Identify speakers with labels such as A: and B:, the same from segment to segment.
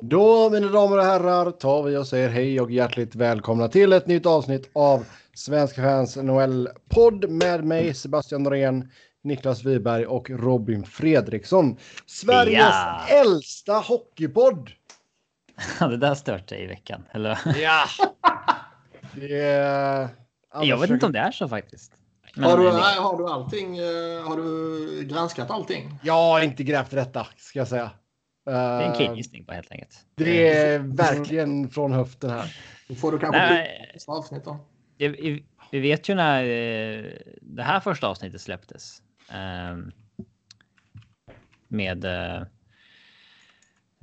A: Då, mina damer och herrar, tar vi och säger hej och hjärtligt välkomna till ett nytt avsnitt av Svenska fans NHL-podd med mig, Sebastian Norén, Niklas Wiberg och Robin Fredriksson. Sveriges
B: Ja.
A: äldsta hockeypodd!
B: det där störte i veckan. Eller?
C: Ja,
A: Det är...
B: Jag vet inte om det är så faktiskt. Men-
C: har, du, nej, har du allting? eh, Har du granskat allting?
A: Jag har inte grävt detta, ska jag säga. Det
B: det är en killgissning bara helt enkelt.
A: det är verkligen från höften här.
C: Då får du kanske
B: Nej,
C: ett avsnitt då.
B: det- vi- vi vet ju när eh, det här första avsnittet släpptes. ehm, Med eh,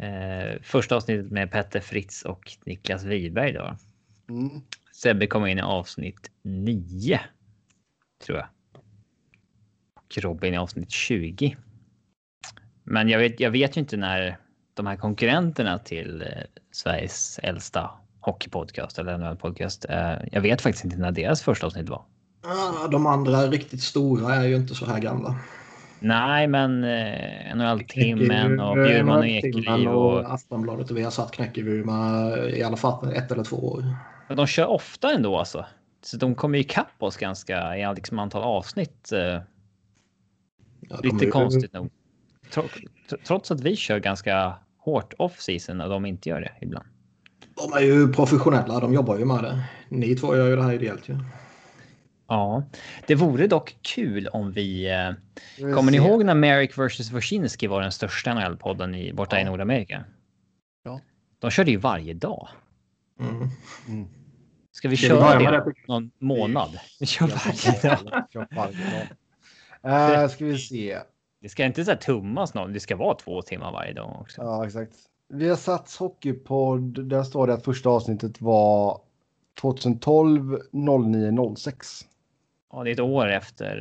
B: eh, första avsnittet med Petter Fritz och Niklas Wiberg. Då.
A: Mm.
B: Sebbe kom in i avsnitt 9. Tror jag. Och Robin i avsnitt 20. Men jag vet, jag vet ju inte när de här konkurrenterna till eh, Sveriges äldsta hockeypodcast eller NHL-podcast. Eh, jag vet faktiskt inte när deras första avsnitt var.
C: Ja, de andra riktigt stora är ju inte så här gamla.
B: Nej, men eh, NHL-timmen och
C: Knäckerud,
B: Bjurman och
C: Timmen
B: Ekeliv och
C: och Aftonbladet och vi har satt Knäckevuma i alla fall ett eller två år.
B: Men de kör ofta ändå alltså. Så de kommer ju ikapp oss ganska i liksom antal avsnitt. Eh,
C: Ja, de är
B: Lite
C: ju-
B: konstigt nog. Tro- tr- Trots att vi kör ganska hårt off season och de inte gör det ibland.
C: De är ju professionella, de jobbar ju med det. Ni två gör ju det här ideellt ju.
B: Ja, det vore dock kul om vi... Eh,
A: Vi får
B: kommer ni
A: se.
B: ihåg när Merrick vs. Wyszynski var den största NHL-podden i, borta i
A: Ja.
B: Nordamerika?
A: Ja.
B: De körde ju varje dag.
C: Mm.
A: Mm.
B: Ska vi
C: Ska vi
B: köra
C: börja med
B: det någon månad? Vi kör varje dag.
A: Uh, ska vi se.
B: Det ska inte så här tummas någon. Det ska vara två timmar varje dag också.
A: Ja, exakt. Vi har satt hockeypodd. Där står det att första avsnittet var 2012 0906.
B: Ja, det är ett år efter.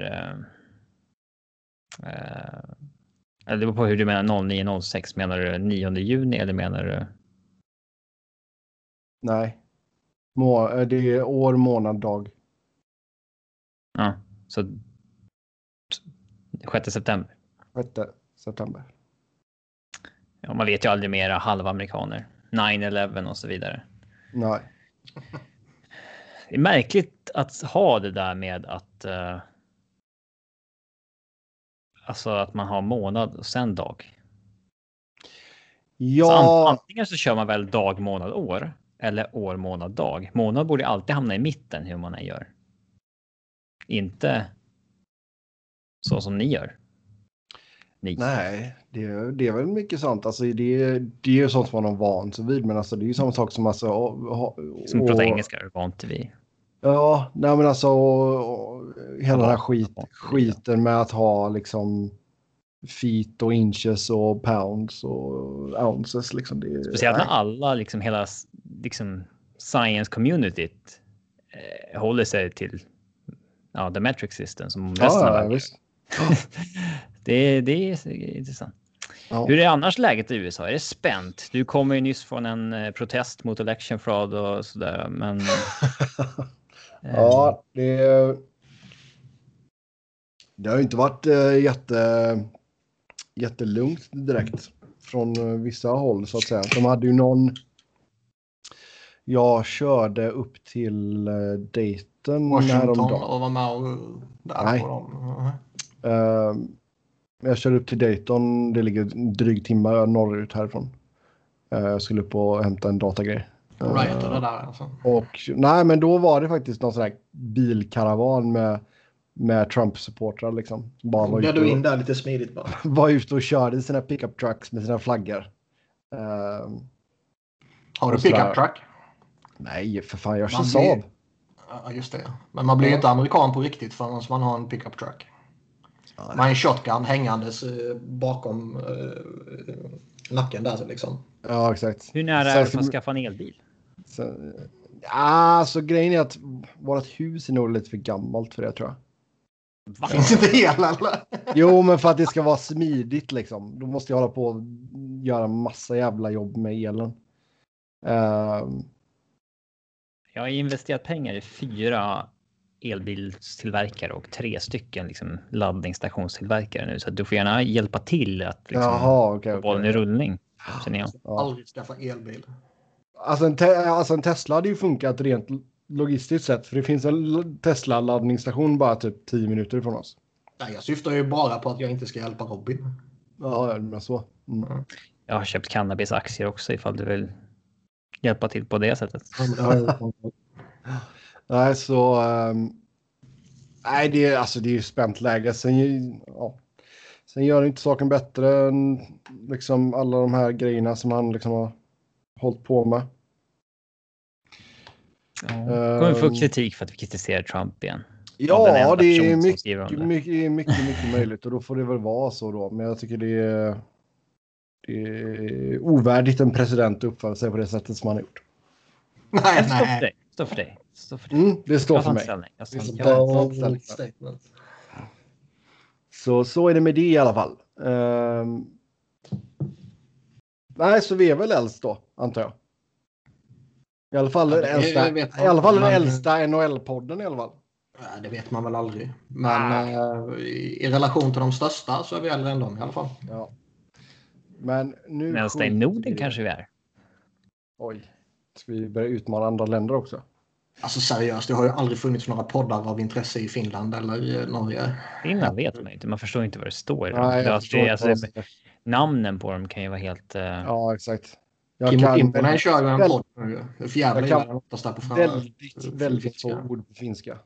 B: eh, eh, Eller det beror på hur du menar 0906. Menar du 9 juni eller menar du?
A: Nej, Må eh, det är år, månad, dag.
B: Ja, så. t- 6 september.
A: 6 september.
B: Ja, man vet ju aldrig mera halvamerikaner. 9-11 och så vidare.
A: Nej,
B: Det är märkligt att ha det där med att. eh, Alltså att man har månad och sen dag. Så an-
A: ja,
B: antingen så kör man väl dag, månad, år eller år, månad, dag. Månad borde alltid hamna i mitten hur man än gör. Inte. Så som ni gör. Ni.
A: nej, det, det är väl mycket sant. Alltså, det, det är ju sånt som man har vant sig vid, men alltså, det är ju samma sak som alltså. å- ha-
B: Som pratar
A: å-
B: engelska är vant vid.
A: Ja, nej men alltså och, och, hela den här skit,
B: Ja,
A: skiten med att ha liksom feet och inches och pounds och ounces liksom. Det,
B: Speciellt när
A: nej.
B: alla, liksom hela s- liksom, science communityt eh, håller sig till ja, the metric system som resten av
A: ja, ja,
B: världen.
A: visst.
B: det, är- det är intressant.
A: Ja.
B: Hur är annars läget i USA? Är det spänt? Du kommer ju nyss från en eh, protest mot election fraud och sådär, men... eh,
A: ja, det... Det har ju inte varit eh, jätte, jättelugnt direkt från eh, vissa håll så att säga. De hade ju någon... Jag körde upp till eh, Dayton
C: Washington
A: häromdagen.
C: och var med och där
A: Nej.
C: på dem. Mhm.
A: Eh, jag kör upp till Dayton. Det ligger en dryg timme norrut härifrån. Eh, jag skulle upp och hämta en datagrej. Eh,
C: Riot och det där alltså.
A: och nej, men då var det faktiskt någon sån här bilkaravan med, med Trump-supportrar liksom. Som Bara var
C: Blev du in
A: ute,
C: där lite smidigt bara?
A: och, var ute och körde i sina pickup trucks med sina flaggor. Eh,
C: Har du
A: Och så där.
C: pickup truck?
A: nej, för fan, jag kör
C: Man
A: Saab.
C: ser- Ja, just det. Men man blir ju inte amerikan på riktigt förrän man har en pickup truck.
A: Ja,
C: Man har en shotgun hängandes eh, bakom eh, nacken där liksom.
A: Ja, exakt.
B: Hur nära
A: Sen
B: är du
A: ska
B: för att
A: vi-
B: skaffa en elbil?
A: Så, ja, så grejen är att vårt hus är nog lite för gammalt för det tror jag.
B: Va?
C: Finns inte el eller?
A: Jo, men för att det ska vara smidigt liksom. Då måste jag hålla på och göra massa jävla jobb med elen. Ehm,
B: Jag har investerat pengar i fyra elbilstillverkare och tre stycken liksom, laddningsstationstillverkare nu, så att du får gärna hjälpa till att liksom,
A: Jaha, okej.
B: få
A: okej.
B: bollen i rullning. Känner jag.
A: Ja.
C: Aldrig skaffa elbil.
A: Alltså en, te- alltså en Tesla hade ju funkat rent logistiskt sett. För det finns en l- Tesla-laddningsstation bara typ 10 minuter ifrån oss.
C: Nej, jag syftar ju bara på att jag inte ska hjälpa Robin.
A: Ja, ja, men så. Mm.
B: Jag har köpt cannabisaktier också ifall du vill hjälpa till på det sättet.
A: Nej, så... ehm, nej, det är, alltså, det är ju spänt läge. Sen, ju- ja. Sen gör det inte saken bättre än liksom, alla de här grejerna som han liksom, har hållit på med.
B: Ja. Kommer vi få kritik för att vi kritiserar Trump igen? Av den
A: Ja,
B: enda
A: det är
B: person som
A: mycket,
B: skriver om det.
A: mycket, mycket, mycket möjligt och då får det väl vara så då. Men jag tycker det är, det är ovärdigt en president att uppföra sig på det sättet som han har gjort.
C: Nej,
B: Jag står för
C: nej.
B: dig. Står
C: Alltså,
B: för dig. Står för dig.
A: Mm, det står
B: Jag
A: för
B: tar inte
A: mig.
B: ställning. Jag
C: Det är så
B: tar- jag-
C: bold statement.
A: Så, så är det med det i alla fall. Ehm, nej, så vi är väl äldst då, antar jag. I alla fall
C: Ja,
A: den
C: det-
A: äldsta,
C: jag vet
A: i alla fall den
C: inte, men-
A: äldsta NHL-podden i alla fall.
C: Ja, det vet man väl aldrig. Men eh, i, i relation till de största så är vi äldre än dem i alla fall.
A: Ja. Men nu...
B: Den äldsta i
A: skjuter
B: Norden
A: vi-
B: kanske vi är.
A: Oj. Ska vi börja utmana andra länder också?
C: Alltså seriöst, det har ju aldrig funnits några poddar av intresse i Finland eller eh, Norge.
B: Innan vet man ju inte. Man förstår inte vad det står. i dem.
A: Nej,
B: Det är
A: jag
B: alltså-
A: förstår inte
B: alltså,
A: vad de säger.
B: namnen på dem kan ju vara helt... eh,
A: Ja, exakt. Jag
C: Kimmo
A: kan
C: Imponen kör ju en
A: väl-
C: podd nu. ju. För
A: Jag
C: jävla
A: kan
C: gillar den oftast där på fram.
A: väldigt, väldigt få ord på finska.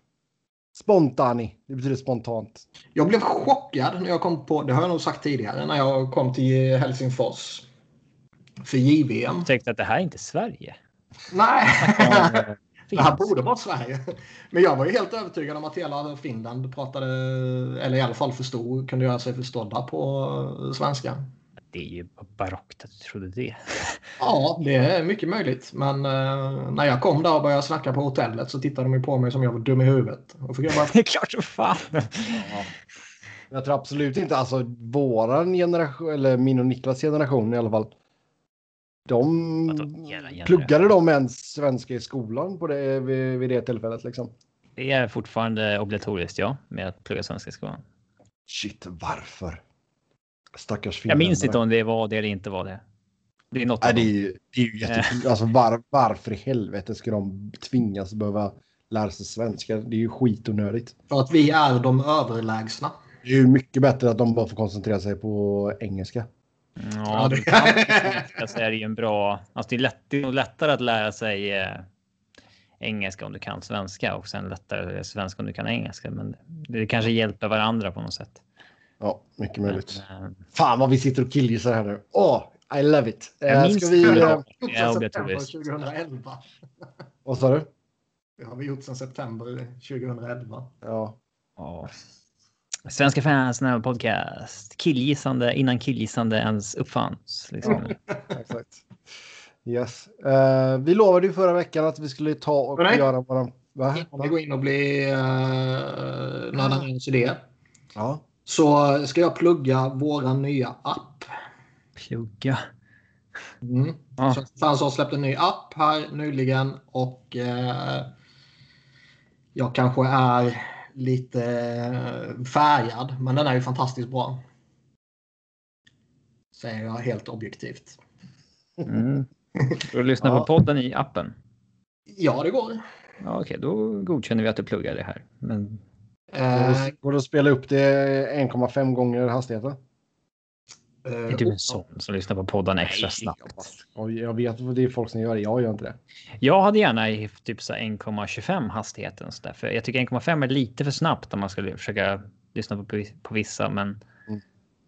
A: Spontani. Det betyder spontant.
C: Jag blev chockad när jag kom på, det har jag nog sagt tidigare, när jag kom till Helsingfors. För JVM.
B: Upptäckte att det här är inte Sverige.
C: Nej, det här
B: Finns.
C: borde vara Sverige. Men jag var ju helt övertygad om att hela Finland pratade, eller i alla fall förstod, kunde göra sig förstådda på svenska.
B: Det är ju barockt att du trodde det.
C: Ja, det är mycket möjligt. Men eh, när jag kom där och började snacka på hotellet så tittade de ju på mig som jag var dum i huvudet. Och fick jag bara,
B: Det är klart som fan.
A: Jag tror absolut inte, alltså våran generation, eller min och Niklas generation i alla fall.
B: Vadå,
A: De
B: era generation?
A: pluggade de ens svenska i skolan på det, vid, vid det tillfället liksom.
B: Det är fortfarande obligatoriskt, ja, med att plugga svenska i skolan.
A: Shit, varför? Stackars
B: Jag minns inte
A: finländare.
B: om det var det eller inte var det. Det är något
A: Nej,
B: av
A: det är
B: dem.
A: ju, det är ju
B: Eh.
A: jättekul. Alltså var, varför i helvete ska de tvingas behöva lära sig svenska? Det är ju skitonödigt.
C: för att vi är de överlägsna.
A: Det är ju mycket bättre att de bara får koncentrera sig på engelska.
B: Ja, det svenska så är det ju en bra... Alltså det, är lätt, det är nog lättare att lära sig eh, engelska om du kan svenska och sen lättare svenska om du kan engelska. Men det kanske hjälper varandra på något sätt.
A: Ja, mycket möjligt.
B: Men, eh,
A: Fan vad vi sitter och killgissar här nu. Åh, I love it.
B: Jag
A: Eh,
B: minns
A: ska vi...
B: det.
A: eh,
C: Gjort
B: Ja,
C: sedan september
B: obligatoriskt.
C: 2011.
A: Vad sa du?
C: Det har vi gjort sedan september 2011.
A: Ja.
B: ja. Svenska fans nära podcast. Killgissande innan killgissande ens uppfanns.
A: Mm.
B: Liksom.
A: Exakt. Yes. Eh, vi lovade ju förra veckan att vi skulle ta och
C: Nej.
A: göra våran... Va?
C: Innan vi går in och blir uh, någon ens idé
A: Ja.
C: så ska jag plugga våran nya app.
B: Plugga.
C: Mm.
B: Ja.
C: Så Fans har släppt en ny app här nyligen och eh, jag kanske är lite eh, färgad men den är ju fantastiskt bra. Säger jag helt objektivt.
B: Mm. Och lyssna
A: Ja.
B: på podden i appen.
C: Ja, det går.
B: Ja, okej, då godkänner vi att du pluggar det här. Men
A: Går
C: Eh,
A: det- Går det att spela upp det 1,5 gånger hastigheten?
B: är
C: eh,
B: du en sån som lyssnar på poddarna extra
A: Jag,
B: snabbt?
A: bara skojar. jag vet att det är folk som gör det. Jag gör inte det.
B: Jag hade gärna i typ så här 1,25 hastigheten så där, för jag tycker 1,5 är lite för snabbt om man skulle försöka lyssna på, på vissa, men
A: Mm.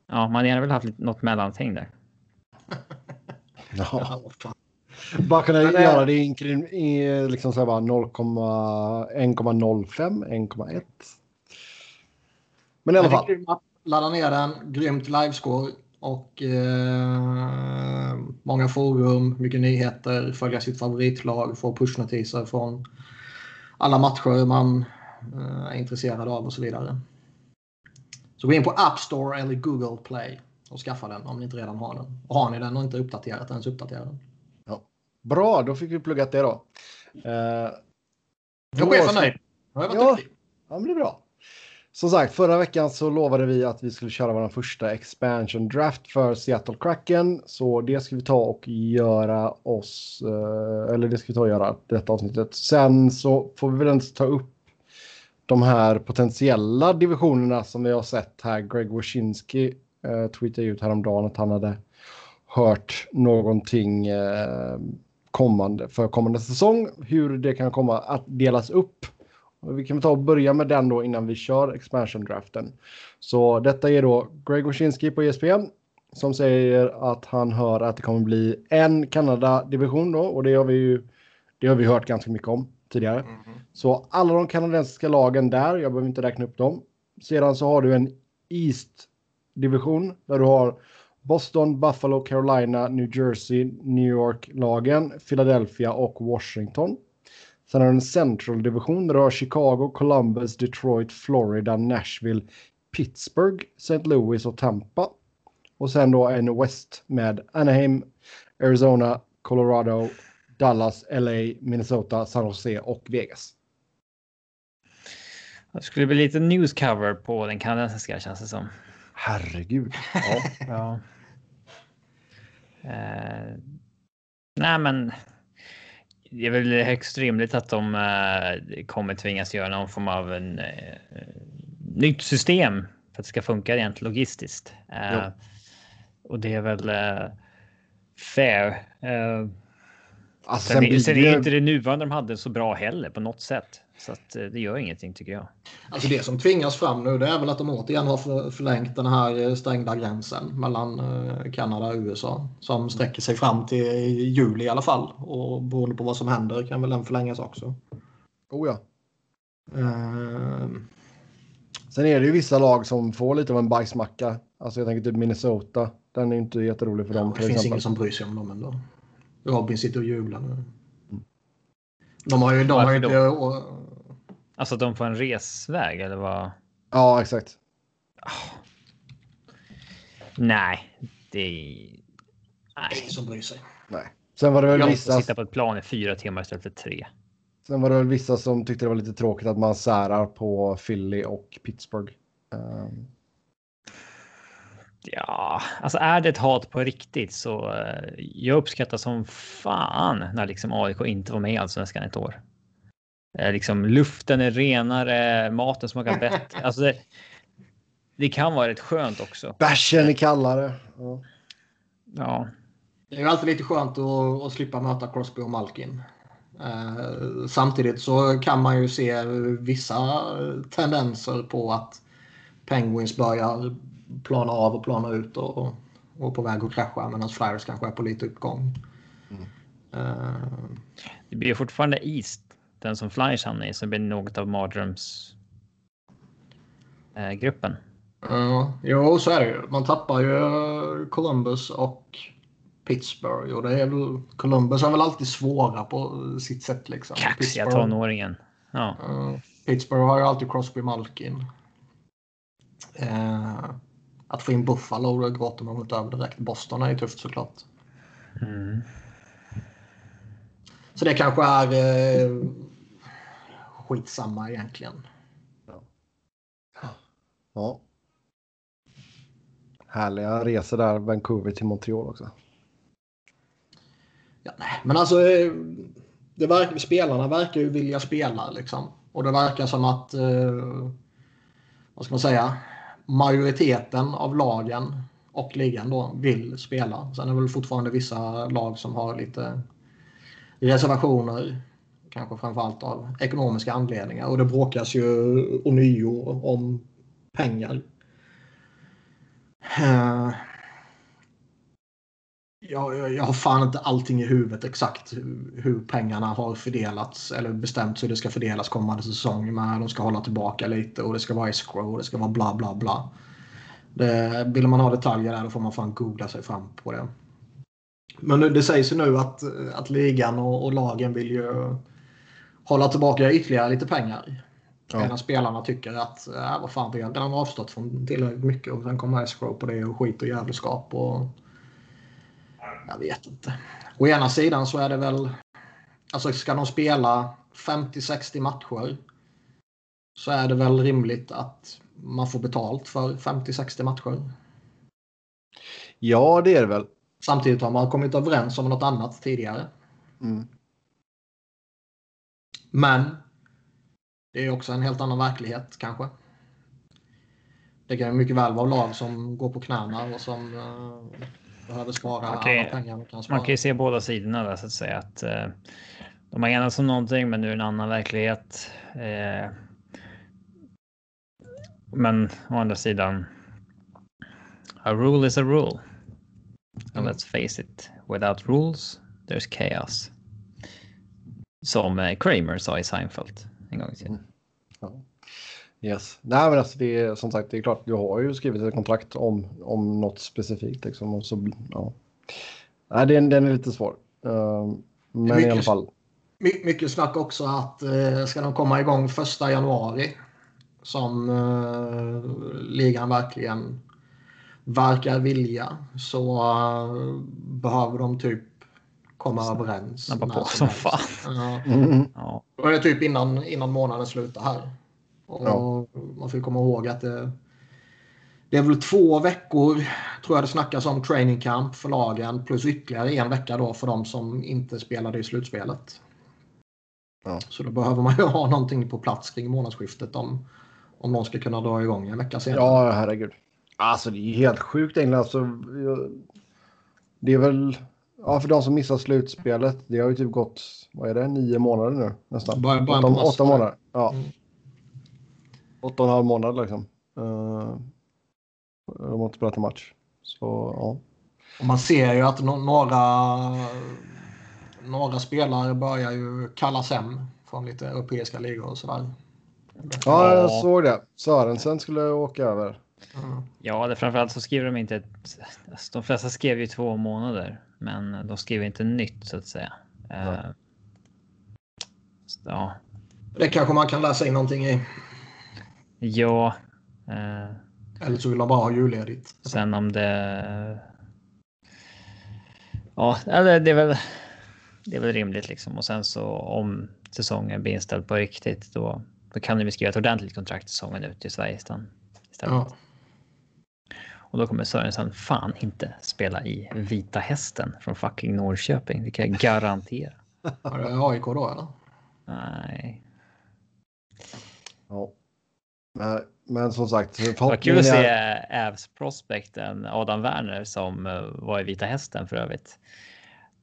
B: ja, man hade gärna väl haft lite, något mellanting där.
A: Ja.
C: ja, vad fan.
A: Bara kunna
C: Men, eh,
A: göra det i, inkrim- i liksom så här bara 0,0, 1,05, 1,1. Men i alla
C: Men det är
A: fall.
C: grym app. Ladda ner den. Grymt livescore. Och eh, många forum, mycket nyheter, följa sitt favoritlag, få pushnotiser från alla matcher man eh, är intresserad av och så vidare. Så gå in på App Store eller Google Play och skaffa den om ni inte redan har den. Och har ni den och inte uppdaterat den så uppdatera den.
A: Bra, då fick vi pluggat det då. Eh,
C: Då är
A: Då
C: chefen
A: ska-
C: nöjd. Då har jag varit
A: Ja.
C: duktig.
A: ja, men det är bra. Som sagt, förra veckan så lovade vi att vi skulle köra vår första expansion draft för Seattle Kraken. Så det ska vi ta och göra oss, eh, eller det ska vi ta och göra detta avsnittet. Sen så får vi väl ens ta upp de här potentiella divisionerna som vi har sett här. Greg Wyszynski eh, tweetade ut häromdagen att han hade hört någonting eh, kommande, för kommande säsong. Hur det kan komma att delas upp. Och Vi kan väl ta och börja med den då innan vi kör expansion-draften. Så detta är då Greg Wyszynski på E ESPN som säger att han hör att det kommer bli en Kanada-division då och det har vi ju det har vi hört ganska mycket om tidigare. Så alla de kanadensiska lagen där, jag behöver inte räkna upp dem. Sedan så har du en East-division där du har Boston, Buffalo, Carolina, New Jersey, New York-lagen, Philadelphia och Washington. Sen har du en central-division där du har Chicago, Columbus, Detroit, Florida, Nashville, Pittsburgh, St. Louis och Tampa. Och sen då en West med Anaheim, Arizona, Colorado, Dallas, LA, Minnesota, San Jose och Vegas.
B: Det skulle bli lite news cover på den kanadensiska känns det som.
A: Herregud. Ja.
B: Ja. Eh, nej, men. Det är väl högst rimligt att de eh, kommer tvingas göra någon form av en, eh, nytt system för att det ska funka rent logistiskt. Eh,
A: Ja.
B: och det är väl eh, fair. Eh,
A: Alltså,
B: sen, är-
A: blir
B: sen
A: det ju-
B: är inte det nuvarande de hade så bra heller på något sätt. Så att, eh, det gör ingenting tycker jag.
C: Alltså det som tvingas fram nu det är väl att de återigen har för- förlängt den här eh, stängda gränsen mellan eh, Kanada och USA. Som sträcker sig fram till juli i alla fall. Och beroende på vad som händer kan väl den förlängas också.
A: Oh, ja.
C: Ehm,
A: Sen är det ju vissa lag som får lite av en bajsmacka. Alltså jag tänker typ Minnesota. Den är ju inte jätterolig för dem
C: det
A: till
C: finns
A: exempel.
C: ingen som bryr sig om dem ändå. Robin sitter och jublar nu. De har ju, de har
B: Varför
C: ju
B: då?
C: inte... och-
B: Alltså att de får en resväg eller vad?
A: Ja, exakt.
B: Nej, det är...
C: det är
B: Nej.
C: Ingen som bryr sig.
A: Nej. Sen var det väl
C: Jag måste
A: vissa...
B: Sitta på ett plan i fyra timmar istället för tre.
A: Sen var det väl vissa som tyckte det var lite tråkigt att man särar på Philly och Pittsburgh. Ehm,
B: Ja, alltså är det ett hat på riktigt så eh, jag uppskattar som fan när liksom AIK inte var med i Allsvenskan ett år. Eh, liksom luften är renare, maten smakar bättre. Alltså det, det kan vara rätt skönt också.
A: Bärsen är kallare. Ja.
B: Ja,
C: Det är ju alltid lite skönt att, att slippa möta Crosby och Malkin. Eh, samtidigt så kan man ju se vissa tendenser på att Penguins börjar plana av och plana ut och, och på väg att krascha medan Flyers kanske är på lite uppgång. Eh,
B: det blir ju fortfarande East, den som Flyers hamnar i, som blir något av mardrömsgruppen. Eh, gruppen.
C: Ja, jo, så är det ju. Man tappar ju Columbus och Pittsburgh. Och det är väl, Columbus är väl alltid svåra på sitt sätt. Liksom.
B: Kaxiga
C: Pittsburgh-
B: tonåringen. Ja.
C: Ja, Eh, Pittsburgh har ju alltid Crosby Malkin. Eh, att få in Buffalo, det gråter man väl inte över direkt. Boston är ju tufft såklart.
B: Mm.
C: Så det kanske är eh, skitsamma egentligen.
A: ja. Härliga resor där, Vancouver till Montreal också.
C: Ja, nej. Men alltså, eh, det verkar, spelarna verkar ju vilja spela liksom. Och det verkar som att, eh, vad ska man säga, majoriteten av lagen och ligan då vill spela. Sen är det väl fortfarande vissa lag som har lite reservationer. Kanske framförallt av ekonomiska anledningar. Och det bråkas ju ånyo om pengar. Eh, jag, jag, jag har fan inte allting i huvudet exakt hur, hur pengarna har fördelats eller bestämts hur det ska fördelas kommande säsong. Men de ska hålla tillbaka lite och det ska vara escrow och det ska vara bla bla bla. Det, vill man ha detaljer där då får man fan googla sig fram på det. Men nu, det sägs ju nu att, att ligan och, och lagen vill ju hålla tillbaka ytterligare lite pengar.
A: Ja.
C: Medan spelarna tycker att äh, vad fan, vi har redan avstått från tillräckligt mycket och sen kommer escrow på det och skit och jävelskap. Och, jag vet inte. Å ena sidan så är det väl... Alltså ska de spela 50-60 matcher så är det väl rimligt att man får betalt för 50-60 matcher.
A: Ja, det är det väl.
C: Samtidigt har man kommit överens om något annat tidigare.
A: Mm.
C: Men det är också en helt annan verklighet kanske. Det kan ju mycket väl vara lag som går på knäna och som eh, behöver spara
B: Okej.
C: alla pengar de kan spara.
B: Man kan ju se båda sidorna där så att säga att eh, de har enats om någonting, men nu är det en annan verklighet. Eh, men å andra sidan. A rule is a rule. And
C: Mm.
B: let's face it, without rules there's chaos. Som eh, Kramer sa i Seinfeld en gång i tiden.
A: Yes. Nej, men alltså det är som sagt, det är klart, du har ju skrivit ett kontrakt om, om något specifikt. Liksom, och så, ja. Nej, den, den är lite svår. Ehm, men i
C: mycket-
A: alla fall.
C: My- mycket snack också att eh, ska de komma igång första januari som eh, ligan verkligen verkar vilja så eh, behöver de typ komma överens.
B: Snabba
C: när
B: på som
C: helst.
B: fan.
C: Mm. Ja,
A: Mm.
B: Ja,
C: och det är typ innan, innan månaden slutar här. Och Man får ju komma ihåg att det, det är väl två veckor tror jag det snackas om training camp för lagen plus ytterligare en vecka då för de som inte spelade i slutspelet.
A: Ja.
C: Så då behöver man ju ha någonting på plats kring månadsskiftet om, om någon ska kunna dra igång en vecka senare.
A: Ja, herregud. Alltså det är helt sjukt England. Alltså, jag- det är väl, ja för de som missar slutspelet, det har ju typ gått, vad är det, nio månader nu nästan.
C: Bara- bara
A: åtta,
C: på mars.
A: åtta månader. Ja.
C: Mm.
A: Åtta och en halv månad liksom. Uh, de har inte spelat en match. Så ja.
C: Och man ser ju att no- några, några spelare börjar ju kallas hem från lite europeiska ligor och sådär.
A: Ja, jag
B: Ja.
A: såg det. Sörensen skulle åka över.
C: Mm.
B: Ja, det framförallt så skriver de inte. Ett, alltså, de flesta skrev ju två månader, men de skriver inte nytt så att säga. Eh, så, ja,
C: Det kanske man kan läsa in någonting i.
B: ja. eh,
C: Eller så vill de bara ha julledigt.
B: sen om det. Ja, eller det är väl. Det är väl rimligt liksom och sen så om säsongen blir inställd på riktigt då, då kan de ju skriva ett ordentligt kontrakt säsongen ut i Sverige istället.
C: Ja.
B: Och då kommer Sörensen fan inte spela i Vita Hästen från fucking Norrköping. Det kan jag garantera.
C: Är det AIK då eller?
B: Nej.
A: Ja. Men, men som sagt,
B: Det var kul
A: förhoppningen
B: att se
A: är...
B: Ävs prospekten Adam Werner som eh, var i Vita Hästen för övrigt.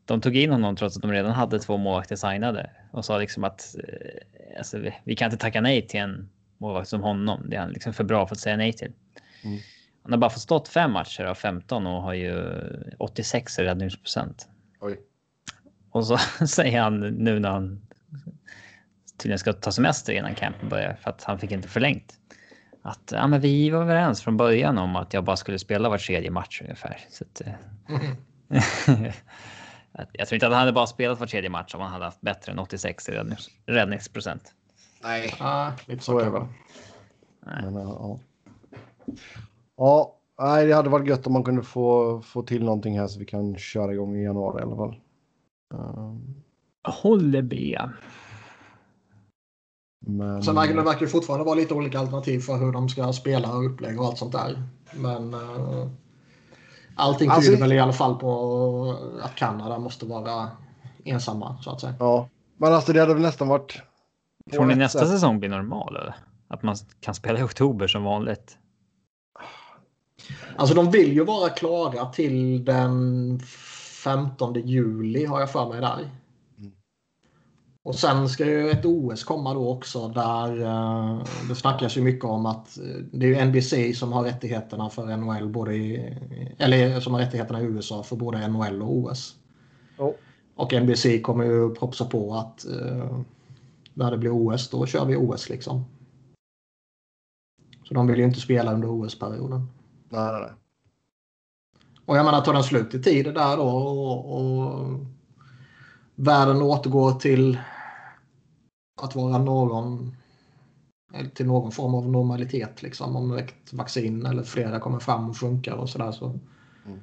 B: De tog in honom trots att de redan hade två målvakter signade och sa liksom att eh, alltså, vi, vi kan inte tacka nej till en målvakt som honom. Det är han liksom för bra för att säga nej till.
A: Mm.
B: Han har bara fått stått fem matcher av 15 och har ju 86 i räddningsprocent.
A: Oj.
B: Och så säger han nu när han tydligen ska ta semester innan campen börjar för att han fick inte förlängt. Att ja, men vi var överens från början om att jag bara skulle spela var tredje match ungefär. Så att, eh,
C: Mhm.
B: att jag tror inte att han hade bara spelat var tredje match om han hade haft bättre än 86 i räddnings- räddningsprocent.
A: Nej.
C: Ja, lite
A: Så är det
C: kanske.
A: väl. Men, eh, ja. ja, nej, det hade varit gött om man kunde få, få till någonting här så vi kan köra igång i januari i alla fall. Ehm,
B: Håller med.
A: Men,
C: Sen verkar det verkar ju fortfarande vara lite olika alternativ för hur de ska spela och upplägg och allt sånt där. Men eh, allting tyder
A: Alltså-
C: väl i alla fall på att Kanada måste vara ensamma så att säga.
A: ja. men alltså det hade väl nästan varit... på
B: Tror ni
A: ett
B: nästa
A: sätt-
B: säsong blir normal? Eller? Att man kan spela i oktober som vanligt?
C: Alltså de vill ju vara klara till den 15 juli har jag för mig där. Och sen ska ju ett OS komma då också där eh, det snackas ju mycket om att eh, det är ju NBC som har rättigheterna för NHL både i, eller eh, som har rättigheterna i USA för både NHL och OS.
A: Ja.
C: Och NBC kommer ju propsa på att eh, när det blir OS då kör vi OS liksom. Så de vill ju inte spela under OS-perioden.
A: Nej, nej, nej.
C: Och jag menar, tar den slut i tid det där då och, och världen återgår till att vara någon eller till någon form av normalitet liksom om ett vaccin eller flera kommer fram och funkar och sådär så
A: Mm.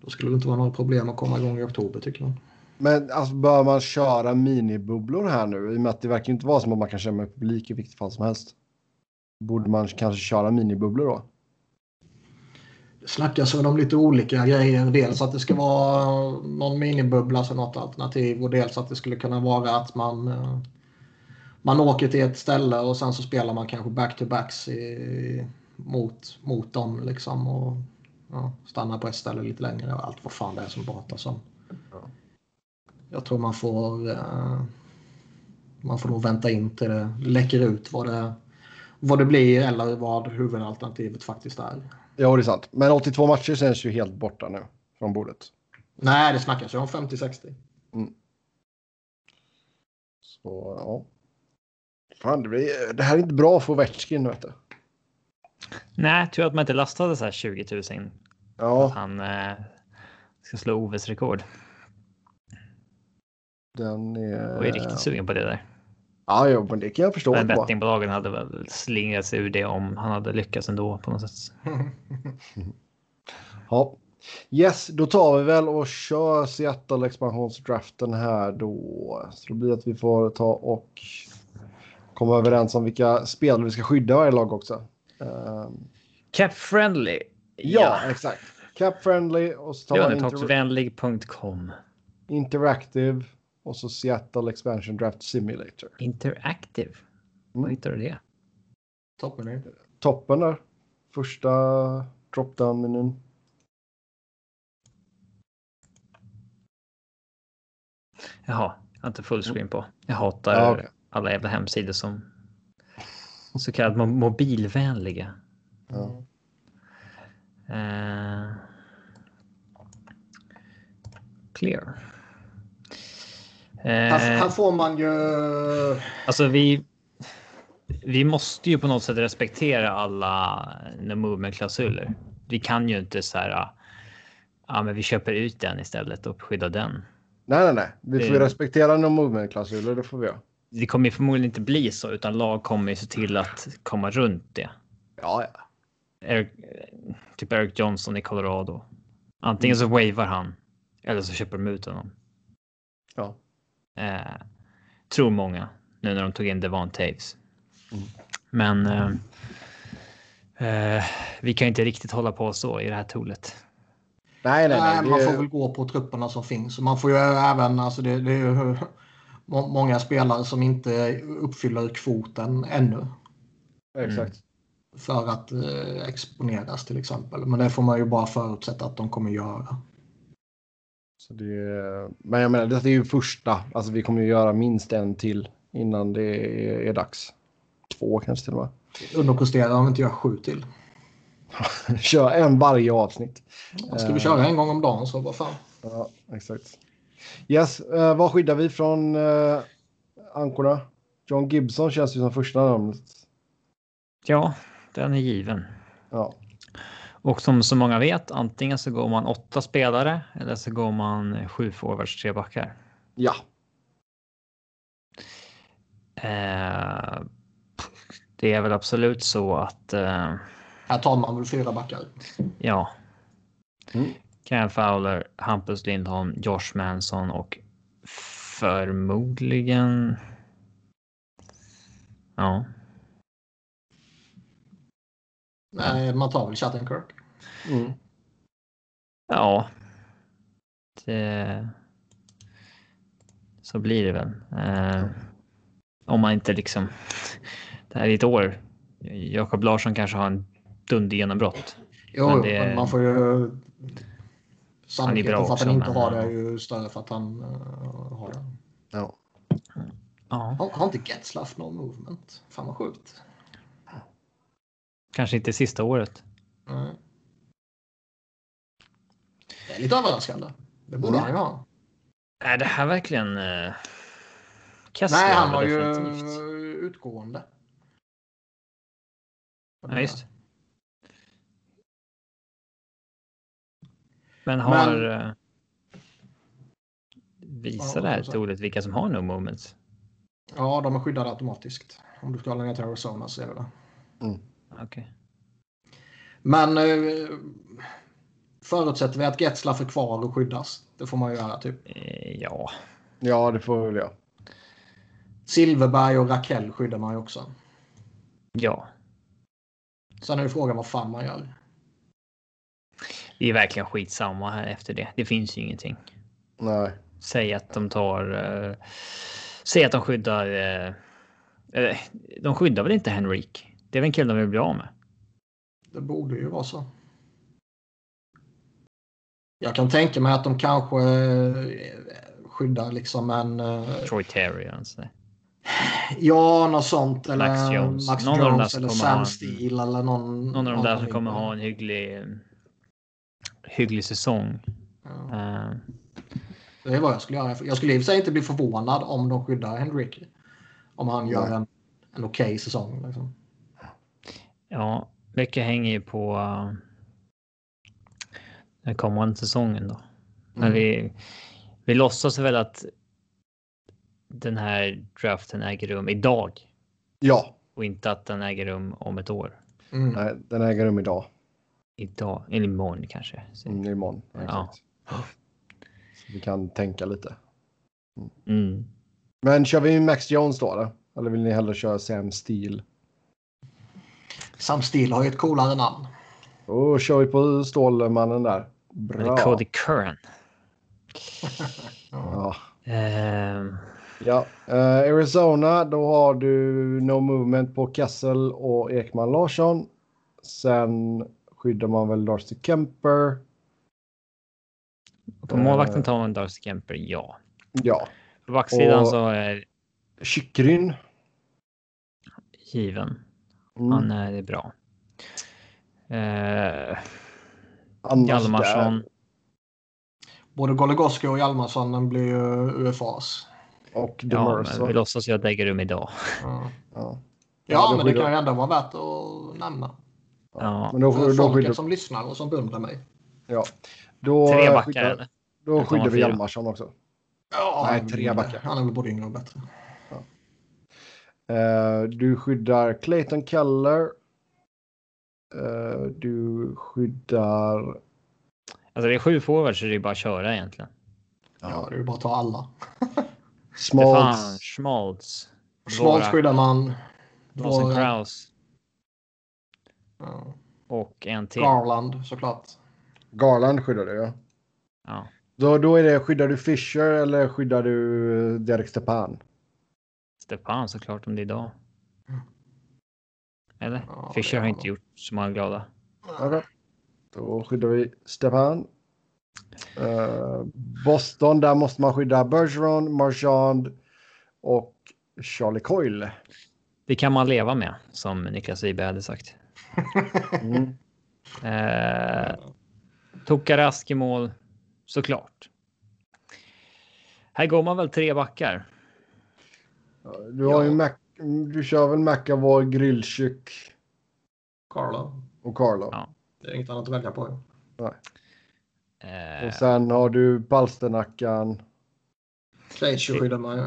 C: då skulle det inte vara några problem att komma igång i oktober tycker man.
A: Men alltså, bör man köra minibubblor här nu? I och med att det verkar ju inte vara som att man kan köra med publik i vilket fall som helst. Borde man kanske köra minibubblor då?
C: Det snackas väl om lite olika grejer. Dels att det ska vara någon minibubbla som något alternativ och dels att det skulle kunna vara att man, eh, man åker till ett ställe och sen så spelar man kanske back-to-backs i, mot, mot dem liksom och ja, stannar på ett ställe lite längre och allt vad fan det är som pratas om. Jag tror man får eh, man får nog vänta in till det läcker ut vad det, vad det blir eller vad huvudalternativet faktiskt är.
A: Jo, det är sant. Men 82 matcher känns ju helt borta nu från bordet.
C: Nej, det snackas ju om 50-60.
A: Så ja. Fan, det, blir, det här är inte bra för Ovechkin, vet du.
B: Nej, tur att man inte lastade så här 20 000. Att
A: Ja,
B: han eh, ska slå Oves rekord.
A: den är...
B: Jag är riktigt sugen på det där.
A: Ja, jo, men det kan jag förstå.
B: Men
A: bara.
B: bettingbolagen hade väl slingrat sig ur det om han hade lyckats ändå på något sätt.
A: Ja. Yes, då tar vi väl och kör Seattle expansionsdraften här då. Så det blir att vi får ta och komma överens om vilka spelare vi ska skydda varje lag också. Ehm,
B: Cap friendly.
A: ja, exakt. Cap friendly och så tar vi inter-
B: Lönetaksvänlig.com.
A: interactive och så Seattle expansion draft simulator.
B: Interactive.
A: Mm.
B: Var hittar du det?
C: Toppmenyn.
A: Eh. Toppen där. Första drop-down-menyn.
B: Jaha, jag har inte fullscreen på. Jag hatar
A: Ja, okej.
B: alla jävla hemsidor som så kallat mo- mobilvänliga.
A: Ja.
B: Eh, clear.
C: Här,
B: Eh,
C: här får man ju...
B: alltså vi. Vi måste ju på något sätt respektera alla no movement klausuler. Vi kan ju inte så här. ah, Ja, men vi köper ut den istället och skyddar den.
A: Nej, nej, nej. Vi får ju
B: Det-
A: respektera några movement-klausuler. Det får vi göra.
B: Det kommer ju förmodligen inte bli så, utan lag kommer ju se till att komma runt det.
A: Ja, ja.
B: Eric, eh, typ Eric Johnson i Colorado. Antingen så wavar han eller så köper de ut honom.
A: ja.
B: Eh, tror många nu när de tog in Devon Taves.
A: Mm.
B: Men eh, eh, vi kan ju inte riktigt hålla på så i det här tolet.
A: Nej, nej, nej.
C: Nej, man
A: det-
C: får väl gå på trupperna som finns. Man får ju även... Alltså det, det är ju må- många spelare som inte uppfyller kvoten ännu.
A: Exakt.
C: För att eh, exponeras till exempel. Men det får man ju bara förutsätta att de kommer göra.
A: Så det, men jag menar, det är ju första. Alltså vi kommer ju göra minst en till innan det är, är dags. Två kanske till och
C: Underpresterar om inte jag sju till.
A: med. Kör en varje avsnitt.
C: Ska vi
A: Eh.
C: köra en gång om dagen så vad fan.
A: Ja, exakt. Yes, eh, vad skyddar vi från eh, ankorna? John Gibson känns ju som första namnet.
B: Ja, den är given.
A: Ja,
B: Och som så många vet, antingen så går man åtta spelare eller så går man sju forwards, tre backar.
A: ja.
B: Eh, det är väl absolut så att eh,
C: Här tar man väl fyra backar.
B: Ja.
A: Mm.
B: Cam Fowler, Hampus Lindholm, Josh Manson och förmodligen... Ja.
C: Nej, man tar väl Chattenkirk.
A: Mm.
B: Ja. Det... Så blir det väl. Eh, om man inte liksom... Det här är ett år. Jakob Larsson kanske har en dundergenombrott.
C: Jo,
B: Men
C: men
B: det-
C: man får ju...
B: bra
C: Sannolikheten för att han
B: också,
C: inte
B: men-
C: har det är ju större för att han eh, har det.
A: ja.
B: Ja.
C: Har, har inte Getzlaff någon movement? Fan vad sjukt.
B: Kanske inte sista året.
C: Nej. Det är lite överraskande. Det borde
A: Mm.
C: han ju ha.
B: Är det här verkligen... Eh, Kessler
C: Nej, han
B: har
C: var ju
B: definitivt.
C: utgående.
B: Ja, just. Men
C: Men-
B: har... eh, Visar
C: Ja,
B: det här
C: vad sa
B: till ordet vilka som har no moments?
C: Ja, de är skyddade automatiskt. Om du ska ner till Arizona så är det det.
B: Okej.
C: Men eh, förutsätter vi att Getzlaff är kvar och skyddas? Det får man ju göra typ.
B: Eh, Ja.
A: ja, det får vi väl göra.
C: Silverberg och Raquel skyddar man ju också.
B: Ja.
C: Sen är ju frågan vad fan man gör.
B: Det är verkligen skitsamma här efter det. Det finns ju ingenting.
A: Nej.
B: Säg att de tar... Eh, säg att de skyddar... Eh, eh, de skyddar väl inte Henrik? Det är väl en kille de vill bli av med?
C: Det borde ju vara så. Jag kan tänka mig att de kanske eh, skyddar liksom en... eh,
B: Troy Terry och sådär.
C: Ja, något sånt. Eller
B: Max Jones.
C: Max
B: Någon av de där
C: Jones
B: som
C: eller
B: kommer
C: Sam
B: ha en-
C: Steele eller någon.
B: Någon av de där som kommer
C: liknande.
B: ha en hygglig... Hygglig säsong.
C: Ja.
B: Eh,
C: Det är vad jag skulle göra. Jag skulle i och för sig inte bli förvånad om de skyddar Henrik. Om han gör
A: Nej.
C: en, en okej säsong. Liksom.
B: ja, mycket hänger ju på. eh, den kommande säsongen då. Men
C: Mm.
B: vi, vi låtsas väl att. Den här draften äger rum idag
A: Ja,
B: och inte att den äger rum om ett år.
C: Mm.
A: nej, den äger rum idag.
B: Idag eller imorgon kanske. Så-
A: Mm, imorgon.
B: Ja.
A: Exakt. Så vi kan tänka lite.
B: Mm.
A: Men kör vi Max Jones då? Eller, eller vill ni hellre köra Sam Steele?
C: Sam Steele har ju ett coolare namn.
A: Då kör vi på Stålmannen där.
B: Eller
A: Bra.
B: Cody Curran.
A: Ja.
B: Ehm,
A: Ja. Eh, Arizona, då har du No Movement på Kessel och Ekman Larsson. Sen skyddar man väl Darcy Kemper.
B: på
A: Eh.
B: målvakten tar man Darcy Kemper, ja.
A: Ja.
B: På backsidan
A: Och-
B: så är
A: Kyckryn.
B: given.
A: Mm.
B: Han är bra. Eh,
A: Annars
B: Hjalmarsson.
A: där.
C: Både Goligoski och Hjalmarsson blir ju UFAs.
A: Och
B: Ja,
A: Demers.
B: men vi
A: Ja,
B: låtsas ju att det äger rum idag.
C: Ja,
A: ja.
C: ja
A: då
C: men det
A: skyddar-
C: kan ju ändå vara värt att nämna.
B: Ja.
A: Men då,
C: För
A: får- då
C: folket
A: skyddar,
C: som lyssnar och som beundrar mig.
A: ja. då,
B: Tre
A: eh,
B: backar
A: skyddar,
B: eller?
A: då
B: Jag tar
A: skyddar vi
B: fyra.
A: Hjalmarsson också.
C: Ja,
A: Nej,
C: han-
A: tre backar.
C: Han är väl både yngre och bättre.
A: Eh, du skyddar Clayton Keller. Eh, du skyddar...
B: Alltså det är sju forwards så det är bara att köra egentligen.
C: Ja, det är ju bara att ta alla.
A: Smalls.
B: Stefan, Schmaltz,
C: Smalt
B: Dvorak.
C: skyddar man.
B: Dawson
C: Dvorak.
B: Kraus
C: Ja.
B: och en till.
C: Garland såklart.
A: Garland skyddar du, ja.
B: Ja.
A: Då, då är det, skyddar du Fisher eller skyddar du eh, Derek Stepan?
B: Stepan såklart om det är idag. Eller?
C: Ja, det
B: Fischer
C: är
B: har
C: han
B: inte
C: nog.
B: gjort så många glada.
A: Okej. Då skyddar vi Stepan. Eh, Boston, där måste man skydda Bergeron, Marchand och Charlie Coyle.
B: Det kan man leva med, som Niklas Wiberg hade sagt.
A: Mm.
B: Eh, Tokarask i mål, såklart. Här går man väl tre backar.
A: Du, har ju
C: Ja.
A: Mac, du kör väl McAvoy, Grillkyk
C: Carlo.
A: och Carlo?
B: Ja.
C: Det är inget annat att välja på.
B: Eh,
A: Och sen har du Palsternackan.
C: Krejci skyddar man ju.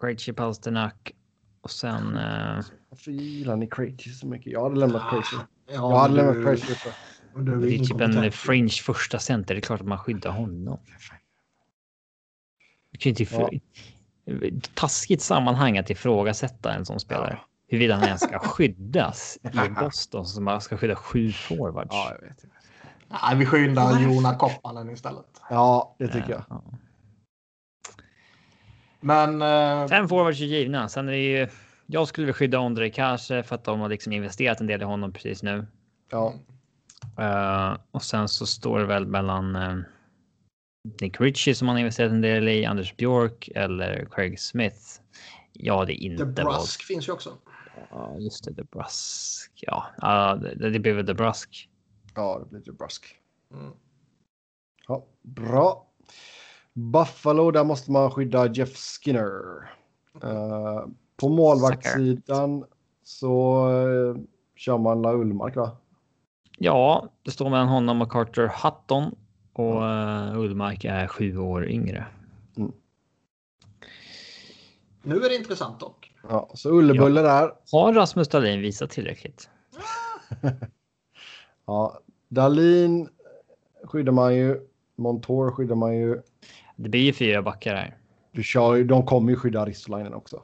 B: Krejci, Pasternak och sen... Eh,
A: Varför gillar ni Crazy så mycket? Jag hade lämnat Crazy.
C: Ja,
A: Jag hade
C: men
A: lämnat
C: Ah, du-
A: Crazy. för-
C: du är
B: det är typ en
C: inkompetent.
B: fringe första center. Det är klart att man skyddar honom. Du kan ju inte...
A: Ja.
B: Taskigt sammanhang att ifrågasätta en sån spelare. Huruvida han ens ska skyddas i Boston som man ska skydda sju forwards.
A: Ja, jag vet.
C: Nej, vi skyddar Jona Koppanen istället.
A: Ja, det tycker jag.
B: Eh, Ja.
C: Men eh,
B: Fem forwards är givna. Sen är det ju... Jag skulle vilja skydda Ondrej kanske för att de har liksom investerat en del i honom precis nu.
A: Ja.
B: Eh, och sen så står det väl mellan eh, Nick Ritchie som han har investerat en del i, Anders Björk eller Craig Smith. Ja, Mm, det är
C: The
B: inte vad...
C: Brusk finns ju också.
B: Ja, just det, DeBrusk. Ja, ja, det, det blir väl DeBrusk.
A: ja, det blir lite brusk.
C: Mm.
A: Ja, bra. Buffalo, där måste man skydda Jeff Skinner. Eh, på målvaktssidan så uh, kör man La Ullmark, va?
B: Ja, det står mellan honom och Carter Hutton och uh, Ullmark är sju år yngre.
C: Nu är det intressant dock.
A: Ja, så Ullebulle där.
B: Har Rasmus Dahlin visat tillräckligt?
A: Ja, Dalin skyddar man ju. Montour skyddar man ju.
B: Det blir ju fyra backar här.
A: Du kör, ju- de kommer ju skydda Ristolainen också.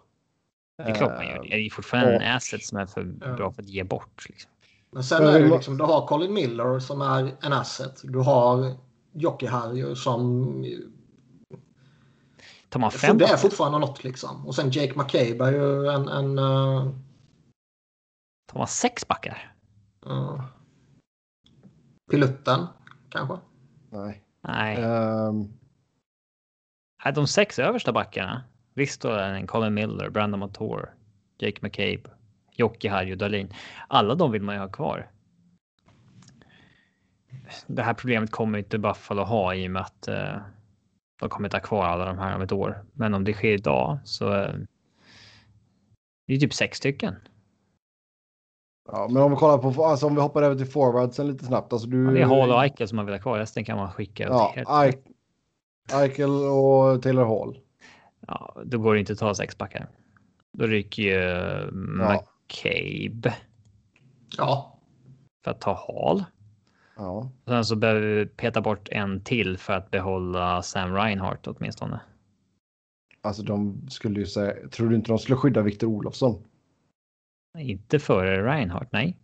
B: Det är klart man gör det. Det är ju fortfarande en asset som är för bra för att ge bort. Liksom.
C: Men sen
A: Men
C: är
A: vi
C: det
A: må-
C: liksom, du har Colin Miller som är en asset. Du har Jocke Harrier som...
B: Tar man
C: Fem.
B: fem?
C: Det är fortfarande något liksom. Och sen Jake McCabe är ju en... en eh,
B: Tar man sex backar?
C: eh, piloten, kanske.
A: Nej.
B: Nej.
A: Ehm,
B: Nej, de sex översta backarna. Visst då är det Colin Miller, Brandon Motor, Jake McCabe, Jocke Harry och Dahlin. Alla de vill man ju ha kvar. Det här problemet kommer ju inte Buffalo ha i och med att eh, de kommer inte ha kvar alla de här om ett år. Men om det sker idag så. Eh, det är typ sex stycken.
A: ja, men om vi kollar på, alltså om vi hoppar över till forwardsen lite snabbt. Alltså du,
B: Ja, Det är Hall och Eichel som man vill ha kvar. Resten kan man skicka.
A: Ja,
B: åt helvete.
A: Eichel- Eichel och Taylor Hall.
B: ja, då går det inte att ta sex backar. Då ryker ju eh, McCabe.
C: Ja.
B: för att ta Hall.
A: Ja.
B: Sen så behöver vi peta bort en till för att behålla Sam Reinhardt åtminstone.
A: Alltså de skulle ju säga, tror du inte de skulle skydda Viktor Olofsson?
B: Inte före Reinhardt, nej.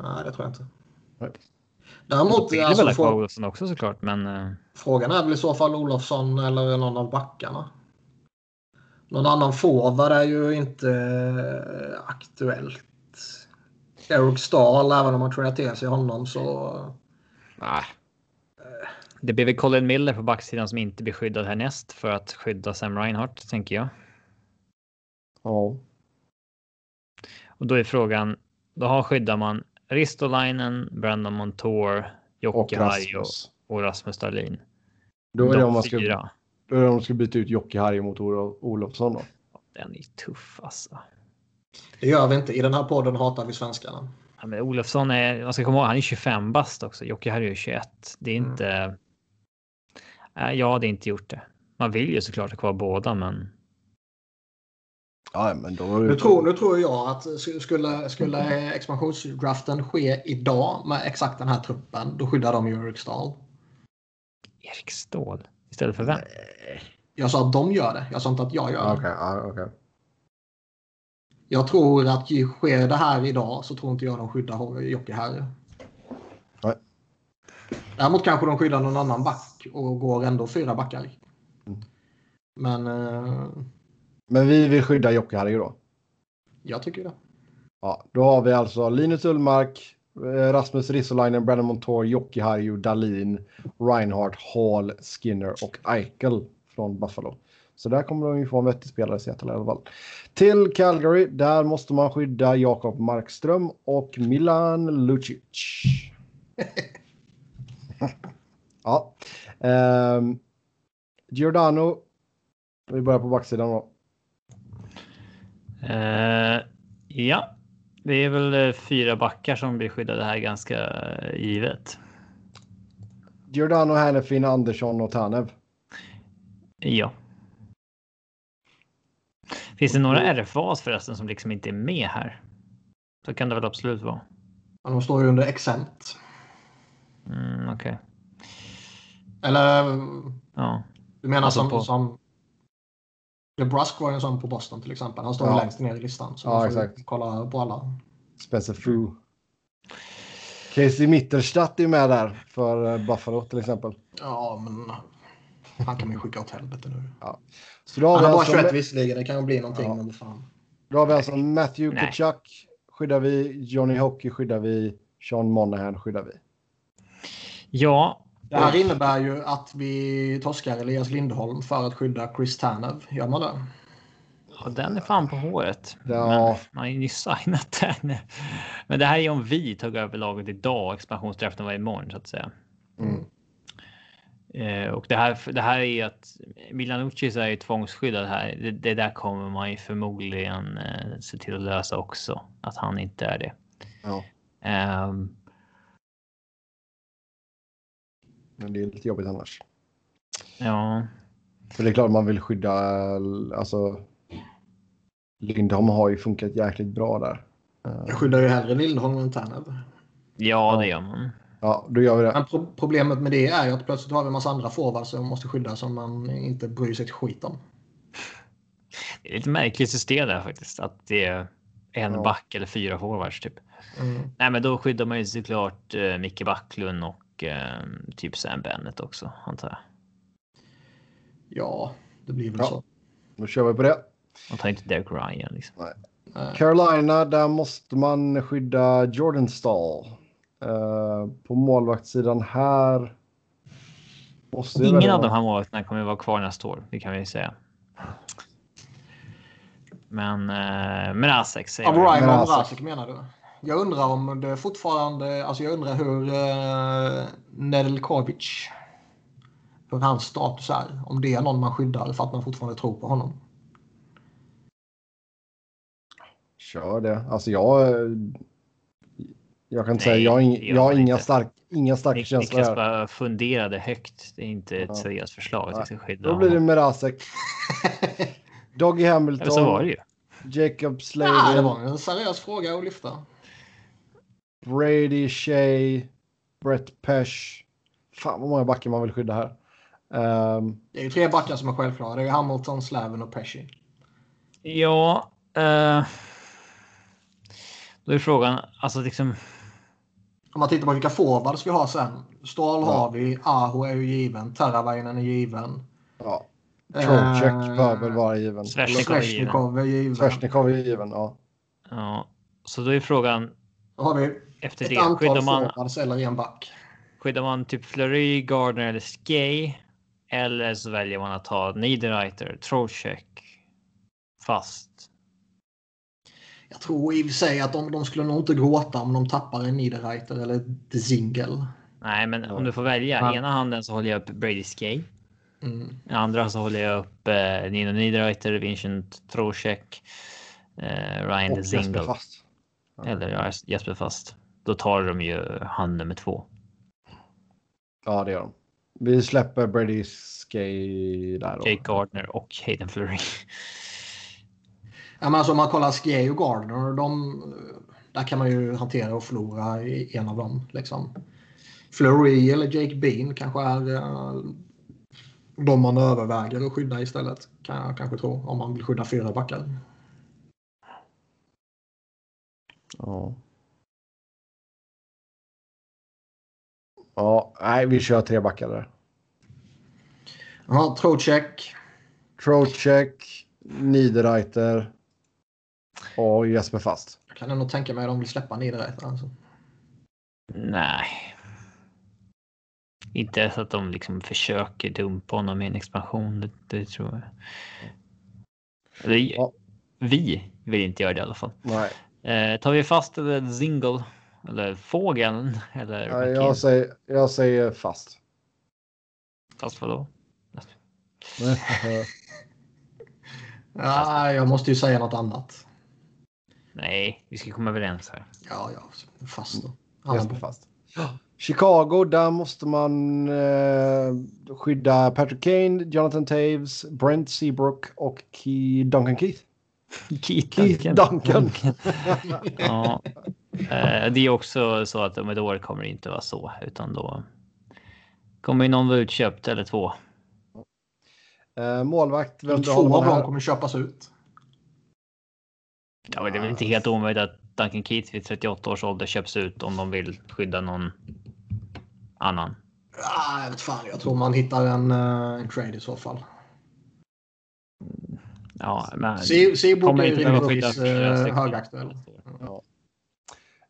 C: Nej, det tror jag inte.
A: Nej.
C: Däremot,
B: vill
C: alltså,
B: väl ha kvar
C: frå-
B: Olofsson också såklart, men eh,
C: frågan är väl i så fall Olofsson eller någon av backarna. Någon annan forward är ju inte eh, aktuellt. Eric Stahl, även om man tradar till sig honom så...
B: det blir väl Colin Miller på backsidan som inte blir skyddad härnäst för att skydda Sam Reinhardt, tänker jag.
A: Ja.
B: Och då är frågan, då har skyddar man Ristolainen, Brandon Montour,
A: Och
B: Jocke Harju
A: Rasmus.
B: och Rasmus Dahlin.
A: Då är, det om man
B: De
A: ska,
B: fyra.
A: då är det om man ska byta ut Jocke Harry mot Olo- Olofsson då.
B: Den är tuff alltså.
C: Det gör vi inte. I den här podden hatar vi svenskarna.
B: Ja, men Olofsson är, man ska komma ihåg, han är 25 bast också. Jocke Harry är 21. Det är
C: Mm.
B: inte... Nej, Jag hade inte gjort det. Man vill ju såklart ha kvar båda, men
A: Ja, men då...
C: Nu tror, nu tror jag att sk- skulle, skulle expansionsdraften ske idag med exakt den här truppen, då skyddar de ju Eric Stahl.
B: Erik Ståhl istället för vem?
C: Jag sa att de gör det. Jag sa inte att jag gör det.
A: Ja, Okej, ja, okej.
C: Jag tror att ju- sker det här idag så tror inte jag de skyddar Ho- Jocke här.
A: Nej.
C: Däremot kanske de skyddar någon annan back och går ändå fyra backar.
A: Mm.
C: Men eh,
A: Men vi vill skydda Jocke Harry då.
C: jag tycker det.
A: Ja, då har vi alltså Linus Ullmark, eh, Rasmus Ristolainen, Brandon Montour, Jocke Harju, Dalin, Reinhardt, Hall, Skinner och Eichel från Buffalo. Så där kommer de ju få en vettig spelare i Seattle i alla fall. Till Calgary, där måste man skydda Jakob Markström och Milan Lucic. ja. Ehm, Giordano. Vi börjar på backsidan då.
B: Eh, ja, det är väl eh, fyra backar som blir skyddade här ganska eh, givet.
A: Giordano, Hannifin, Andersson och Tanev.
B: Ja. Finns det några RFAs förresten som liksom inte är med här? Så kan det väl absolut vara.
C: Men de står ju under exempt.
B: Mm, Okej,
C: Eller
B: ja.
C: du menar
B: Alltså
C: som,
B: på-
C: som... LeBrusk var ju en sån på Boston till exempel. Han står ju
A: Ja.
C: längst ner i listan. Så
A: Ja,
C: man får
A: exakt.
C: ju kolla på alla.
A: Spencer Fu. Casey Mittelstadt är med där för eh, Buffalo till exempel.
C: Ja, men han kan man ju skicka åt helvete nu.
A: Så då har,
C: Han
A: vi
C: har bara
A: alltså,
C: 21 visserligen. Det kan ju bli någonting.
A: Ja.
C: Men vad fan.
A: då har vi alltså Matthew
B: Nej.
A: Tkachuk skyddar vi, Johnny Hockey skyddar vi, Sean Monahan skyddar vi.
B: Ja,
C: Det här innebär ju att vi torskar Elias Lindholm för att skydda Chris Tanev. Gör man det?
B: Ja, den är fan på håret.
A: Ja.
B: Men man har ju nyss signat den. Men det här är ju om vi tog över laget idag. Expansionsträffen var imorgon så att säga.
A: Mm.
B: Eh, och det här, det här är ju att Milanucci är ju tvångsskyddad här. Det, det där kommer man ju förmodligen eh, se till att lösa också. Att han inte är det.
A: Ja,
B: Ehm,
A: men det är lite jobbigt annars.
B: ja,
A: För det är klart man vill skydda, eh, alltså Lindholm har ju funkat jäkligt bra där. Eh,
C: Jag skyddar ju hellre Lindholm än Tanev.
B: ja, det gör man.
A: Ja, då gör vi det.
C: Men pro- problemet med det är ju att plötsligt har vi en massa andra forwards som måste skydda som man inte bryr sig ett skit om.
B: Det är ett lite märkligt system där faktiskt. Att det är en
A: Ja.
B: back eller fyra forwards typ.
C: Mm.
B: Nej, men då skyddar man ju såklart eh, Micke Backlund och eh, typ Sam Bennett också antar jag.
C: Ja, det blir väl
A: Ja.
C: så.
A: Då kör vi på det.
B: Man tar inte Derek Ryan liksom.
C: Eh,
A: Carolina, där måste man skydda Jordan Stahl. Eh, på målvaktssidan här. Måste ju
B: Ingen
A: välja-
B: av de här målvakterna kommer vara kvar nästa år. Det kan vi ju säga. Men eh, Mrazek säger
C: Av
B: jag.
C: Ryan
A: Men
C: och
A: alltså-
C: Mrazek menar du? Jag undrar om det fortfarande, alltså jag undrar hur eh, Nedeljkovic, hur hans status är. Om det är någon man skyddar för att man fortfarande tror på honom.
A: Kör det. Alltså jag... eh, Jag kan inte säga,
B: Nej,
A: jag har, ing,
B: det gör
A: jag har
B: man
A: inga,
B: inte.
A: stark, inga starka
B: Nik-
A: känslor
B: Niklas
A: här.
B: bara funderade högt. Det är inte
A: Ja.
B: ett seriöst förslag att jag ska skydda
A: Då blir det
B: honom.
A: Mrazek. Doggy
B: Ja, men så var
A: Hamilton,
B: det ju.
A: Jacob
C: Ja, det
A: Sladen,
C: var en seriös fråga att lyfta.
A: Brady Shea, Brett Pesh. Fan vad många backar man vill skydda här. Ehm,
C: Det är ju tre backar som är självklara. Det är ju Hamilton, Slaven och Pesci.
B: Ja. Eh, då är frågan, alltså liksom.
C: Om man tittar på vilka forwards vi har sen. Stahl har vi, Aho är ju given, Teravainen är given.
A: ja. Trocheck
C: Eh,
A: bör väl vara given.
B: Sveshnikov är given.
C: Sveshnikov är given.
A: Sveshnikov är given, ja.
B: Ja, så då är frågan
C: Då har vi
B: efter
C: ett
B: det. Skyddar
C: antal
B: man,
C: forwards eller en back.
B: skyddar man typ Fleury, Gardner eller Skay? Eller så väljer man att ta Niederreiter, Trocheck, fast.
C: Jag tror i och för sig att de, de skulle nog inte gråta om de tappar en Niederreiter eller The Zingle.
B: Nej, men om du får välja.
C: Ja.
B: Ena handen så håller jag upp Brady Skay.
C: Mm.
B: I andra så håller jag upp eh, Nino Niederreiter, Vincent Trocheck, eh, Ryan
A: Och Jesper
B: Dezingle.
A: Fast.
B: Eller ja, Jesper Fast. Då tar de ju hand nummer två.
A: Ja, det gör de. Vi släpper Brady Skay där då.
B: Jake Gardner och Hayden Fleury.
C: Ja, men alltså, om man kollar Skye och Gardner, de, där kan man ju hantera och förlora i en av dem. Liksom. Fleury eller Jake Bean kanske är eh, de man överväger att skydda istället. Kan jag kanske tro, om man vill skydda fyra backar.
A: Ja. Ja, nej, vi kör tre backar där.
C: Ja, Trocheck.
A: Trocheck, Niederreiter och Jesper Fast.
C: Jag kan ändå tänka mig att de vill släppa Niederreiter. Alltså.
B: Nej. Inte ens att de liksom försöker dumpa honom i en expansion. Det, det tror jag. Eller,
A: Ja.
B: Vi vill inte göra det i alla fall.
A: Nej,
B: Eh, tar vi fast eller Zingle eller fågeln eller
A: nej,
B: McKin?
A: jag säger, jag säger Fast.
B: fast vadå?
C: Ja, jag måste ju säga något annat.
B: Nej, vi ska komma överens här.
C: Ja, ja, fast då.
A: Jesper Fast. Chicago, där måste man eh, skydda Patrick Kane, Jonathan Taves, Brent Seabrook och Key Duncan Keith.
B: Keith
A: Keith Duncan.
B: ja. eh, det är också så att om ett år kommer det inte vara så utan då kommer ju någon vara utköpt eller två.
A: Eh, målvakt, vem drar
C: Två
A: man
C: av dem
A: här?
C: kommer köpas ut.
B: Ja, men det är väl inte helt omöjligt att Duncan Keith vid 38 års ålder köps ut om de vill skydda någon annan.
C: Ah, jag vet fan, jag tror man hittar en, eh, en trade i så fall.
B: Ja, men
C: Se- Seabrook
B: kommer
C: är ju
B: inte behöva skydda
C: rimligtvis
B: fyra
C: eh,
B: stycken.
C: högaktuell.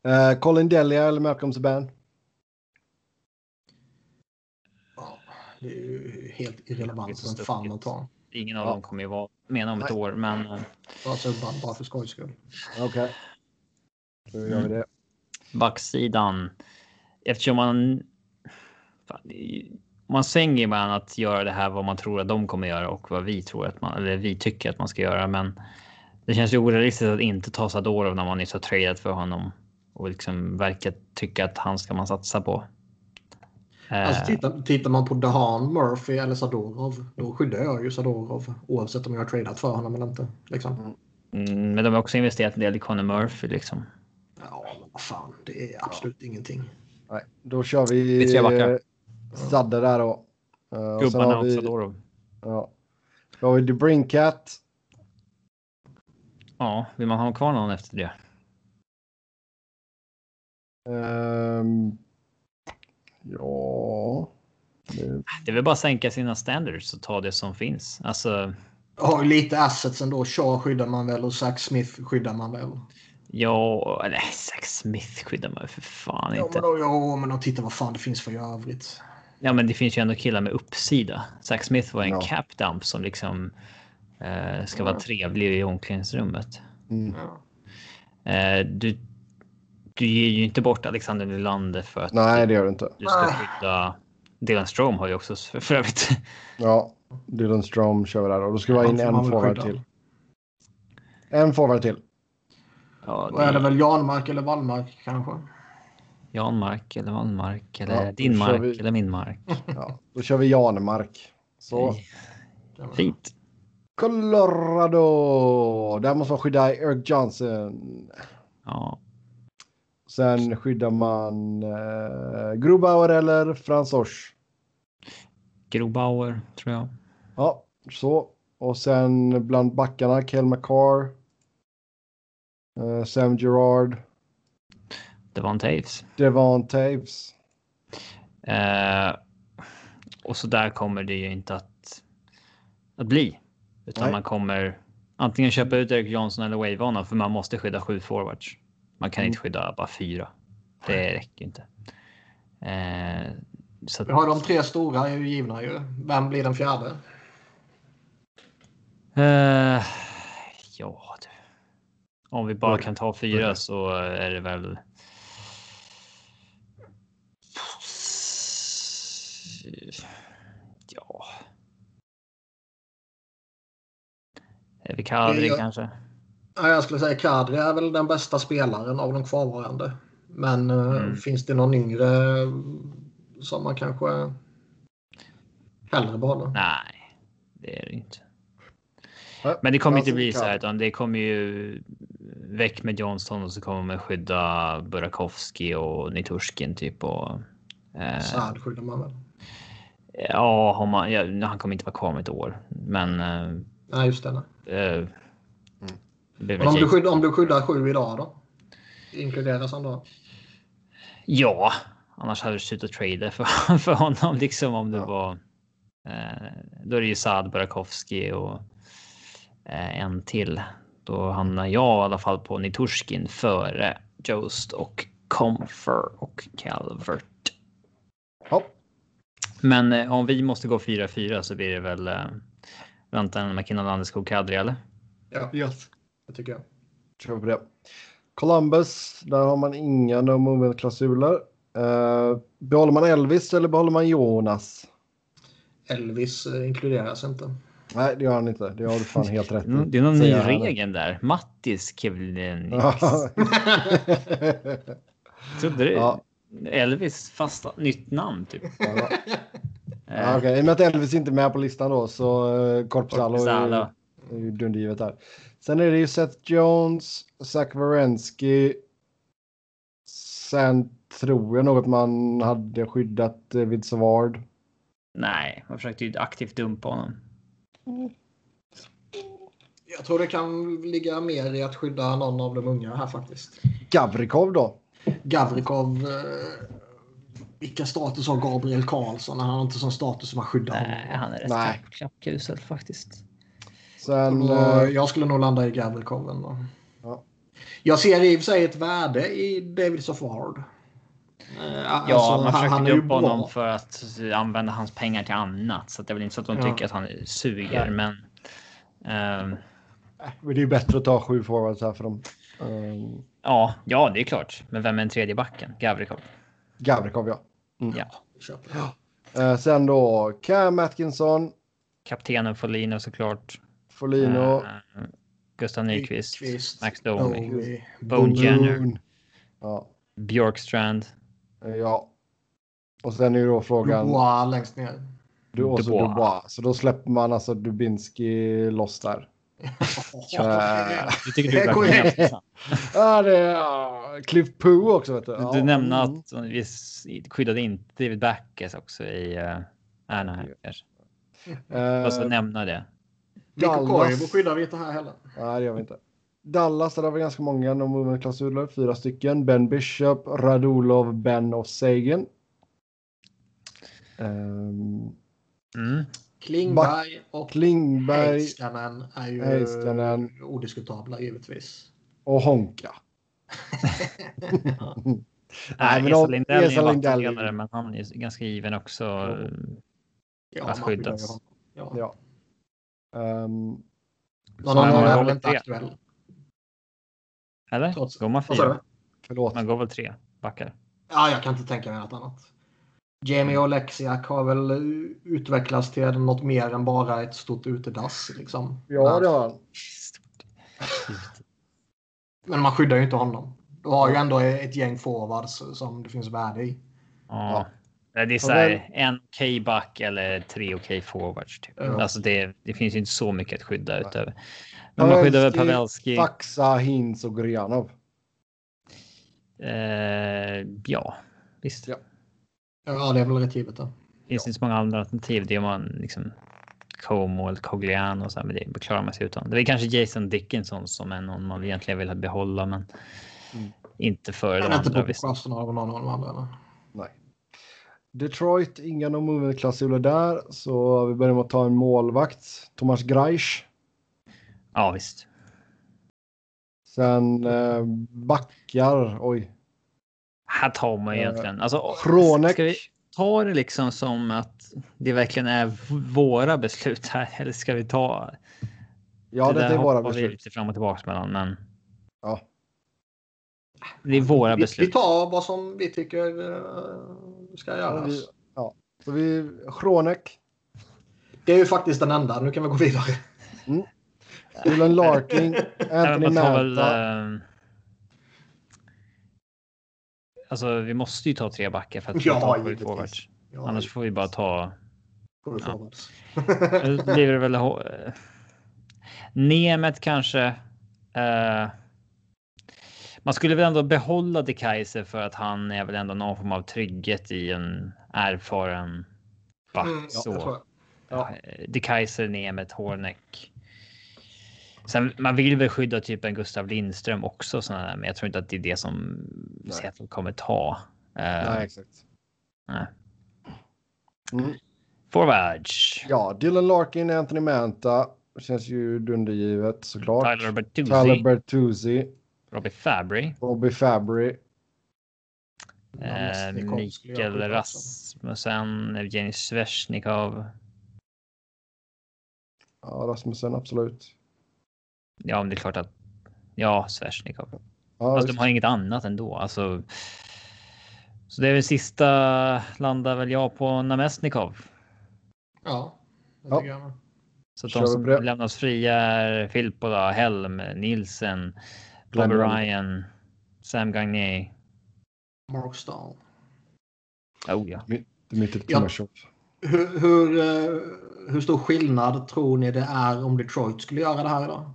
A: Eh, Colin Delia eller Malcolm Subban?
C: Ja, det är ju helt
B: Det är
C: irrelevant
B: så
C: vem fan
B: stuckigt.
C: man tar.
B: Ingen av
A: Ja.
B: dem kommer ju vara med om ett
A: Nej.
B: år, men eh,
C: Bara, så, bara, bara för skojs skull.
A: Okej. Då gör vi det.
B: backsidan. Eftersom man. Fan, det är ju- man svänger ju mellan att göra det här vad man tror att de kommer göra och vad vi tror att man eller vi tycker att man ska göra. Men det känns ju orealistiskt att inte ta Sadorov när man nyss har tradeat för honom och liksom verkar tycka att han ska man satsa på. Eh,
C: Alltså, tittar, tittar man på Dahan, Murphy eller Sadorov, då skyddar jag ju Sadorov oavsett om jag har tradat för honom eller inte. Liksom.
B: mm, men de har också investerat en del i Conor Murphy liksom.
C: Ja, men vad fan, det är absolut ingenting.
A: Nej, då kör
B: Det
A: vi
B: är tre backar.
A: eh, Sadde där då. Eh, och sen
B: Gubbarna
A: har
B: och
A: vi,
B: Sadorov.
A: ja. Då har vi Debrinkat.
B: Ja, vill man ha kvar någon efter det?
A: Ehm, ja... Det,
B: Det är väl bara att sänka sina standards och ta det som finns. Alltså,
C: Har lite assets ändå. Shaw skyddar man väl och Zach Smith skyddar man väl.
B: ja, eller Zack Smith skyddar man ju för fan
C: Ja
B: inte.
C: men, då, ja, men de tittar vad fan det finns för i övrigt.
B: Ja, men det finns ju ändå killar med uppsida. Zack Smith var en
A: Ja.
B: cap dump som liksom eh, ska
C: Ja.
B: vara trevlig i omklädningsrummet.
A: mm.
C: Ja.
B: Eh, du, du ger ju inte bort Alexander Nylander för att
A: Nej, det gör det inte.
B: du ska
C: Nej.
B: skydda... Dylan Strome har ju också för, för övrigt.
A: Ja, Dylan Strom kör vi där och då ska vi ha in
C: Han får man
A: en
C: väl
A: forward
C: skydda.
A: till. En forward till.
B: Ja,
C: Då är det väl Janmark eller Wallmark kanske.
B: Jan mark eller Van mark eller
A: Ja,
B: din
A: då kör
B: mark
A: vi.
B: eller min mark.
A: Ja, då kör vi Janemark. Så.
B: Fint.
A: Colorado. Där måste man skydda Eric Johnson.
B: Ja,
A: Sen skyddar man eh, Grubauer eller Franzors.
B: Grobauer tror jag.
A: Ja, så. Och sen bland backarna Kel McCarr. Eh, Sam Gerard.
B: Det var en Taves.
A: Devon Taves.
B: Eh, och så där kommer det ju inte att, att bli. Utan
A: Nej.
B: man kommer antingen köpa ut Erik Johnson eller wave honom för man måste skydda sju forwards. Man kan inte skydda bara fyra. Det räcker inte. Eh, så att,
C: Vi har de tre stora är ju givna ju. Vem blir den fjärde?
B: eh, ja, du. Om vi bara kan ta fyra så är det väl. Ja. Är vi Kadri
C: Det är-
B: kanske?
C: Ja, jag skulle säga Kadri är väl den bästa spelaren av de kvarvarande. Men eh,
B: Mm.
C: finns det någon yngre som man kanske hellre behåller?
B: Nej, det är det inte.
A: Nej,
B: Men det kommer
A: alltså,
B: inte bli så här,
A: Kadri.
B: utan det kommer ju väck med Johnston och så kommer man skydda Burakovsky och Niturskin typ och. Eh,
C: Saad skyddar man väl?
B: ja, har man, ja, nu- han kommer inte vara kvar om ett år, men. Eh,
C: Nej, just det. Nej.
B: eh, det blir
C: Mm. Men
B: väl
C: om, du
B: Jake-
C: skyddar, om du skyddar sju idag då? Inkluderas han då?
B: Ja, annars hade du slutat trade för, för honom liksom om det
A: Ja.
B: var. Eh, då är det ju Saad Burakovsky och eh, en till. Då hamnar jag i alla fall på Niturskin före Jost och Comfer och Calvert.
A: Ja,
B: Men eh, om vi måste gå 4-4 så blir det väl eh, Rantanen, McKinnon, Landeskog, Kadri eller?
C: Ja,
A: yes.
C: det tycker jag.
A: kör vi på det. Columbus, där har man inga no movement-klausuler. Eh, behåller man Elvis eller behåller man Jonas?
C: Elvis eh, inkluderas inte.
A: Nej, det gör han inte. Det har du fan helt rätt i,
B: Mm, Det är någon ny
A: säger han.
B: regel där. Mattis Kevlinix.
A: Ja.
B: Trodde du?
A: Ja.
B: Elvis fasta nytt namn typ. Eh,
A: Ja, okej. I och med att Elvis inte är med på listan då så eh, Korpisalo är,
B: Korpisalo.
A: ju- är ju dundergivet där. Sen är det ju Seth Jones, Zach Werenski. Sen tror jag något man hade skyddat eh, vid Savard.
B: Nej, man försökte ju aktivt dumpa honom.
C: Jag tror det kan ligga mer i att skydda någon av de unga här faktiskt.
A: Gavrikov då?
C: Gavrikov. Eh, vilken status har Gabriel Karlsson? Han har inte sån status som man skyddar
B: Nej,
C: honom.
B: han är rätt
A: Nej.
B: klapp- klappkusel faktiskt.
A: Sen,
C: Och
A: eh,
C: jag skulle nog landa i Gavrikov ändå.
A: Ja.
C: Jag ser i och för sig ett värde i David Sofard. Eh,
B: Ja,
C: alltså,
B: man försökte
C: är ju
B: dumpa honom
C: bra.
B: för att använda hans pengar till annat. Så att det är väl inte så att de
C: Ja.
B: tycker att han suger, men... ehm,
A: Äh, men det är ju bättre att ta sju forwards här för dem. Um,
B: ja, ja, det är klart. Men vem är den tredje backen? Gavrikov.
A: Gavrikov ja.
B: Ja.
C: Köper.
A: Eh, sen då Cam Atkinson,
B: Kaptenen Folino såklart.
A: Folino,
B: Eh, Gustav Nyqvist.
C: Nyqvist,
B: Max Domi.
C: Domi.
B: Bone Jenner.
A: Boone. Ja,
B: Björkstrand.
A: eh, ja. Och sen är ju då frågan.
C: Dubois längst ner.
A: Du och så
B: Dubois.
A: Dubois. Så då släpper man alltså Dubinski loss där. Eh,
B: Du tycker
C: Det
B: du
C: är
B: är
C: korrekt.
B: korrekt.
A: ja, det är ja, Cliff Poo också. Vet du
B: Du,
A: ja.
B: du nämnde
A: mm.
B: att vi s- skyddade inte David Backes också i uh, Anaheim. kanske. Jag måste
A: Eh,
B: nämna det.
C: Mikko
A: Dallas.
C: Koivu skyddar vi inte här heller.
A: Nej, det gör vi inte. Dallas, där har vi ganska många no movement klausuler, fyra stycken. Ben Bishop, Radulov, Ben och Sagan. Ehm,
B: Mm.
C: Klingberg och
A: Klingberg
C: Heiskanen är ju
A: Heiskanen.
C: odiskutabla givetvis.
A: och Honka.
B: Nej,
A: men
B: Esa
A: om-
B: Lindell är
A: Esa
B: ju
A: Lindell-
B: vattendelare, men han är ju ganska given också.
C: Ja,
B: Att
C: man vill
B: skyddas.
C: ju ha- Ja.
A: Ja. Ehm,
C: Någon
A: Så
C: annan
A: man
C: är
A: har
C: väl inte
B: tre.
C: aktuell.
B: Eller?
C: Trots-
B: Går man
C: Vad sa
B: fyra?
C: du?
A: förlåt.
B: Man går väl tre backar.
C: Ja, jag kan inte tänka mig något annat. Jamie och Lexiak har väl eh, utvecklats till något mer än bara ett stort utedass. Liksom.
A: Ja, det har han.
C: Men man skyddar ju inte honom. Du har ju ändå ett gäng forwards som det finns värde i.
B: Ja. Det är så
A: Ja,
B: här, en okej back eller tre okej forwards. Typ.
C: Ja.
B: Alltså det, det finns ju inte så mycket att skydda utöver. Men man
A: Pavelski,
B: skyddar väl Pavelski.
A: Faxa, Hintz och Gurianov.
B: Eh, ja, visst.
A: Ja.
C: Ja, det är väl rätt givet. Då.
B: Finns det inte så många andra alternativ. Det är man liksom Como eller Cogliano och så här, men det klarar man sig utan. Det är kanske Jason Dickinson som är någon man egentligen vill behålla, men
A: Mm.
B: inte före
C: Men
B: de
C: inte
B: andra.
C: på
B: Visst.
C: Croston av någon av de andra. eller?
A: Nej. Detroit, inga no movement klausuler där. Så vi börjar med att ta en målvakt. Thomas Greisch.
B: Ja, visst.
A: Sen eh, backar. Oj.
B: Här tar man ju egentligen. Alltså,
A: Eh, Hronek.
B: Ska vi ta det liksom som att det verkligen är våra beslut här? Eller ska vi ta?
A: Ja, det
B: där
A: är våra
B: hoppar Vi
A: beslut.
B: lite fram och tillbaka mellan, men
A: Ja.
B: det är våra
C: Vi, vi
B: beslut.
C: tar vad som vi tycker eh, ska
A: Ja,
C: göras.
A: vi, ja. Så vi, Schronek,
C: Det är ju faktiskt den enda. Nu kan vi gå vidare.
A: Dylan Larkin,
B: Nej,
A: Anthony
B: men man tar väl,
A: Manta.
B: ehm, Alltså, vi måste ju ta tre backar för att
C: Ja,
B: kunna ta sju
C: givetvis.
B: forwards.
C: Ja,
B: Annars får vi bara ta.
C: går det forwards.
B: Då blir det väl. eh, Nemet kanske. eh, man skulle väl ändå behålla De Kaiser för att han är väl ändå någon form av trygghet i en erfaren back.
C: Mm, ja,
B: Ah, så. eh,
C: jag tror det.
A: Ja.
B: De Kaiser, Nemeth, Horneck. Sen, man vill väl skydda typ en Gustav Lindström också, såna där, men jag tror inte att det är det som
A: Nej.
B: Seattle kommer ta. Uh,
A: Nej, exakt.
B: nej.
A: Mm.
B: Forwards.
A: Ja, Dylan Larkin, Anthony Manta. Känns ju dundergivet såklart.
B: Tyler Bertuzzi,
A: Tyler Bertuzzi,
B: Robbie Fabry,
A: Bobby Fabry. alltså,
B: eh,
C: Namestnikov skulle jag
B: Mikael
C: skydda också.
B: Rasmussen, Evgenij Svesjnikov.
A: Ja, Rasmussen, absolut.
B: Ja, men det är klart att... Ja, Svesjnikov.
A: Ja,
B: Fast de har inget annat ändå. Alltså, så det är väl sista landar väl jag på Namestnikov.
C: Ja, det
A: Ja.
C: tycker jag med.
B: Så att
A: Kör
B: de
A: vi
B: som
A: på det.
B: lämnas fria är Filppola, Helm, Nielsen,
A: Glenn
B: Bobby
A: Rollins.
B: Ryan, Sam Gagné.
C: Mark Stahl.
B: Oh ja.
A: Dmitrij
C: Ja.
A: Timashov.
C: Hur, hur, eh, hur stor skillnad tror ni det är om Detroit skulle göra det här idag?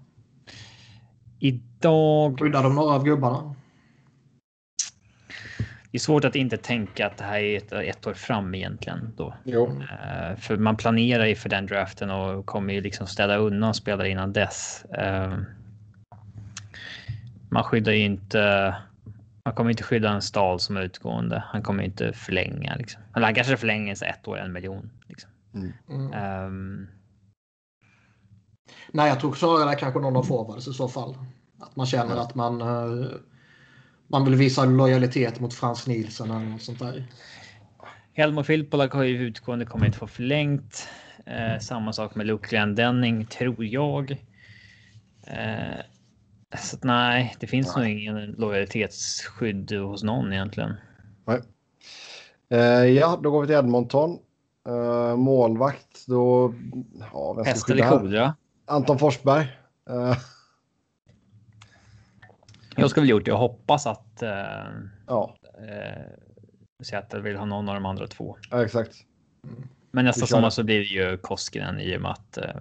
B: Idag.
C: Skyddar de några av gubbarna?
B: Det är svårt att inte tänka att det här är ett, ett år fram egentligen då.
A: Jo.
B: Eh, för man planerar ju för den draften och kommer ju liksom städa undan spelare innan dess. Eh, man skyddar ju inte. Man kommer inte skydda en stal som är utgående. Han kommer ju inte förlänga liksom. Eller han kanske förlänger så ett år, en miljon. Liksom.
C: Mm.
B: Ehm,
C: Nej, jag tror snarare kanske någon av forwards i så fall. Att man känner att man, eh, man vill visa lojalitet mot Frans Nielsen eller något sånt där.
B: Helmut Filppula har ju utgående kommer inte få förlängt. Eh, samma sak med Luke Glendenning tror jag. Eh, så att nej, det finns nog ingen lojalitetsskydd hos någon egentligen.
A: Eh, ja, då går vi till Edmonton. Eh, målvakt, då... Ja, vem ska
B: Häst eller
A: skydda här?
B: kodra?
A: Anton Forsberg. Eh,
B: Jag skulle väl gjort det. Jag hoppas att eh,
A: ja,
B: eh, Seattle vill ha någon av de andra två.
A: ja, exakt.
B: Men
A: Vi
B: nästa
A: kör
B: sommar
A: det.
B: så blir det ju Koskinen i och med att eh,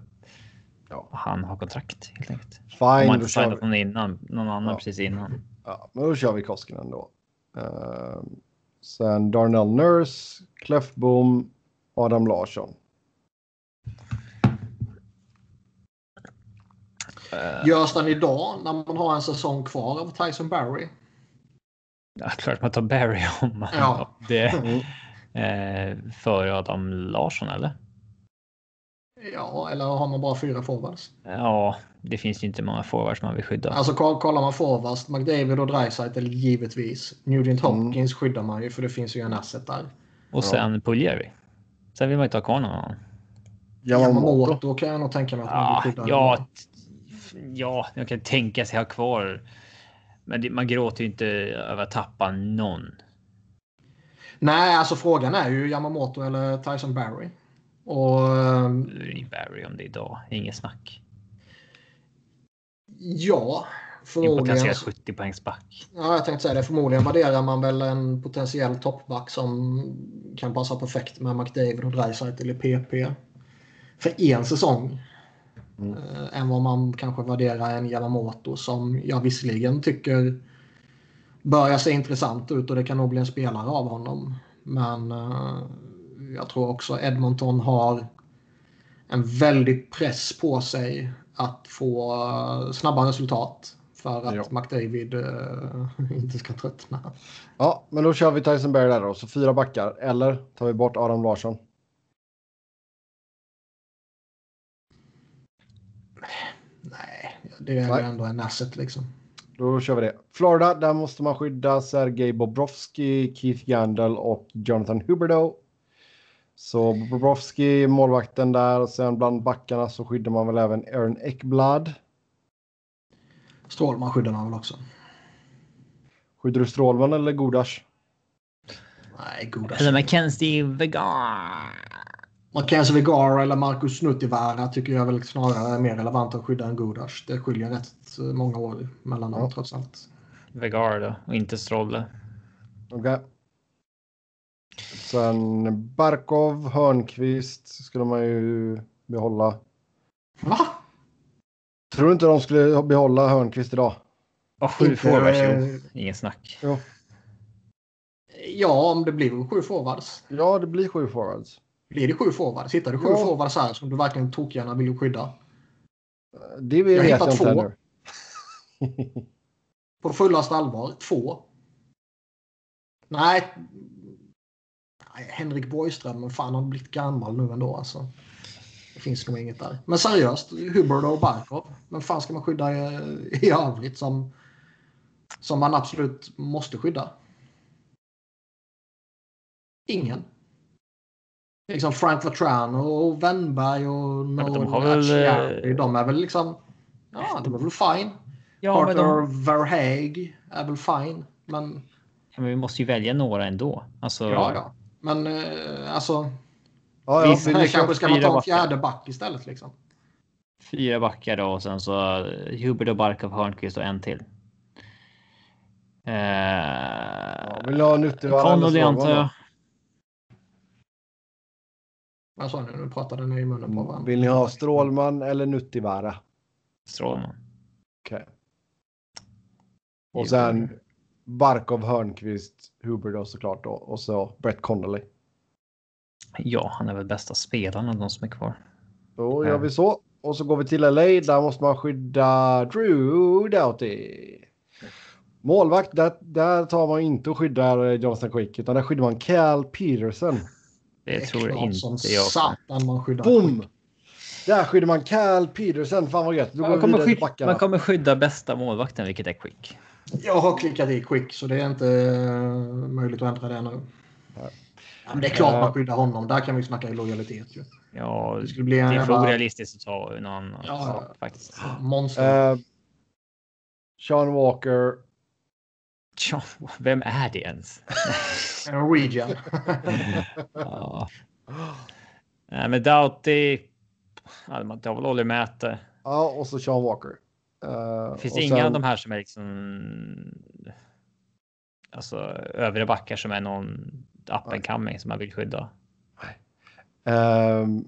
A: Ja.
B: han har kontrakt helt enkelt. Om man
A: Fine, då
B: inte
A: kör vi.
B: signat någon innan, någon annan
A: Ja.
B: precis innan.
A: Ja, men då kör vi Koskinen då. Eh, sen Darnell Nurse, Klefbom, Adam Larsson.
B: Eh.
C: Görs den idag när man har en säsong kvar av Tyson Barry?
B: Ja, klart man tar Barry om man
C: Ja.
B: det
A: Mm.
B: eh, före Adam Larsson eller?
C: Ja, eller har man bara fyra forwards?
B: Ja, det finns ju inte många forwards man vill skydda.
C: Alltså ko- kollar man forwards, McDavid och Dreisaitl givetvis. Nugent
A: Mm.
C: Hopkins skyddar man ju för det finns ju en asset där.
B: Och sen Puljeri. Sen vill man ju ta kvar någon annan.
A: Yamamoto.
C: Yamamoto kan jag nog tänka mig att man
B: Ah, Ja,
C: vill skydda.
B: ja, t- ja, jag kan tänka sig ha kvar. Men det, man gråter ju inte över att tappa någon.
C: Nej, alltså frågan är ju Yamamoto eller Tyson Barry. Och ehm,
B: Nu är det ju Barry om det är idag. Inget snack.
C: ja,
B: En
C: förmodligen.
B: potentiell 70 poängsback.
C: Ja, jag tänkte säga det. Förmodligen värderar man väl en potentiell toppback som kan passa perfekt med McDavid och Dreisaitl i PP. För en säsong.
A: Mm.
C: Eh, Än vad man kanske värderar en Yamamoto som jag visserligen tycker börjar se intressant ut och det kan nog bli en spelare av honom. Men eh, jag tror också Edmonton har en väldig press på sig att få eh, snabba resultat för att
A: Ja.
C: McDavid eh, inte ska tröttna.
A: Ja, men då kör vi Tyson Berry där då. Så fyra backar. Eller tar vi bort Adam Larsson?
C: Nej, det är
A: Nej.
C: ju ändå en asset liksom.
A: Då kör vi det. Florida, där måste man skydda Sergej Bobrovski, Keith Yandel och Jonathan Huberdeau. Så Bobrovski, målvakten där. Och sen bland backarna så skyddar man väl även Aaron Ekblad.
C: Strålman skyddar man väl också?
A: Skyddar du Strålman eller Godas?
C: Nej, goda.
B: Eller Mackenzie Vegan.
C: Mackenzie Vigara eller Marcus Nuttivaara tycker jag väl snarare är mer relevant att skydda än Godas. Det skiljer rätt eh, många år mellan dem
A: Ja.
C: trots allt.
B: Vegar då och inte Strolle.
A: Okej. Sen Barkov, Hörnqvist skulle man ju behålla.
C: Va?
A: Tror du inte de skulle behålla Hörnqvist idag?
B: Och sju
C: Inte- eh,
B: forwards. jo. Inget snack.
A: Jo.
C: Ja, om det blir sju forwards.
A: Ja, det blir sju forwards.
C: Blir det sju forwards? Hittar du sju
A: Ja.
C: forwards här som du verkligen tokgärna vill skydda?
A: Det vet
C: Jag
A: jag,
C: hittar
A: inte
C: två.
A: ännu.
C: På fullaste allvar, två. Nej. Nej Henrik Borgström, men fan han har blivit gammal nu ändå alltså. Det finns nog inget där. Men seriöst, Hubbard och Barkov. Men fan ska man skydda i, i övrigt som, som man absolut måste skydda? Ingen. Liksom Frank Vatran och Wennberg och
B: men de
C: Noel
B: har väl,
C: Acciari,
B: eh,
C: De är väl liksom... Ja, de är väl fine.
B: Ja,
C: Carter
B: men, de,
C: Verhaeg är väl fine. Men
B: ja, men vi måste ju välja några ändå. Alltså,
C: ja, ja. Men eh, alltså,
A: Ja, ja,
B: Visst,
A: vi
C: här
A: lyckas-
C: kanske ska man
B: fyra
C: ta en
B: backar.
C: fjärde back istället. Liksom.
B: fyra backar då och sen så eh, Hubbard och Barkov, Hörnqvist och en till. Eh,
A: Ja, vill du ha Nuttivaara eller
B: Connolly
A: Strålman
B: antar jag.
C: Vad sa ni? Nu pratade ni i munnen på
A: då?
C: varandra.
A: Vill ni ha Strålman eller Nuttivaara?
B: Strålman.
A: Okej. Och sen Barkov, Hörnqvist, Huber då såklart då. Och så Brett Connolly.
B: Ja, han är väl bästa spelaren av de som är kvar.
A: Då
B: Ja.
A: gör vi så. Och så går vi till LA. Där måste man skydda Drew Doughty. Målvakt, där, där tar man inte och skyddar eh, Jonathan Quick, utan där skyddar man Cal Peterson.
B: Det tror jag
C: klart
B: inte
C: som
B: jag.
C: satan man skyddar.
A: Boom! Där skyddar man Cal Peterson. Fan vad gött. Då går
B: Man
A: vi
B: kommer,
A: vidare till
B: skydda,
A: backarna.
B: man kommer skydda bästa målvakten, vilket är Quick.
C: Jag har klickat i quick så det är inte eh, möjligt att ändra det nu. Ja, men det är
B: Eh.
C: klart
A: Ja.
C: man skyddar honom. Där kan vi snacka i lojalitet. Ju.
B: Ja,
C: Det skulle bli
B: det
C: en
B: är för
C: jävla
B: orealistiskt att ta någon annan.
C: Ja,
B: sak,
C: ja.
B: faktiskt.
C: monster.
A: Eh, Sean Walker.
B: Tja, vem är det ens?
A: Eh.
C: En region.
B: Ja. Nej, men Doughty. ja, Man tar väl Olli Mäte.
A: Ja, och så Sean Walker. Eh,
B: Finns
A: och
B: det inga
A: sen-
B: av de här som är liksom. Alltså övriga backar som är någon up and coming som man vill skydda.
A: Ehm,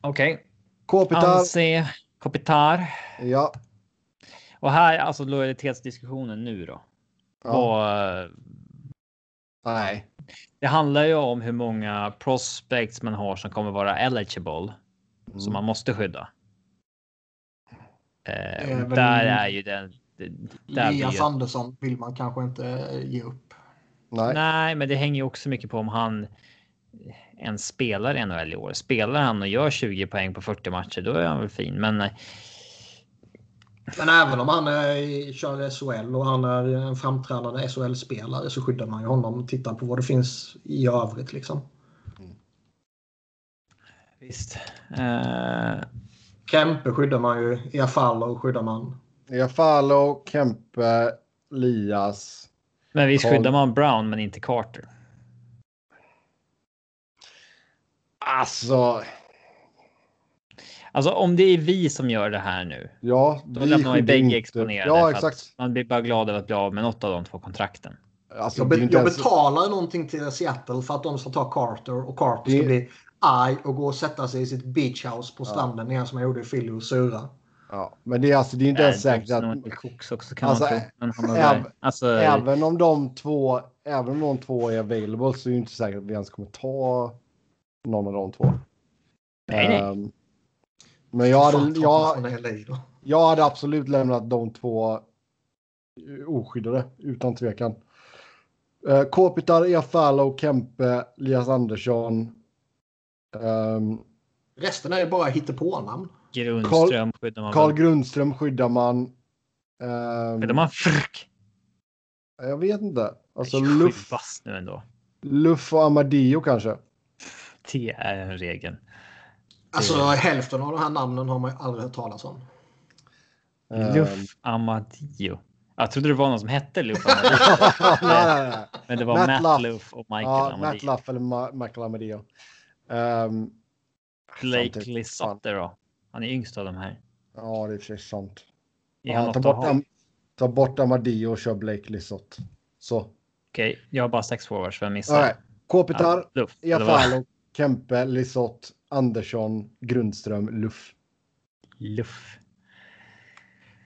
B: Okej,
A: Kopitar.
B: Anse Kopitar.
A: Ja.
B: Och här alltså lojalitetsdiskussionen nu då.
A: ja.
B: Och, eh,
A: Nej.
B: det handlar ju om hur många
A: Mm.
B: prospects man har som kommer vara eligible som man måste skydda. Eh,
C: Det är
B: och
C: väl-
B: där är ju den... det- Där blir
C: Elias
B: ju,
C: Andersson vill man kanske inte eh, ge upp.
A: Mm. Nej.
B: nej, men det hänger ju också mycket på om han en spelare i NHL i år. Spelar han och gör 20 poäng på 40 matcher, då är han väl fin. Men eh,
C: Men även om han är, i- kör SHL och han är en framträdande SHL-spelare så skyddar man ju honom och tittar på vad det finns i övrigt. Liksom.
B: visst. Eh,
C: Kempe skyddar man ju, Iafallo skyddar man.
A: Iafallo, Kempe, Lias.
B: men visst
A: Carl-
B: skyddar man Brown, men inte Carter.
A: Alltså,
B: Alltså om det är vi som gör det här nu,
A: ja.
B: då
A: vi
B: lämnar man ju
A: skyddar
B: bägge
A: inte-
B: exponerade. för
A: Ja,
B: att
A: exakt.
B: Man blir bara glad över att bli av med något av de två kontrakten.
A: Alltså,
C: Jag,
A: det är
C: be-
A: inte
C: jag
A: ens-
C: betalar någonting till Seattle för att de ska ta Carter och Carter ska
A: Det-
C: bli arg och gå och sätta sig i sitt beachhouse på
A: Ja.
C: stranden igen som jag gjorde i Philly och sura.
A: Ja, men det är, alltså, det är inte
B: Nej,
A: ens säkert att...
B: Johnson och Cooks också kan
A: Alltså,
B: man tro. Men han har
A: äv-
B: där- alltså,
A: Även om de två, även om de två är available så är det ju inte säkert att vi ens kommer ta någon av de två.
B: nej, nej.
A: Ehm, men jag
C: Fan,
A: hade,
C: ta
A: jag,
C: från LA då.
A: jag hade absolut lämnat de två oskyddade utan tvekan. Uh, Kopitar, Iafallo, Kempe, Elias Andersson. Ehm,
C: Resten är ju bara hittepånamn.
B: Grundström skyddar man.
A: Carl
B: väl.
A: Grundström skyddar man. Ehm,
B: Skyddar man Frk?
A: Jag vet inte. Alltså
B: Nej, sju
A: Luff,
B: bast nu ändå.
A: Luff och Amadio kanske.
B: Det är en regel.
C: Alltså
B: Mm.
C: hälften av de här namnen har man ju aldrig hört talas om.
A: Ehm,
B: Luff Amadio. Jag trodde det var någon som hette Luff Amadio,
A: nej, nej, nej.
B: men det var
A: Matt
B: Matt,
A: Luff.
B: Luff och Michael
A: Ja, Matt
B: Amadio.
A: Luff eller Ma- Michael Amadio. Ehm,
B: Blake
A: samtidigt,
B: Lisotte då. Han är yngst av de här.
A: ja, det är i och för sig sant.
B: Är han
A: Ja, ta,
B: något att
A: bort
B: ha?
A: Am- ta bort Amadio och kör Blake Lissott. Så.
B: Okej, jag har bara sex forwards för jag missade.
A: Right. Kopitar,
B: Ja, Luff.
A: ja, Iafallo, Kempe, Lissott, Andersson, Grundström, Luff.
B: Luff.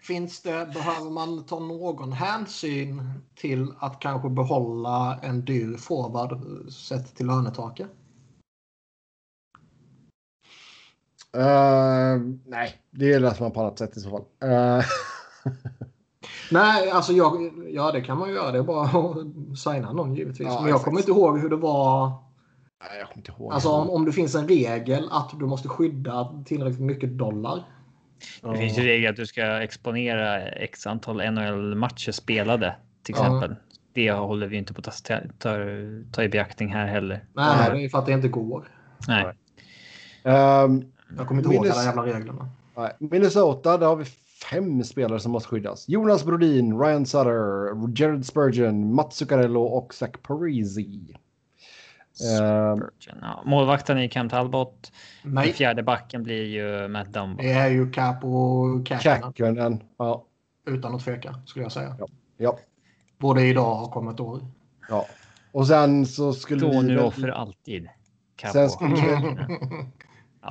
C: Finns det, behöver man ta någon hänsyn till att kanske behålla en dyr forward eh, sett till lönetaket?
A: Ehm, nej, det löser man på annat sätt i så fall. Ehm,
C: Nej, alltså jag, ja det kan man ju göra. Det är bara att signa någon givetvis.
A: Ja,
C: Men jag
A: exakt.
C: kommer inte ihåg hur det var.
A: nej, jag kommer inte ihåg.
C: Alltså om, om det finns en regel att du måste skydda tillräckligt mycket dollar.
B: Det finns ju regler att du ska exponera x antal NHL-matcher spelade till
C: Ja.
B: exempel. Det håller vi inte på att ta, ta, ta i beaktning här heller.
C: Nej, det är för att det inte går.
B: Nej.
A: Ehm,
C: Jag kommer inte ihåg
A: Minnes-
C: alla jävla reglerna.
A: Nej. Minnesota, där har vi fem spelare som måste skyddas. Jonas Brodin, Ryan Sutter, Jared Spurgeon, Mats Zuccarello och Zach Parisi. Ehm,
B: Ja, målvakten är ju Cam Talbot. Den
C: Nej,
B: fjärde backen blir ju Matt Dumba.
C: det är ju cap och cap
A: Käkönen. Ja,
C: utan att tveka skulle jag säga.
A: ja,
C: Både idag och om ett år.
A: ja. Och sen så skulle
B: Då
A: vi...
B: nu
A: väl-
B: och för alltid. Capo.
A: Sen skulle vi...
C: Nej,
B: Ja,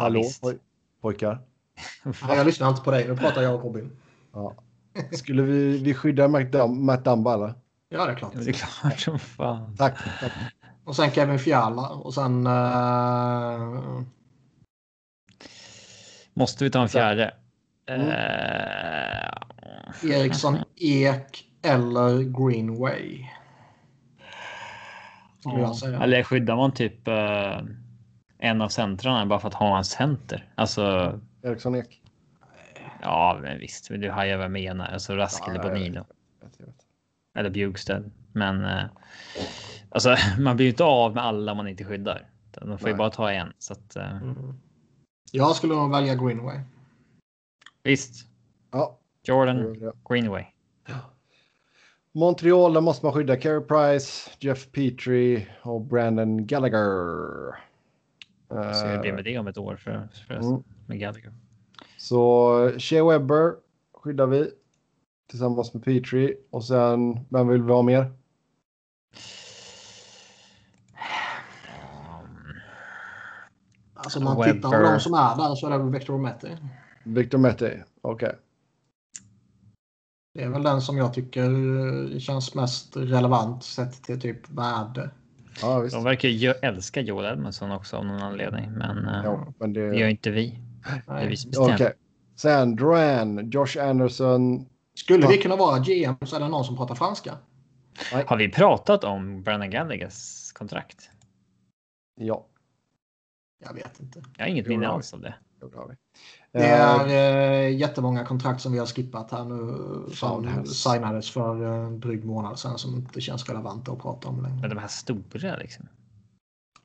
A: Hallå
B: visst.
A: poj- pojkar.
C: jag lyssnar inte på dig. Nu pratar jag och Robin.
A: Ja. Skulle vi, vi skydda Matt Dam- Matt Dumba eller?
C: Ja, det är klart.
B: Ja, Det är klart som fan.
A: Tack. tack.
C: Och sen Kevin Fiala och sen... eh,
B: Måste vi ta en fjärde?
A: Mm.
B: Eh,
C: Eriksson Ek eller Greenway. Skulle jag
B: ja.
C: säga.
B: Eller skyddar man typ eh, en av centrarna bara för att ha en center? Alltså,
A: Eriksson Ek.
B: ja, men visst, men du hajar vad jag menar. Alltså Rask
A: Ja,
B: eller
A: jag vet.
B: Bonino eller Bjugstad. Men eh, alltså, man blir ju inte av med alla man inte skyddar. Utan Man får ju
A: Nej.
B: bara ta en. Så att, eh,
C: Mm. Jag skulle nog välja Greenway.
B: visst,
A: Ja, det
B: Jordan
A: gör det.
B: Greenway.
A: Montreal, där måste man skydda Carey Price, Jeff Petrie och Brandon Gallagher.
B: Vi får se hur det blir
A: Eh,
B: med det om ett år för, för
A: Mm.
B: med Gallagher.
A: Så Shea Webber skyddar vi tillsammans med Petrie. Och sen, vem vill vi ha mer?
C: Alltså om man
B: Webber.
C: tittar på de som är där så är det väl Victor Metti.
A: Victor Mete. Okej.
C: Det är väl den som jag tycker eh, känns mest relevant sett till typ värde.
A: Ja, visst.
B: De verkar ju älska Joel Edmondson också av någon anledning, men eh,
A: Ja, men det...
B: det gör inte vi. Det är vi
C: Nej.
B: som
A: Okej.
B: bestämmer.
A: Sen Duran, Josh Anderson.
C: Skulle vi kunna vara GM så är det någon som pratar franska.
B: Har vi pratat om Brennan Gallaghers kontrakt?
A: Ja,
C: Jag vet inte.
B: Jag har inget
A: Jo, det
B: minne
A: har vi.
B: alls av det.
A: det har vi.
C: Det
A: Eh,
C: är eh, jättemånga kontrakt som vi har skippat här nu
A: Fan, det här-
C: som signades för eh, en dryg månad sedan som inte känns relevanta att prata om längre.
B: Men de här stora liksom.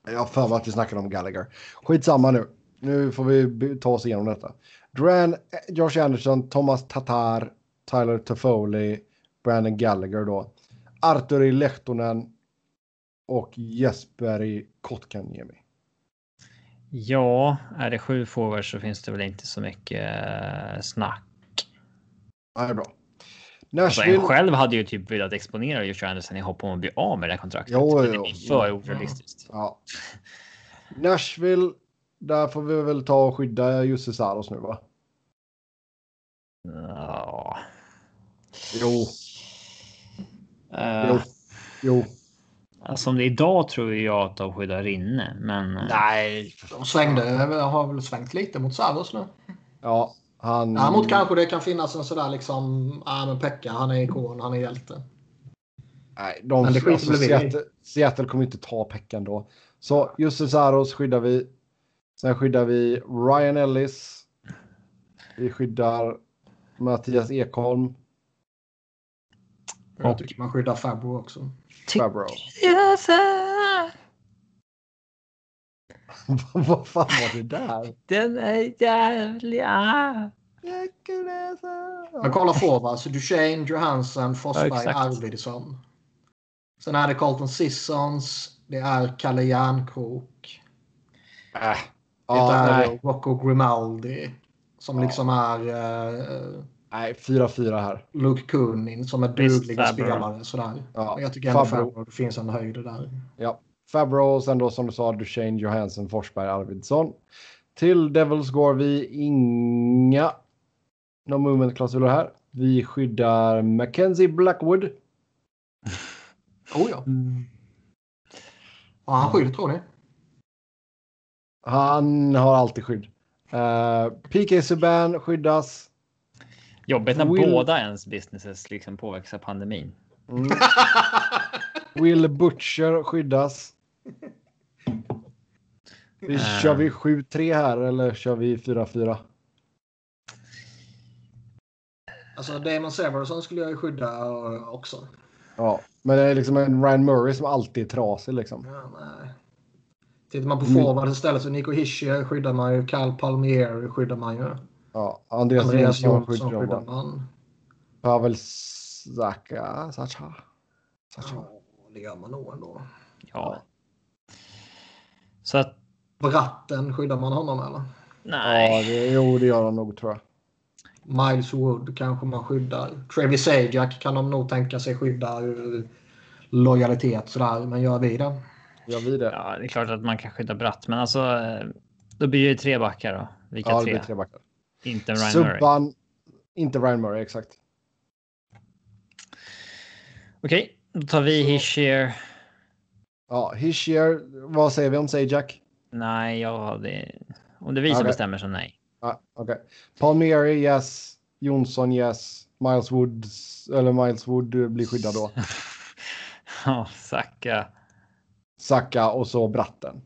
A: Eh, Jag har för mig att vi snackade om Gallagher. Skitsamma nu. Nu får vi b- ta oss igenom detta. Duran, eh, Josh Anderson, Thomas Tatar, Tyler Toffoli, Brandon Gallagher då. Arturi Lehtonen och Jesper Kotkaniemi.
B: Ja, är det sju forwards så finns det väl inte så mycket eh, snack.
A: Ja, det är bra.
B: Alltså, en
A: Nashville.
B: själv hade ju typ velat exponera Josh Anderson i hopp om att bli av med det här kontraktet.
A: Jo,
B: Men det
A: jo,
B: är för orealistiskt.
A: Ja. Nashville. Där får vi väl ta och skydda Jussi Saros nu va?
B: Ja.
A: Jo,
B: Eh,
A: jo, jo.
B: Som Eh, alltså, det är idag tror jag att de skyddar inne, men eh,
A: Nej.
C: De svängde, eh, har väl svängt lite mot Saros nu.
A: Ja, han.
C: Däremot kanske det kan finnas en sådär liksom, ja men Pekka han är ikon, han är hjälte.
A: Nej, de,
C: Men det skiter
A: alltså,
C: väl vi i.
A: Seattle, Seattle kommer inte ta Pekkan då. Så Jussi Saros skyddar vi. Sen skyddar vi Ryan Ellis. Vi skyddar Mattias Ekholm.
C: Jag
B: Och-
C: tycker man skyddar Fabro också.
B: Tycker
A: Fabro. Vad fan var det där?
B: Den är jävlig.
C: Men kolla forwards. Duchene, Johansson,
B: Ja,
C: Forsberg,
B: exakt.
C: Arvidsson. Sen är det Carlton Sissons. Det är Kalle Järnkrok.
A: Äh.
C: Det
A: Ja,
C: är
A: nej.
C: Rocco Grimaldi. Som
A: Ja.
C: liksom är eh,
A: nej, 4-4 här.
C: Luke Kunin som är
B: Visst,
C: dugliga
B: Fabro.
C: spelare. Sådär.
A: Ja,
C: Men jag tycker ändå
A: Fabro.
C: Fabro, det finns en höjd där.
A: Ja. Fabro och sen då som du sa Duchene, Johansson, Forsberg, Arvidsson. Till Devils går vi inga no movement-klausuler här. Vi skyddar Mackenzie Blackwood.
C: Oh ja. Har han skydd tror ni?
A: Han har alltid skydd. Eh, PK Subban skyddas.
B: Jobbigt när
A: Will-
B: båda ens businesses liksom påverkas av pandemin.
A: Mm. Will Butcher skyddas. Vi,
B: Eh.
A: Kör vi 7-3 här eller kör vi 4-4?
C: Alltså Damon Severson skulle jag ju skydda eh, också.
A: Ja, men det är liksom en Ryan Murray som alltid är trasig liksom.
C: Ja, nej. eh, Tittar man på
A: Mm.
C: forwards istället så Nico Hischier skyddar man ju. Carl Palmieri skyddar man ju.
A: Ja, Andreas,
C: Andreas
A: Jonsson
C: Jonsson
A: alltså skyddar
C: skyddar
A: man.
C: man.
A: Pavel Saka, Sacha. Sacha.
C: Ja, det gör man nog ändå.
B: Ja. Så att
C: Bratten, skyddar man honom eller?
A: Ja,
B: nej.
A: det, jo, det gör han nog tror jag.
C: Miles Wood kanske man skyddar. Travis Sajak kan de nog tänka sig skydda ur lojalitet sådär. Men gör vi det?
A: Gör vi det?
B: Ja, det är klart att man kan skydda Bratt, men alltså eh, då blir det tre backar då. Vilka
A: Ja, det
B: tre?
A: blir tre backar.
B: Inte Ryan Murray.
A: Subban, inte Ryan Murray, exakt.
B: Okej, då tar vi Hischier.
A: Ja, Hischier, vad säger vi om Sajak?
B: Nej, ja, det... om det är vi som
A: Okej.
B: bestämmer så nej.
A: Ja, Okej. Palmieri, yes. Jonsson, yes. Miles Woods, eller Miles Wood eh, blir skyddad då.
B: Ja, Saka.
A: Saka och så Bratten.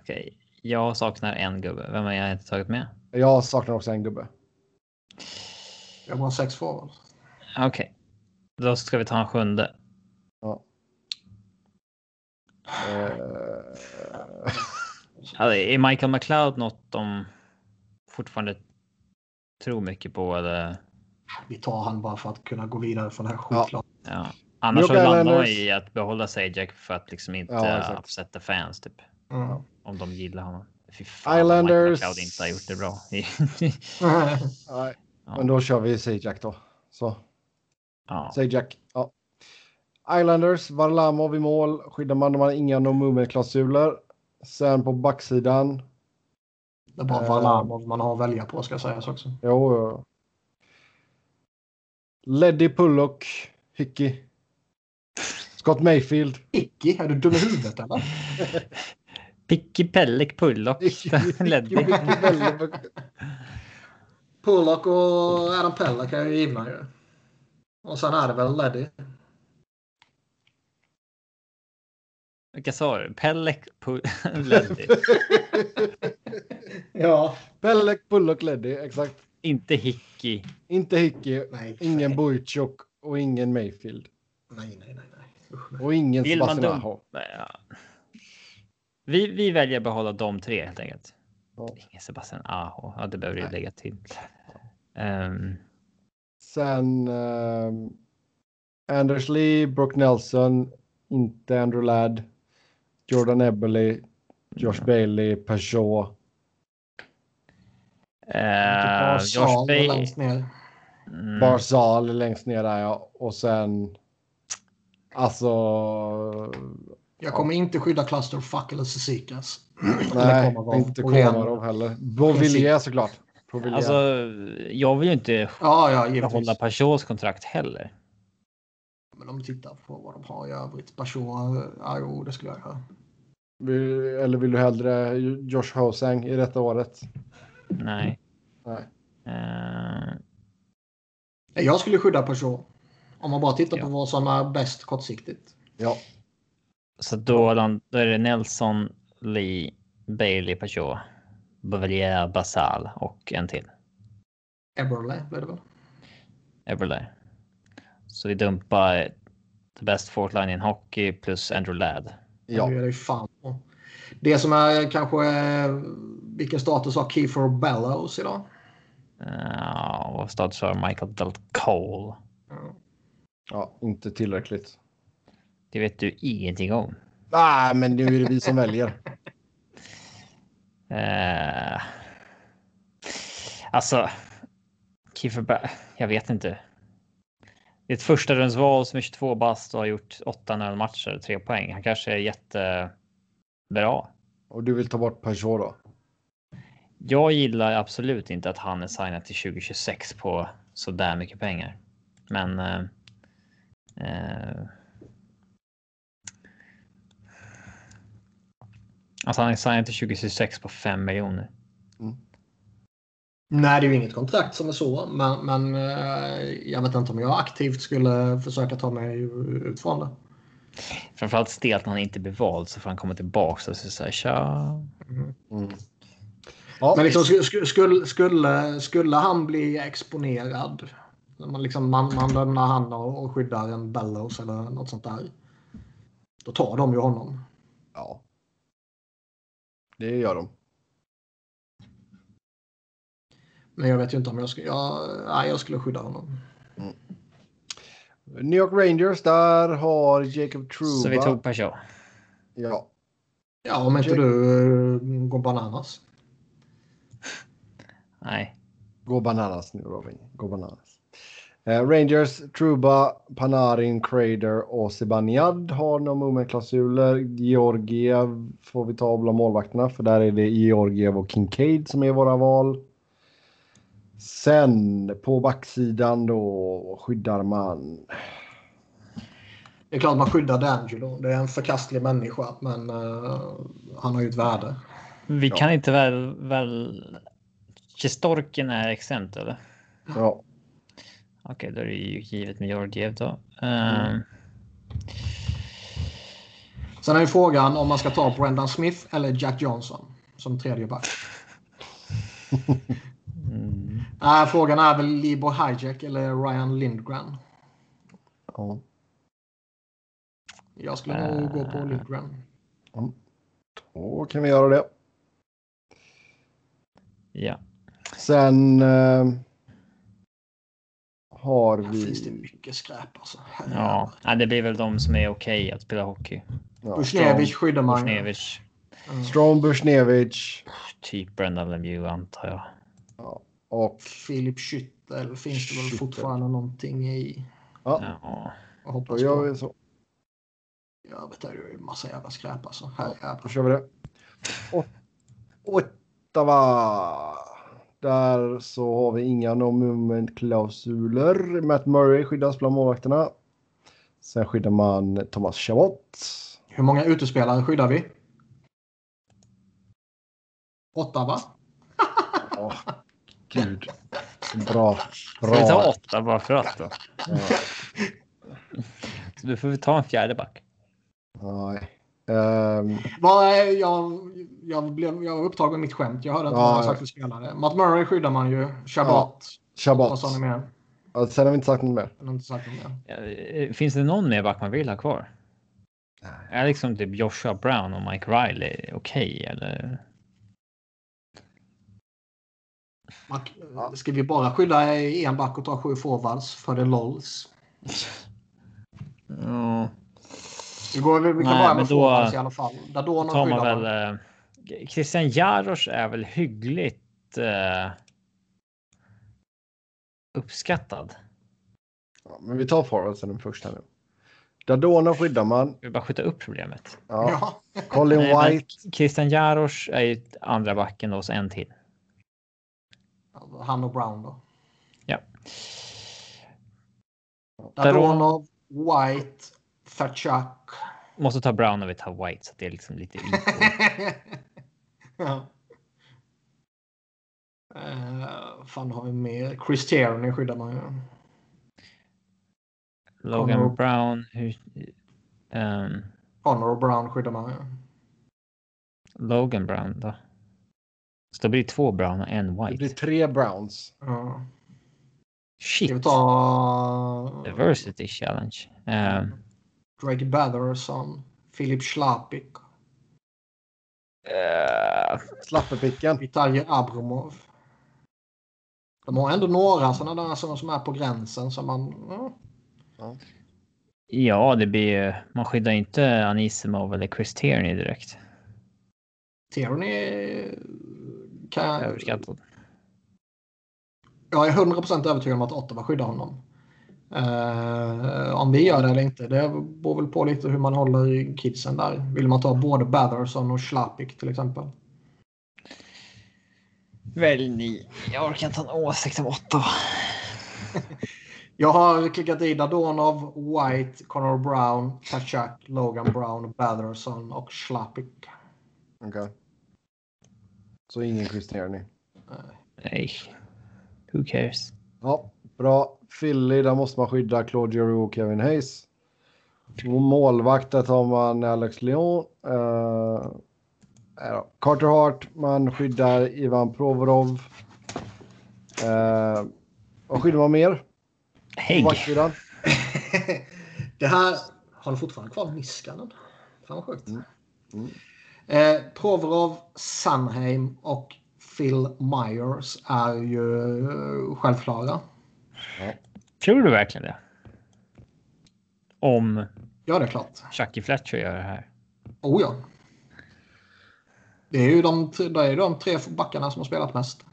B: Okej, jag saknar en gubbe. Vem har jag inte tagit med?
A: Jag saknar också en gubbe.
C: Jag har bara sex forwards.
B: Okej, då ska vi ta en sjunde.
A: Eh,
B: Ja, det Alltså, är Michael McLeod något de fortfarande tror mycket på? Eller?
C: Vi tar han bara för att kunna gå vidare från det här
A: Ja.
C: skitlaget.
B: Ja. Annars så
A: New
B: landar man
A: Balance.
B: i att behålla Sajak för att liksom inte
A: Ja,
B: ja,
A: exakt.
B: upsetta fans typ.
C: Mm.
B: Om de gillar honom. Fy fan, om Michael
A: Islanders.
B: McLeod inte har gjort det bra.
A: nej,
B: Ja.
A: men då kör vi Sajak då. Så,
B: ja.
A: Sajak. Ja. Islanders, Varlamov i mål. Skyddar man, de har inga no movement-klausuler. Sen på backsidan.
C: Det är bara Varlamov man har att välja på ska sägas också.
A: Jo, jo. Leddy Pullock, Hickey. Scott Mayfield.
C: Icke, är du dum i huvudet eller?
B: Picky Pellek Pullock.
A: Picky-
B: Leddy.
A: Väldigt mycket.
C: Pollock och Adam Pella kan jag ju givna ju. Och sen är det väl Leddy.
B: Vilka sa du? Pellek, Pu- Leddy.
C: Ja.
A: Pellek, Bullock, Leddy, exakt.
B: Inte Hickey.
A: Inte Hickey,
C: Nej.
A: ingen Bujtjuk och ingen Mayfield.
C: Nej, nej, nej. nej. Usch, nej.
A: Och ingen
B: Vill man
A: Sebastian
B: dum-
A: Aho.
B: Nej, Ja. Vi, vi väljer att behålla de tre helt enkelt.
A: Ja.
B: Ingen Sebastian Aho. Ja, det behöver vi
A: Nej.
B: lägga till. Ehm,
A: Sen ehm, Anders Lee, Brock Nelson, inte Andrew Ladd, Jordan Eberle, Josh
B: Mm.
A: Bailey, Peugeot.
B: eh,
C: Typ
B: Josh
C: Sal
B: Bay-
C: längst ner.
B: Mm.
A: Barzal är längst ner där ja. Och sen... Alltså...
C: Jag kommer inte skydda Clusterfuck eller Sisikas.
A: Nej, inte Komarov heller. Bovillier såklart. Bovillier.
B: Alltså, jag vill ju inte
C: Ja, ja, givetvis.
B: behålla Peugeots kontrakt heller.
C: Men om du tittar på vad de har i övrigt. Bashor, ja, jo, det skulle jag göra.
A: Vill- Eller vill du hellre Josh Hosang i detta året?
B: Nej.
A: Nej.
B: Eh,
C: Nej, Jag skulle skydda Bashor. Om man bara tittar på
B: Ja.
C: vad som är bäst kortsiktigt.
A: Ja.
B: så då, land- då är det Nelson, Lee, Bailey, Peugeot, Bavelier, Basal och en till.
C: Eberle blir det väl?
B: Everly. Så vi dumpar the best fourth line in hockey plus Andrew Ladd.
A: ja.
C: Det är det ju fan på. Det som är kanske... eh, Vilken status har Kiefer Bellows idag?
B: Uh, och status har Michael Del Cole.
C: Ja.
A: Ja, inte tillräckligt.
B: Det vet du ingenting om.
A: Nej, men nu är det vi som väljer.
B: Eh, alltså, Kiefer Ba- Jag vet inte. Det är ett första rundsval som är 22 bast och har gjort 8 matcher, 3 poäng. Han kanske är jättebra.
A: Och du vill ta bort Peugeot då?
B: Jag gillar absolut inte att han är signad till 2026 på så där mycket pengar. Men. Eh, eh, alltså han är signad till 2026 på 5 miljoner.
C: Nej, det är ju inget kontrakt som är så. Men, men eh, jag vet inte om jag aktivt skulle försöka ta mig ut från det.
B: Framförallt stelt när han inte blir vald så får han komma tillbaka och så säger tja.
A: Mm. Ja,
C: Men liksom, sk- sk- skulle, skulle, skulle han bli exponerad? när Man, liksom, man, man lämnar han och, och skyddar en Bellows eller något sånt där. Då tar de ju honom.
A: ja. Det gör de.
C: Men jag vet ju inte om jag skulle... Jag, nej, jag skulle skydda honom.
A: New York Rangers, där har Jacob Truba.
B: Så vi tog Peugeot.
A: Ja.
C: Ja, om inte
A: Jack-
C: du eh, går bananas.
B: Nej,
A: Gå bananas nu Robin. Gå bananas. Eh, Rangers, Truba, Panarin, Crader och Zibanejad har no movement-klausuler. Georgiev får vi ta bland målvakterna för där är det Georgiev och Kincaid som är våra val. Sen på backsidan då skyddar man.
C: Det är klart man skyddar D'Angelo. Det är en förkastlig människa, men eh, han har ju ett värde.
B: vi
A: Ja.
B: kan inte väl väl. Kestorken är exempt eller?
A: Ja,
B: Okej, då är det ju givet med Georgiev då. Ehm,
C: Sen är ju frågan om man ska ta Brendan Smith eller Jack Johnson som tredje back.
B: Mm.
C: Nej, Äh, frågan är väl Libor Hijack eller Ryan Lindgren.
A: ja.
C: Jag skulle
B: Äh.
C: nog gå på Lindgren.
A: Då kan vi göra det.
B: ja,
A: Sen eh, har
C: Här finns det
A: vi...
C: mycket skräp alltså.
B: Mm. ja, ja, det blir väl de som är okej att spela hockey.
A: Ja.
C: Bushnevich skyddar man. ju.
B: Bushnevich,
C: Mm.
A: Strom, Bushnevich
B: typ Brendan Lemieux antar jag.
A: och...
C: Philip Schüttel finns det
A: Schüttel.
C: väl fortfarande någonting i.
A: Ja,
B: Ja,
C: Jag
A: Då
C: hoppas
A: gör
C: på.
A: vi så.
C: Jag vet inte, det är ju massa jävla skräp alltså.
A: Då
C: Herrejävlar.
A: kör vi det. Och Ottawa. Där så har vi inga no movement klausuler. Matt Murray skyddas bland målvakterna. Sen skyddar man Thomas Chabot.
C: Hur många utespelare skyddar vi? Åtta va?
A: Åh, gud. Bra.
B: Ska vi ta
A: Bra.
B: åtta bara för att då? Så du får vi ta en fjärde back.
A: Nej. Ehm,
C: Vad är, jag, jag, blev, jag var upptagen med mitt skämt. Jag hörde att det
A: Ja,
C: var
A: ja.
C: sagt för spelare. Matt Murray skyddar man ju. Shabbat. Vad
A: Shabbat.
C: sa ni mer?
A: Ja, Sen har vi inte sagt något mer.
C: Jag har inte sagt något mer.
B: Eh, Finns det någon mer back man vill ha kvar?
A: Nej.
B: Är liksom typ Joshua Brown och Mike Riley okej eller?
C: Man, eh, ska vi bara skydda en back och ta sju forwards för the lols?
B: Ja,
C: Vi, går, vi
B: Nej,
C: kan börja
B: men
C: med
B: då-
C: forwards i alla fall. Dadonov
B: då tar man
C: skyddar
B: väl. eh, Christian Jaros är väl hyggligt. Eh, uppskattad.
A: Ja, men vi tar forwardsen den första nu. Dadona skyddar man.
B: Vi bara skjuta upp problemet.
A: Ja.
C: Ja.
A: Colin
B: Nej, men
A: White.
B: Christian Jaros är ju andra backen då, så en till.
C: Han och Brown då.
B: Ja.
C: Dadonov, White, Fatchak.
B: Måste ta Brown och vi tar White så att det är liksom lite equal.
C: ja. Eh, fan har vi mer? Chris Tierney skyddar man ju.
B: Logan
C: Connor.
B: Brown. Hur, ehm,
C: Connor och Brown skyddar man ju.
B: Logan Brown då? Så då blir det två Brown och en
A: Det
B: White.
A: blir tre Browns.
C: Ja. Ska Eh, vi
B: Shit!
C: ta
B: Diversity challenge. Ehm,
C: Drake Batherson, Filip Slapik,
B: eh,
A: Slappepicken.
C: Vitalij Abramov. De har ändå några sådana där som, som är på gränsen som man... Ja.
B: ja, det blir ju. Man skyddar ju inte Anisimov eller Chris Tierney direkt.
C: Tierney kan...
B: Överskattad.
C: Jag är 100% övertygad om att Ottawa skyddar honom. Eh, om vi gör det eller inte, det beror väl på lite hur man håller kidsen där. Vill man ta både Batherson och Slapik till exempel?
B: Välj ni. Jag orkar inte ha en åsikt om åtta.
C: Jag har klickat i Dadonov, White, Connor Brown, Kachak, Logan Brown, Batherson och Slapik.
A: Okej. Så ingen Chris Tierney.
B: Nej. Who cares?
A: Ja, bra. Philly, där måste man skydda Claude Giroux och Kevin Hayes. Målvakt, där tar man Alex Leon. Eh, nej då. Carter Hart, man skyddar Ivan Provorov. Eh, vad skyddar man mer?
B: Hägg.
A: Backsidan.
C: det här... Har du fortfarande kvar Niskanen? Fan vad sjukt.
A: Mm.
C: Eh, Provorov, Sanheim och Phil Myers är ju eh, självklara.
B: Tror du verkligen det? Om
C: Ja, det är klart.
B: Chucky Fletcher gör det här.
C: Oh ja. Det är ju de, det är de tre backarna som har spelat mest.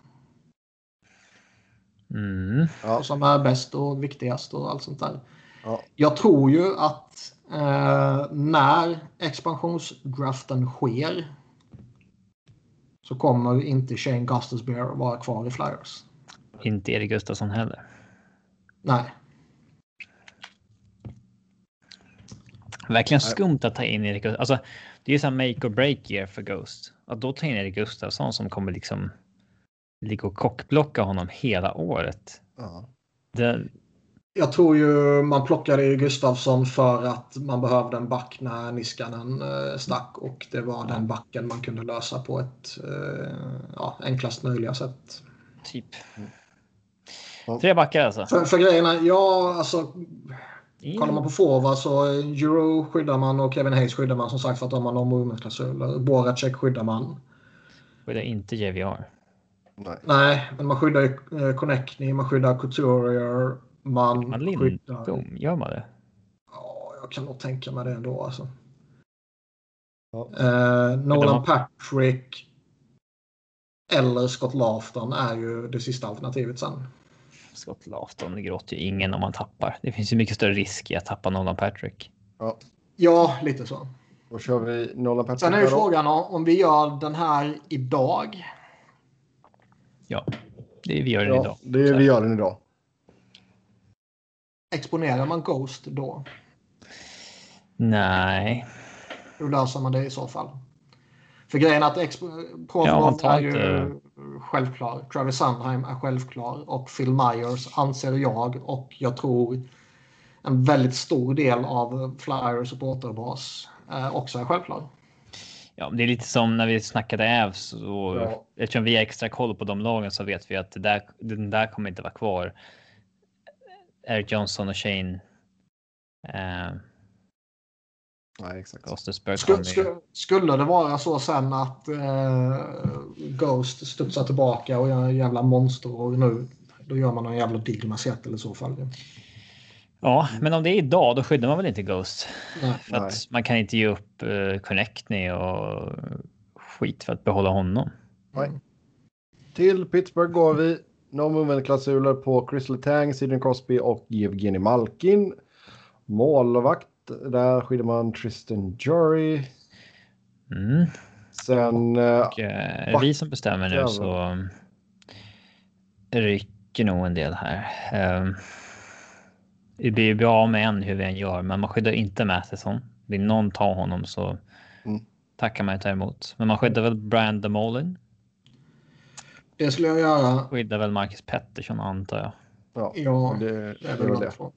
B: Mm.
A: Ja,
C: Och som är bäst och viktigast och allt sånt där.
A: ja.
C: Jag tror ju att eh, när expansionsdraften sker så kommer inte Shane Gustafsbeer vara kvar i Flyers.
B: Inte Erik Gustafsson heller.
C: Nej.
B: Verkligen skumt att ta in Erik Gustafsson. Alltså, det är ju så här make or break year för Ghost. Att då ta in Erik Gustafsson som kommer liksom ligga och kockblocka honom hela året.
A: ja.
B: Det,
C: Jag tror ju man plockade ju Gustafsson för att man behövde en back när Niskanen eh, stack och det var den backen man kunde lösa på ett eh, ja, enklast möjliga sätt.
B: typ.
A: Ja.
B: Tre backar alltså.
C: För, för grejerna, ja alltså
B: In.
C: kollar man på forwards så eh, Euro skyddar man och Kevin Hayes skyddar man som sagt för att de har normumklassur. Boracek skyddar man.
B: Och det är inte JVR.
A: Nej.
C: Nej, men man skyddar ju eh, Connectney, man skyddar Couturier, man,
B: Man
C: skyddar...
B: Lindbom, gör man det?
C: Ja, jag kan nog tänka mig det ändå alltså.
A: Ja.
C: Eh, Nolan
B: de har-
C: Patrick eller Scott Laughton är ju det sista alternativet sen.
B: Scott Laughton gråter ju ingen om man tappar. Det finns ju mycket större risk i att tappa Nolan Patrick.
A: ja.
C: Ja, lite så.
A: Då kör vi Nolan Patrick.
C: Sen är ju
A: där då.
C: frågan om om vi gör den här idag.
B: Ja, det är vi gör det
A: Ja,
B: idag.
A: det är, vi gör den idag.
C: Exponerar man Ghost då?
B: Nej,
C: Hur löser man det i så fall? För grejen är att Expo-
B: Ja,
C: Pro Football
B: man tar
C: är ju
B: inte-
C: självklar. Travis Sandheim är självklar och Phil Myers anser jag och jag tror en väldigt stor del av Flyers supporterbas eh, också är självklar.
B: Ja, men det är lite som när vi snackade Avs och
C: Ja.
B: eftersom vi har extra koll på de lagen så vet vi att det där, den där kommer inte vara kvar. Eric Johnson och Shane. Eh,
A: Nej, exakt.
B: Gostensberg
C: Skulle,
B: kommer ju-
C: skulle, skulle det vara så sen att eh, Ghost studsar tillbaka och gör en jävla monsterår nu, då gör man en jävla deal med Seattle i så fall. ju.
B: Ja, men om det är idag, då skyddar man väl inte Ghost?
C: Nej.
B: För
A: Nej.
B: att man kan inte ge upp uh, Connectney och skit för att behålla honom.
A: Till Pittsburgh går vi. No movement-klausuler på Chris Letang, Sidney Crosby och Evgenij Malkin. Målvakt, där skiljer man Tristan Jury.
B: Mm.
A: Sen eh,
B: Och, eh, är det vi som bestämmer nu så rycker nog en del här. Ehm, Vi blir ju bra med en hur vi än gör, men man skyddar inte Matheson. Vill någon ta honom så
A: Mm.
B: tackar man ju ta emot. Men man skyddar väl Brian Demolin?
C: Det skulle jag göra.
B: Skyddar väl Marcus Pettersson antar jag.
A: ja,
C: Ja,
A: det,
C: det
A: det
C: är väl
A: var
C: de
A: det.
C: två.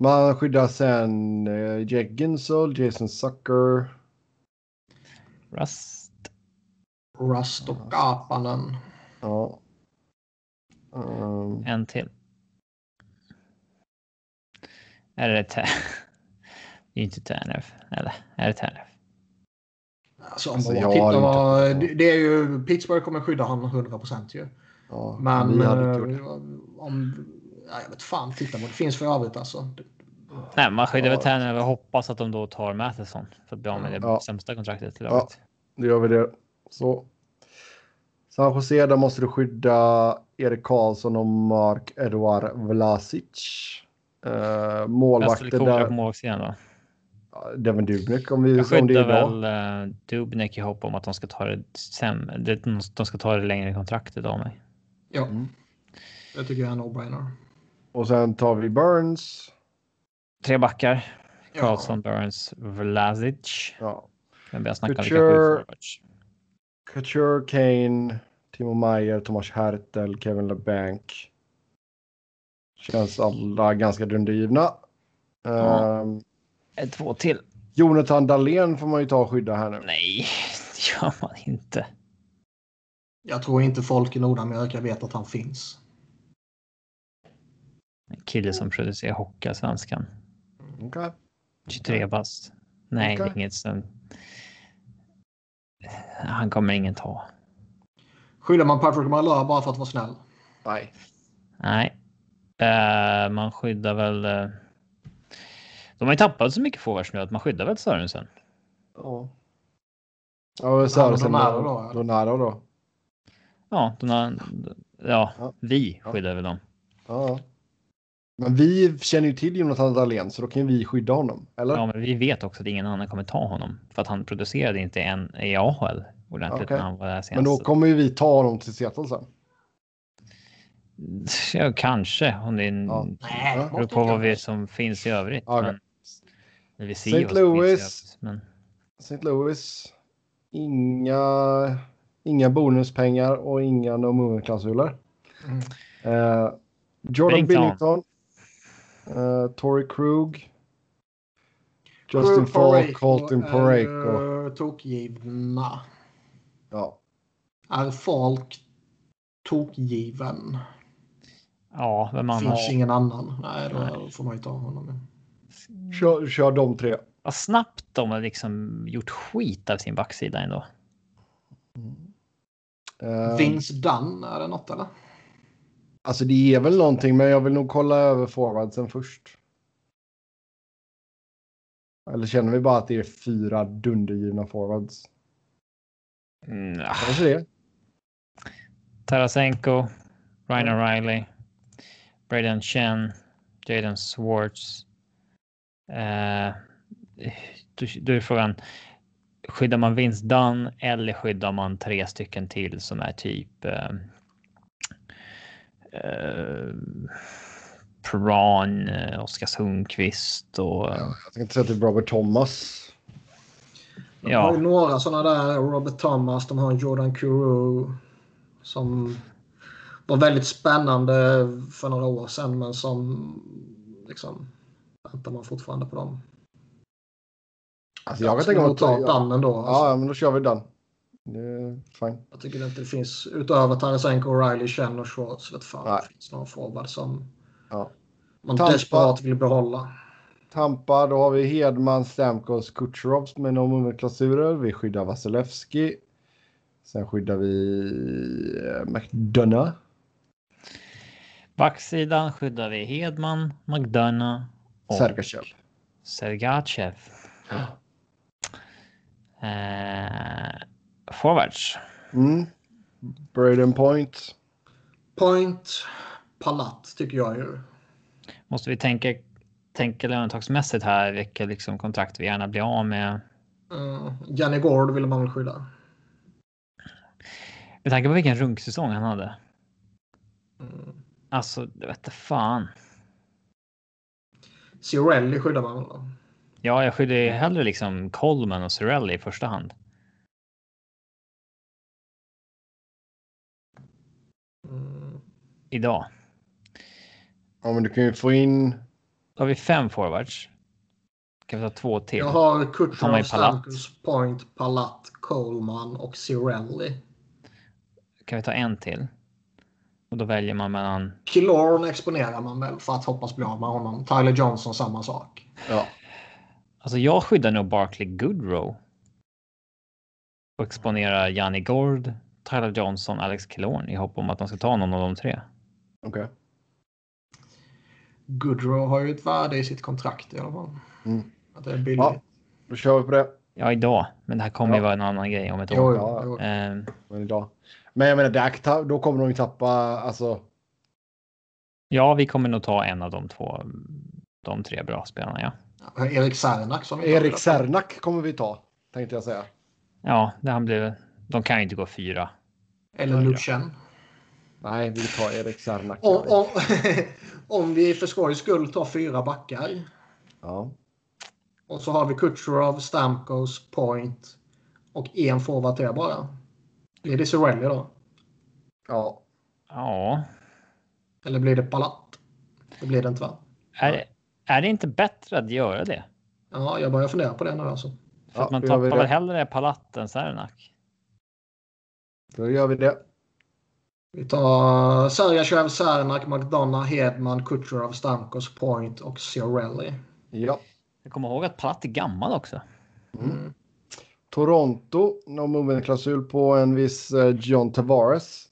A: Man skyddar sen eh, Jack Ginsel, Jason Zucker.
B: Rust?
C: Rust och Kapanen.
A: Ja. Ehm,
B: En till. Är det Ter- Det är inte Ternerf, eller? Är det Ternerf?
C: Alltså, om
A: Alltså,
C: man
A: jag
C: tittar
A: har
C: vad-
A: inte-
C: det- det är ju, Pittsburgh kommer skydda honom 100% ju.
A: ja,
C: Men
A: vi hade inte gjort
C: eh, om... Ja, jag vet fan, titta vad det finns för övrigt alltså.
B: Nej, man skyddar väl
A: Ja.
B: Ternerf och hoppas att de då tar Matheson för att bli av med det
A: Ja.
B: sämsta kontraktet till laget.
A: Då gör vi det. Så. San Jose, där måste du skydda Erik Karlsson och Mark Edouard Vlasic. Eh,
B: Jag ställer
A: målvakten
B: kola på
A: där,
B: målvaktssidan då.
A: Devin Dubnik om, vi,
B: Jag
A: om det
B: skyddar
A: är bra.
B: väl eh, Dubnik i hopp om att de ska ta det säm- det- de ska ta det längre kontraktet av mig.
C: Ja,
A: Mm.
C: det tycker jag är en no-brainer.
A: Och sen tar vi Burns.
B: Tre backar.
C: Ja.
B: Karlsson, Burns, Vlasic.
A: Ja.
B: Jag börjar snacka vilka
A: Couture.
B: sju forwards.
A: Couture, Kane, Timo Meyer, Thomas Hertel, Kevin LeBanc. Känns alla ganska dundergivna. Eh,
B: Ja. Ett, Eh, Två till.
A: Jonathan Dahlén får man ju ta och skydda här nu.
B: Nej, det gör man inte.
C: Jag tror inte folk i Nordamerika vet att han finns.
B: En kille som producerar Hockeyallsvenskan.
A: Okej.
B: 23 bast. Nej, det är
A: Okej.
B: inget som... Han kommer ingen ta.
C: Skyller man Patrick Malheur bara för att vara snäll?
A: Nej.
B: Nej. Eh, man skyddar väl... eh, De har ju tappat så mycket forwards nu att man skyddar väl Sörensen.
A: Ja. Ja, Sörensen
C: Ja, men
A: och
C: Donado då, ja.
A: Donado då.
B: Ja, de har, ja
A: Ja.
B: vi
A: Ja.
B: skyddar väl dem.
A: Ja. Men vi känner ju till Jonathan Dahlén så då kan vi skydda honom. Eller?
B: Ja, men vi vet också att ingen annan kommer ta honom för att han producerade inte en i AHL ordentligt
A: Okej.
B: när han var där
A: men då
B: senast.
A: kommer ju vi ta honom till Seattle sen.
B: Ja, kanske om det är en...
A: Ja.
C: Nej,
A: Ja.
C: det
B: beror
C: måste
B: på
C: inte
B: vad vi
C: jag.
B: som finns i övrigt.
A: Okej.
B: Men, eller vi ser
A: St.
B: ju vad som finns i
A: Louis.
B: övrigt, Men
A: St. Louis. Inga, inga bonuspengar och inga no movement-klausuler.
C: Mm.
A: Eh, Jordan Billington.
B: Bennington.
A: Eh, Tory Krug. Justin Falk, Colton
C: Eh,
A: Pareko.
C: är, eh, Tokgivna.
A: Ja.
C: Är Falk tokgiven?
B: ja, vem man
C: Finns
B: har.
C: ingen annan. Nej, då får man ju ta honom. eh,
A: Kör, kör de tre.
B: Vad snabbt de har liksom gjort skit av sin backsida ändå.
A: Eh,
C: Vince Dunn, är det något eller?
A: Alltså det är väl någonting, men jag vill nog kolla över forwardsen först. Eller känner vi bara att det är fyra dundergivna forwards?
B: Mm, ah,
A: Kanske det.
B: Tarasenko, Ryan O'Reilly, Braden Chen, Jaden Swartz. Eh, då, då är frågan. Skyddar man Vince Dunn eller skyddar man tre stycken till som är typ. Eh, eh, Pran, eh, Oskar Sundqvist och.
A: Jag tänkte säga typ Robert Thomas.
C: De
B: Ja.
C: har ju några sådana där. Robert Thomas, de har Jordan Kuru. Som var väldigt spännande för några år sedan. Men som liksom väntar man fortfarande på dem.
A: Alltså, jag kan tänka mig att
C: ta
A: ja,
C: Dan ändå. Alltså,
A: ja, men då kör vi den. Det är fine.
C: Jag tycker inte det finns, utöver Tarasenko, O'Reilly, Chen och Schwartz, vet fan,
A: Nej.
C: det finns någon forward som
A: Ja.
C: man
A: Tampa.
C: desperat vill behålla.
A: Tampa, då har vi Hedman, Stamkos, Kucherov med de umklasssurer. Vi skyddar Vasilevski. Sen skyddar vi eh, McDonough.
B: Backsidan skyddar vi Hedman, McDonough och
A: Sergachev.
B: Sergachev. Eh, forwards.
A: Mm. Braden Point.
C: Point, Palat tycker jag ju.
B: Måste vi tänka, tänka lönetagsmässigt här vilka liksom kontrakt vi gärna blir av med.
C: Mm, Janne Gård vill man väl skydda.
B: Med tanke på vilken runksäsong han hade.
C: Mm.
B: Alltså, det vete fan.
C: Cirelli skyddar man väl då.
B: Ja, jag skyller ju hellre liksom Coleman och Cirelli i första hand.
C: Mm.
B: Idag.
A: Ja, men du kan ju få in...
B: Då har vi fem forwards. Kan vi ta två till?
C: Jag
A: Mm.
C: har
B: Har man
C: Kutjerov,
B: ju Palat.
C: Stamkos, Point, Palat, Coleman och Cirelli.
B: Kan vi ta en till? Och då väljer man mellan.
C: Killorn exponerar man väl för att hoppas bli av med honom. Tyler Johnson samma sak.
A: Ja.
B: Alltså, jag skyddar nog Barkley Goodrow. Och exponerar Janni Gord, Tyler Johnson, Alex Killorn i hopp om att de ska ta någon av de tre.
A: Okej.
C: Goodrow har ju ett värde i sitt kontrakt i alla fall.
A: Mm.
C: Att det är billigt.
A: Ja, då kör vi på det.
B: Ja, idag. Men det här kommer
A: Ja.
B: ju vara en annan grej om ett
C: Jo,
B: år.
C: jo, jo.
B: Ehm,
A: Men, idag. men jag menar, där, ta- då kommer de ju tappa... Alltså,
B: ja, vi kommer nog ta en av de två. De tre bra spelarna, ja.
C: Erik Sernak som vi
A: Erik Sernak kommer vi ta, tänkte jag säga.
B: Ja, det han blev. De kan ju inte gå fyra.
C: Eller Luchen.
A: Nej, vi tar Erik Sernak.
C: Om, om, om vi för skojs skull tar fyra backar.
A: Ja.
C: Och så har vi Kucherov, Stamkos, Point och en forward till bara. Blir det Cirelli då?
A: ja.
B: Ja,
C: Eller blir det Palat? Det blir det inte va?
B: är, är det inte bättre att göra det?
C: Ja, jag börjar fundera på det nu alltså.
B: För att
A: Ja,
B: man
A: då gör
B: tappar
A: vi
B: väl
A: det.
B: hellre Palat än Sernak.
A: Då gör vi det.
C: Vi tar Sergachev, Sernak, McDonough, Hedman, Kucherov, Stamkos, Point och Cirelli.
A: Ja.
B: Jag kommer ihåg att Palat är gammal också.
C: Mm.
A: Toronto, no movement-klausul på en viss eh, John Tavares.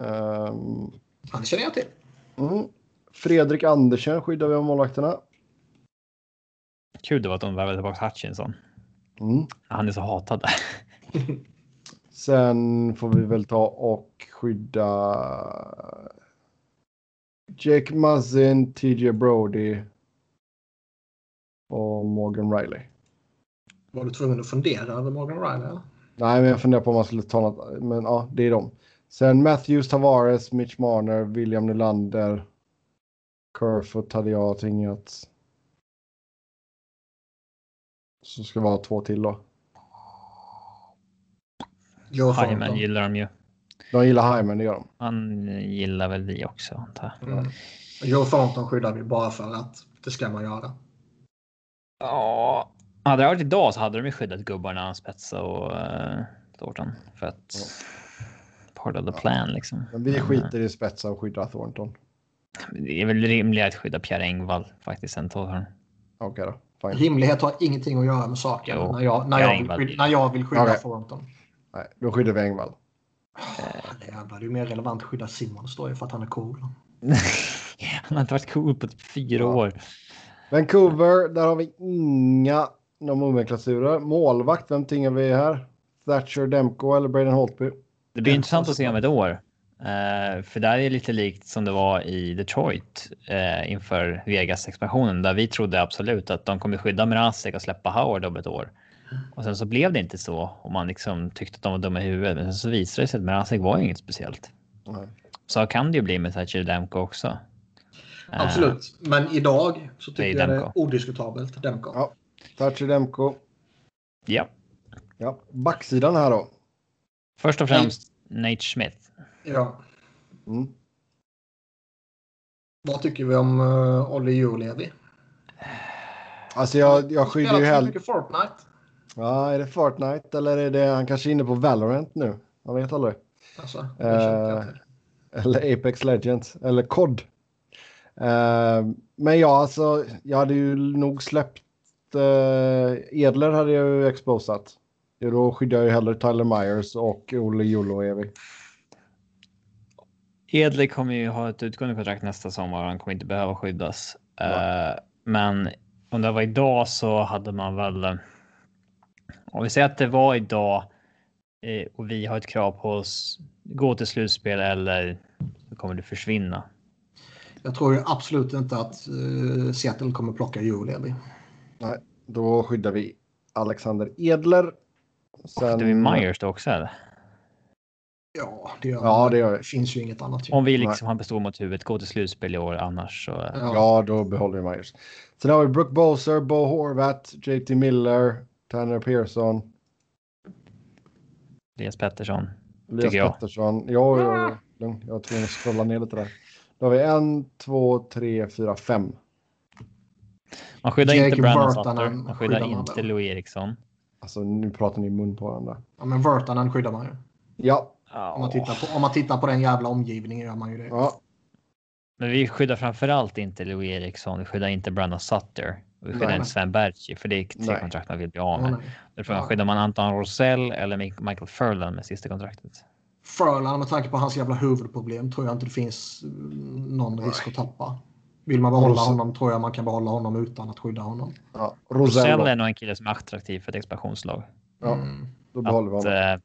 A: Ehm,
C: Han känner jag till.
A: mm. Fredrik Andersen skyddar vi av målvakterna.
B: Kul det var att de värvade tillbaka Hutchinson.
A: Mm.
B: Han är så hatad där.
A: Sen får vi väl ta och skydda Jake Muzzin, TJ Brody och Morgan Riley.
C: Var du tvungen att fundera över Morgan Riley? eller?
A: Nej, men jag funderar på om man skulle ta något. Men ja, det är dem. Sen Matthews, Tavares, Mitch Marner, William Nylander. Kerfoot hade jag tingat. Så ska vi ha två till då.
C: Joe
B: Hyman
C: Thornton.
B: gillar de ju.
A: De gillar Hyman, det gör de.
B: Han gillar väl vi också antar jag.
C: Mm. Joe Thornton skyddar vi bara för att det ska man göra.
B: Ja, hade det varit idag så hade de ju skyddat gubbarna Spetsa och uh, Thornton för att part of the plan liksom.
A: Men vi
B: Men,
A: skiter i spetsa och skyddar Thornton.
B: eh, Det är väl rimligare att skydda Pierre Engvall faktiskt än Thornton.
A: Okej då. Fine.
C: Rimlighet har ingenting att göra med saken
B: Jo.
C: när, jag, när,
B: Jag
C: jag
B: är
C: vill,
B: invald.
C: skydda- när jag vill skydda
A: Okej.
C: Thornton.
A: Nej, då skyddar vi Engvall.
C: Fan, Jävlar, det är ju mer relevant att skydda Simons då för att han är cool.
B: Eh, Han har inte varit cool på typ fyra
A: Ja.
B: år.
A: Vancouver, där har vi inga nomenklaturer. Målvakt, vem tingar vi här? Thatcher, Demko eller Braden Holtby?
B: Det blir
C: Ja,
B: intressant att
C: alltså.
B: se om ett år. Eh, för där är det lite likt som det var i Detroit eh, inför Vegas-expansionen där vi trodde absolut att de kommer skydda Mrazek och släppa Howard om ett år. Och sen så blev det inte så och man liksom tyckte att de var dumma i huvudet. Men sen så visade det sig att Mrazek var ju inget speciellt.
A: Nej.
B: Så kan det ju bli med Thatcher Demko också. Eh,
C: Absolut, men idag så
B: det är
C: tycker jag det är
B: Demko.
C: odiskutabelt Demko.
A: Ja. Thatcher, Demko.
B: Ja.
A: Ja, backsidan här då.
B: Först och främst Nate Smith.
C: Ja.
A: Mm.
C: Vad tycker vi om uh, Olli Julevi?
A: Alltså jag, jag skyller ju hellre...
C: mycket Fortnite.
A: Ja, är det Fortnite eller är det han kanske är inne på Valorant nu? Man vet aldrig.
C: Alltså, det känner jag
A: Eh,
C: till.
A: Eller Apex Legends. Eller COD. Eh, men ja, alltså, jag hade ju nog släppt... Eh, Edler hade jag ju exposat. Ja, Då skyddar jag ju hellre Tyler Myers och Olle Juloevi.
B: Edley kommer ju ha ett utgående kontrakt nästa sommar och han kommer inte behöva skyddas.
A: Nej.
B: Eh, men om det var idag så hade man väl. eh, Om vi säger att det var idag eh, och vi har ett krav på oss. Gå till slutspel eller så kommer du försvinna.
C: Jag tror ju absolut inte att eh, Seattle kommer plocka Julevi.
A: Nej, då skyddar vi Alexander Edler.
B: Sen... Det är ju Myers då också. Eller?
C: Ja, det gör
A: Ja,
C: man.
A: det gör vi.
C: finns ju inget annat. ju.
B: Om vi liksom har består mot huvudet. Gå till slutspel i år annars så. eh,
C: Ja.
A: Ja, då behåller vi Myers. Sen har vi Brooke Bowser, Bo Horvat, JT Miller, Tanner Pearson,
B: Elias Pettersson.
A: Elias
B: Tycker jag.
A: Pettersson. Jo, jo, jo. Lugn. Jag var tvungen att scrolla ner lite där. Då har vi en, två, tre, fyra, fem.
B: Man skyddar
C: Jake
B: inte Brandon
C: Virtanen
B: Sutter. Man skyddar
C: skyddar man
B: inte
C: väl.
B: Louis Eriksson.
A: Alltså, nu pratar ni i mun på varandra.
C: Ja, men Virtanen skyddar man ju.
A: Ja,
C: Om man, tittar på, om man tittar på den jävla omgivningen gör man ju det.
A: ja,
B: Men vi skyddar framförallt inte Louis Eriksson. Vi skyddar inte Brandon Sutter. Och vi skyddar
C: Nej.
B: inte Sven Berchi för det är tre
A: Nej.
B: kontrakt man vill bli av
C: Ja,
B: med.
C: nej.
B: Därför skyddar man Anton Rosell eller Mi- Michael Furlan med sista kontraktet.
C: Frölunda med tanke på hans jävla huvudproblem tror jag inte det finns eh, någon risk att tappa. Vill man behålla
A: Rosen-
C: honom tror jag man kan behålla honom utan att skydda honom.
A: ja.
B: Rosell
A: Rosell,
B: är nog en kille som är attraktiv för ett expansionslag.
A: Ja.
C: Mm.
A: då behåller vi
B: Att
A: honom.
B: eh,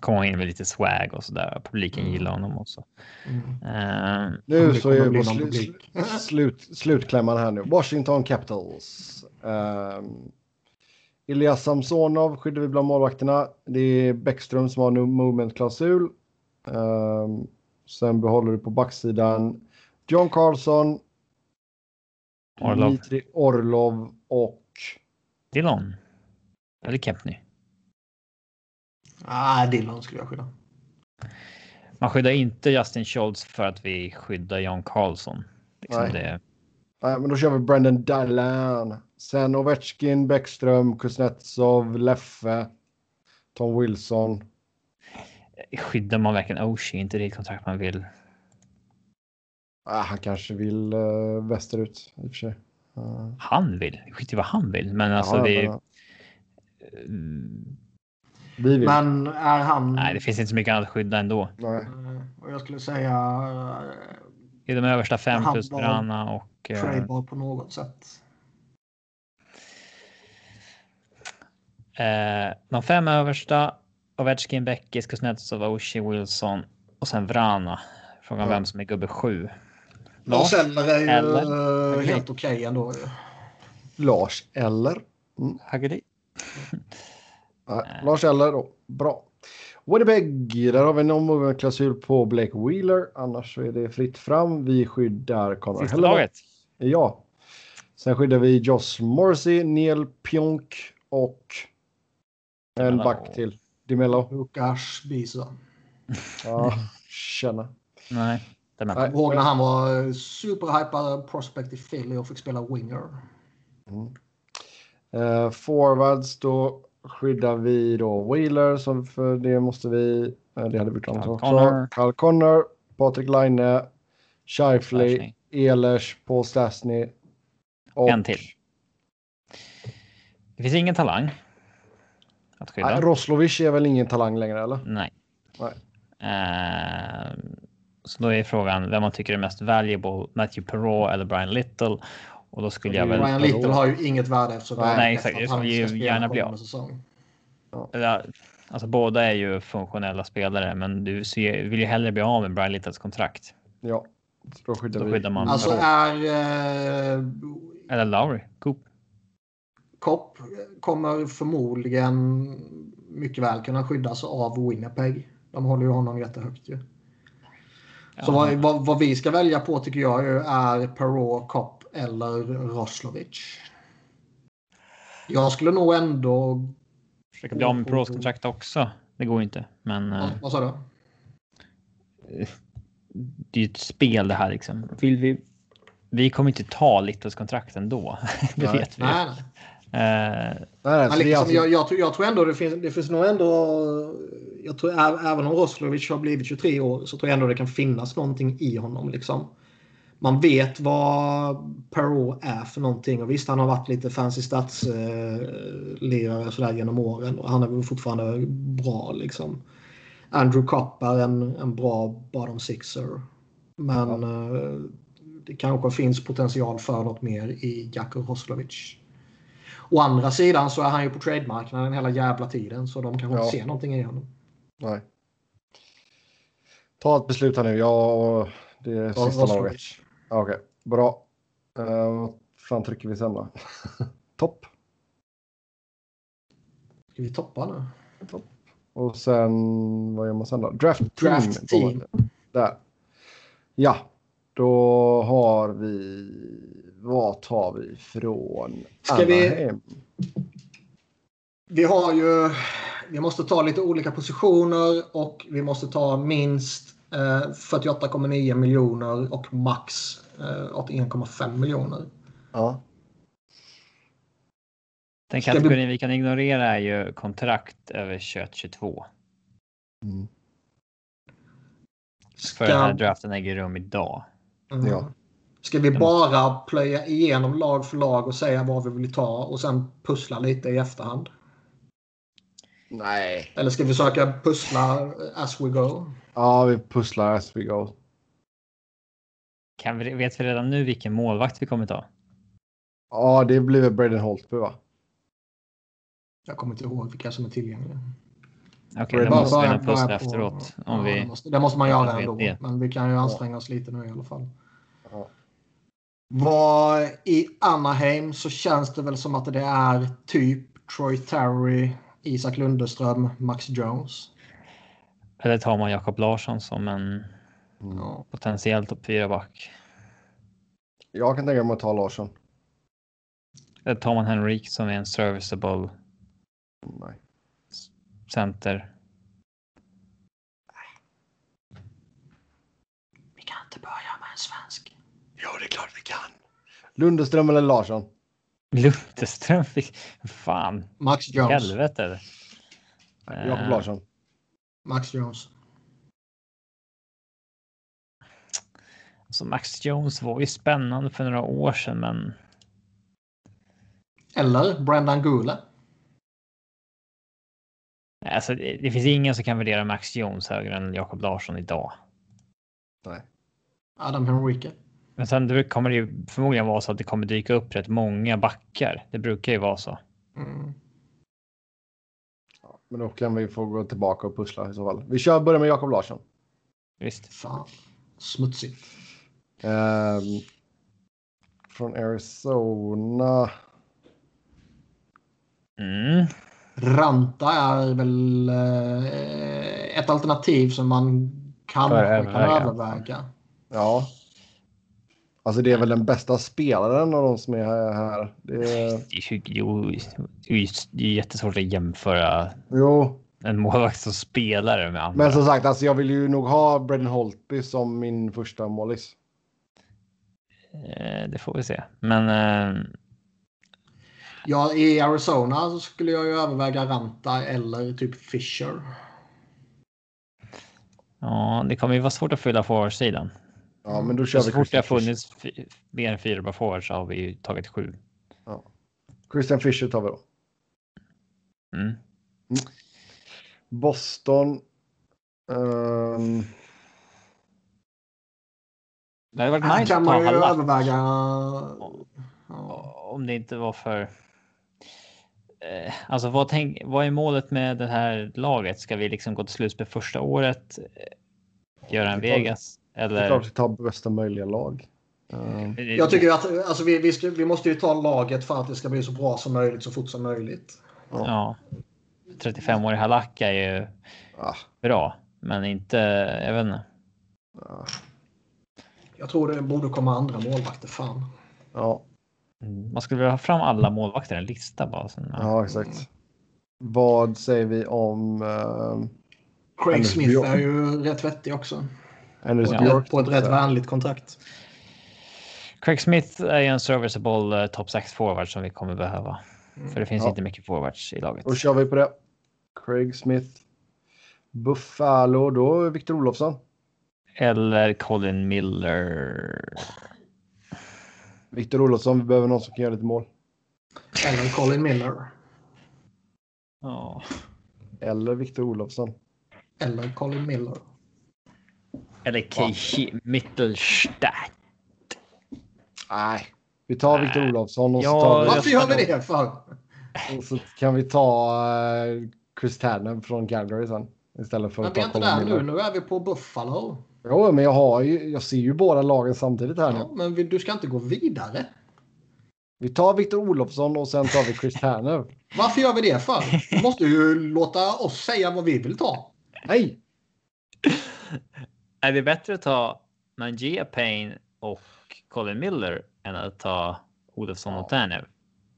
B: komma in med lite swag och sådär. Publiken gillar honom också.
C: Mm.
B: Eh,
A: Nu så är
C: Om
A: vi
C: det
A: på
C: kommer
A: slu,
C: bli
A: slu,
C: någon
A: slut, slutklämman här nu. Washington Capitals. Um, Elias Samsonov skyddar vi bland målvakterna. Det är Bäckström som har no movement-klausul. Ehm, sen behåller du på backsidan John Carlson,
B: Orlov.
A: Dmitri Orlov och...
B: Dillon. Eller Kempny.
C: Nej, Dillon Ah, skulle jag skydda.
B: Man skyddar inte Justin Schultz för att vi skyddar John Carlson. Liksom
A: Nej.
B: det,
A: Nej, men då kör vi Brendan Dylan. Sen Ovechkin, Bäckström, Kuznetsov, Leffe, Tom Wilson.
B: skyddar man verkligen Oshie? Inte det är ett kontrakt man vill
A: Ah, han kanske vill eh, västerut i och för sig. Eh,
B: han vill. Skit i vad han vill. Men alltså
A: ja,
B: det,
A: men, eh, vi vill.
C: Men är han...
B: nej, det finns inte så mycket annat att skydda ändå.
A: Nej.
C: Eh, Och jag skulle säga eh,
B: I de översta fem
C: Han
B: plus
C: var-
B: Brana och... eh,
C: tradebar på något sätt.
B: Eh, de fem översta. Ovechkin, Beckis, Kuznetsov, Oshie, Wilson och sen Vrana. Frågan
A: Ja.
B: vem som är gubbe sju. Lars
C: Lars Eller är ju
B: Eller?
C: eh,
B: Okej.
C: helt okej ändå. ju.
A: Lars eller?
B: Hagelin.
A: Nej, Lars eller då. Bra. Winnipeg, där har vi någon movement-klausul på Blake Wheeler. Annars så är det fritt fram. Vi skyddar Connor
B: Sista
A: Hellebuck.
B: laget.
A: Ja. Sen skyddar vi Josh Morrissey, Neil Pionk och en
B: Dimelo.
A: back till. Dimello.
C: Lukas Bisa.
A: Ja, känna.
B: Nej. Den
A: Nej.
B: här.
C: Ihåg när han var eh, superhypad prospect i Philly och fick spela winger.
A: Eh, forwards, då skyddar vi då Wheeler, som för det måste vi... eh, det hade vi klarat
B: Kyle
A: också.
B: Connor.
A: Kyle Connor, Patrik Laine, Scheifly,
B: Stastny.
A: Ehlers, Paul Stastny. Och,
B: En till. Det finns ingen talang. Att skydda.
A: Nej, Ah, Roslovic är väl ingen talang längre, eller?
B: Nej.
A: Nej.
B: Eh, så då är frågan vem man tycker är mest valuable, Matthew Perrault eller Brian Little. Och då skulle jag väl...
C: Ryan Little har ju inget värde eftersom
A: Nej,
C: han-
B: exakt.
C: eftersom
B: Det
C: han
B: skulle
C: ska
B: ju
C: spela
B: gärna bli
C: kommande
B: av.
C: säsong.
B: Ja, Alltså båda är ju funktionella spelare, men du ser- vill ju hellre bli av med Brian Littles kontrakt.
A: Ja. Så då skyddar
B: Då
A: vi.
B: skyddar man-
C: Alltså
A: Perrault.
C: är eh,
B: Eller Lowry, Coop.
C: Kopp kommer förmodligen mycket väl kunna skyddas av Winnipeg. De håller ju honom jättehögt ju. Så
B: Ja.
C: vad, vad, vad vi ska välja på tycker jag ju är Perrault, Kopp eller Roslovic. Jag skulle nog ändå
B: Försöka bli av med Peros kontrakt också. Det går ju inte, men eh,
C: Ja, vad sa du?
B: det är ju ett spel det här liksom. Vill vi? Vi kommer inte ta Littos kontrakt ändå. det
A: Nej.
B: vet vi. ju.
C: Nej, nej.
B: Eh,
A: Nej, nej, så
C: Men
A: det är
C: liksom,
A: alltså-
C: jag, jag, tror, jag tror ändå det finns, det finns nog ändå... Jag tror ä- även om Roslovic har blivit 23 år så tror jag ändå det kan finnas någonting i honom. Liksom. Man vet vad Perrault är för någonting. Och visst, han har varit lite fancy stadslirare sådär genom åren. Och han är väl fortfarande bra liksom. Andrew Kopp är en, en bra bottom sixer. Men eh, det kanske finns potential för något mer i Jacko Roslovic. Å andra sidan så är han ju på trademarknaden hela jävla tiden så de kanske
A: Ja.
C: inte ser någonting i honom.
A: Nej. Ta ett beslut här nu. Jag och det är
C: Ja,
A: sista laget.
C: Roslovic.
A: Ja, Okej, bra. Eh, Vad fan trycker vi sen då? Topp.
C: Ska vi toppa nu?
A: Och sen, vad gör man sen då? Draft team.
C: Draft team.
A: Där. Ja, då har vi... Vad tar vi från
C: Ska vi-
A: Anaheim?
C: Vi har ju... Vi måste ta lite olika positioner och vi måste ta minst eh, 48,9 miljoner och max eh, 81,5 miljoner.
A: Ja.
B: Den
C: Ska vi-
B: kategorin vi kan ignorera är ju kontrakt över 21-22.
A: Mm.
B: För den här
C: Ska-
B: draften äger rum idag.
C: Mm.
A: Ja.
C: Ska vi bara plöja igenom lag för lag och säga vad vi vill ta och sen pussla lite i efterhand?
A: Nej.
C: Eller ska vi försöka pussla as we go?
A: Ja, vi pusslar as we go.
B: Kan vi, vet vi redan nu vilken målvakt vi kommer ta?
A: Ja, det blir väl Braden Holtby va?
C: Jag kommer inte ihåg vilka som är tillgängliga.
B: Okej,
A: Braden
B: då måste vi
C: Bara-
B: nog pussla
C: bara på-
B: efteråt. Om
C: ja,
B: vi,
C: det, måste, det måste man göra
B: om vi
C: ändå.
B: vet
C: Men vi kan ju anstränga oss lite nu i alla fall.
A: Ja.
C: Vad i Anaheim så känns det väl som att det är typ Troy Terry, Isak Lundeström, Max Jones.
B: eller tar man Jakob Larsson som en
A: Mm.
C: Ja.
B: potentiell topp 4-back?
A: Jag kan tänka mig att ta Larsson.
B: Eller tar man Henrik som är en serviceable
A: Nej.
B: center?
C: Vi kan inte börja med en svensk.
A: Ja, det är klart vi kan. Lundeström eller Larsson?
B: Lundeström fick... Fan,
C: Max Jones.
B: helvete.
A: Jakob
B: Eh,
A: Larsson.
C: Max Jones.
B: Alltså Max Jones var ju spännande för några år sedan, men
C: Eller Brendan Gula.
B: Alltså, det, det finns ingen som kan värdera Max Jones högre än Jakob Larsson idag.
A: Nej.
C: Adam Henrique.
B: Men sen det kommer det ju förmodligen vara så att det kommer dyka upp rätt många backar. Det brukar ju vara så.
C: Mm.
A: Ja, men då kan vi få gå tillbaka och pussla i så fall. Vi kör, börjar med Jakob Larsson.
B: Visst.
C: Fan. Smutsigt.
A: Ehm, från Arizona.
B: Mm.
C: Ranta är väl eh, ett alternativ som man kanske
B: Bör
C: kan
B: överväga.
C: överväga.
A: Ja. Alltså det är väl den bästa spelaren av de som är här. Det är,
B: Det är ju, jo, det är ju det är jättesvårt att jämföra
A: jo,
B: en målvakt som spelare med andra.
A: men som sagt, alltså jag vill ju nog ha Braden Holtby som min första målis.
B: Eh, Det får vi se. Men eh,
C: Ja, I Arizona så skulle jag ju överväga Ranta eller typ Fisher.
B: ja, det kommer ju vara svårt att fylla forwardsidan.
A: Ja, men då kör
B: Mm, Så
A: vi
B: fort det har
A: Christian Fischer.
B: funnits fy- mer än fyra bra forwards så har vi ju tagit sju.
A: Christian Fischer tar vi då.
B: Mm.
A: Boston. Ehm,
B: Det hade varit
C: Här
B: nice
C: kan
B: att ta
C: man ju
B: Halak.
C: överväga... Ja.
B: om det inte var för. Eh, Alltså vad, tänk, vad är målet med det här laget? Ska vi liksom gå till slutspel första året? eh, Göra en
A: Det är klart-
B: Vegas?
A: det är
B: Eller?
A: klart vi tar bästa möjliga lag. Ehm,
C: Jag tycker ju att alltså, vi, vi, ska, vi måste ju ta laget för att det ska bli så bra som möjligt så fort som möjligt.
B: Ja. 35-årig Halak är ju
A: ah,
B: bra, men inte, jag vet inte.
A: ah,
C: Jag tror det borde komma andra målvakter. Fan.
A: ja,
B: Mm, Man skulle vilja ha fram alla målvakter, en lista bara. Sen, ja.
A: ja, exakt. Vad säger vi om eh,
C: Craig
A: Anders
C: Smith
A: Björk.
C: är ju rätt vettig också.
A: Anders
C: På ett,
A: Björk?
C: på ett rätt vänligt kontrakt.
B: Craig Smith är ju en serviceable eh, top 6 forward som vi kommer behöva. För det finns
A: Ja.
B: inte mycket forwards i laget.
A: Då kör vi på det. Craig Smith. Buffalo, då är Victor Olofsson.
B: Eller Colin Miller.
A: Victor Olofsson, vi behöver någon som kan göra lite mål.
C: Eller Colin Miller.
B: Ja.
A: Eller Victor Olofsson.
C: Eller Colin Miller.
B: Eller Keishi Mittelstadt.
A: Nej. Vi tar Victor
B: Nej.
A: Olofsson och,
B: Ja,
A: så tar
C: Varför gör
B: röstar
C: vi det för?
A: vi, och så kan vi ta eh, Chris Tannen från Calgary sen. Istället för
C: Men
A: att
C: vi
A: ta
C: är inte
A: Colin
C: där nu.
A: Miller.
C: Nu är vi på Buffalo.
A: Jo, men jag, har ju, jag ser ju båda lagen samtidigt här
C: Ja,
A: nu.
C: men vi, du ska inte gå vidare.
A: Vi tar Victor Olofsson och sen tar vi Chris Tannen.
C: Varför gör vi det för? Du måste ju låta oss säga vad vi vill ta.
A: Nej!
B: Är det bättre att ta Mangia Payne och Colin Miller än att ta Olofsson och Tanev?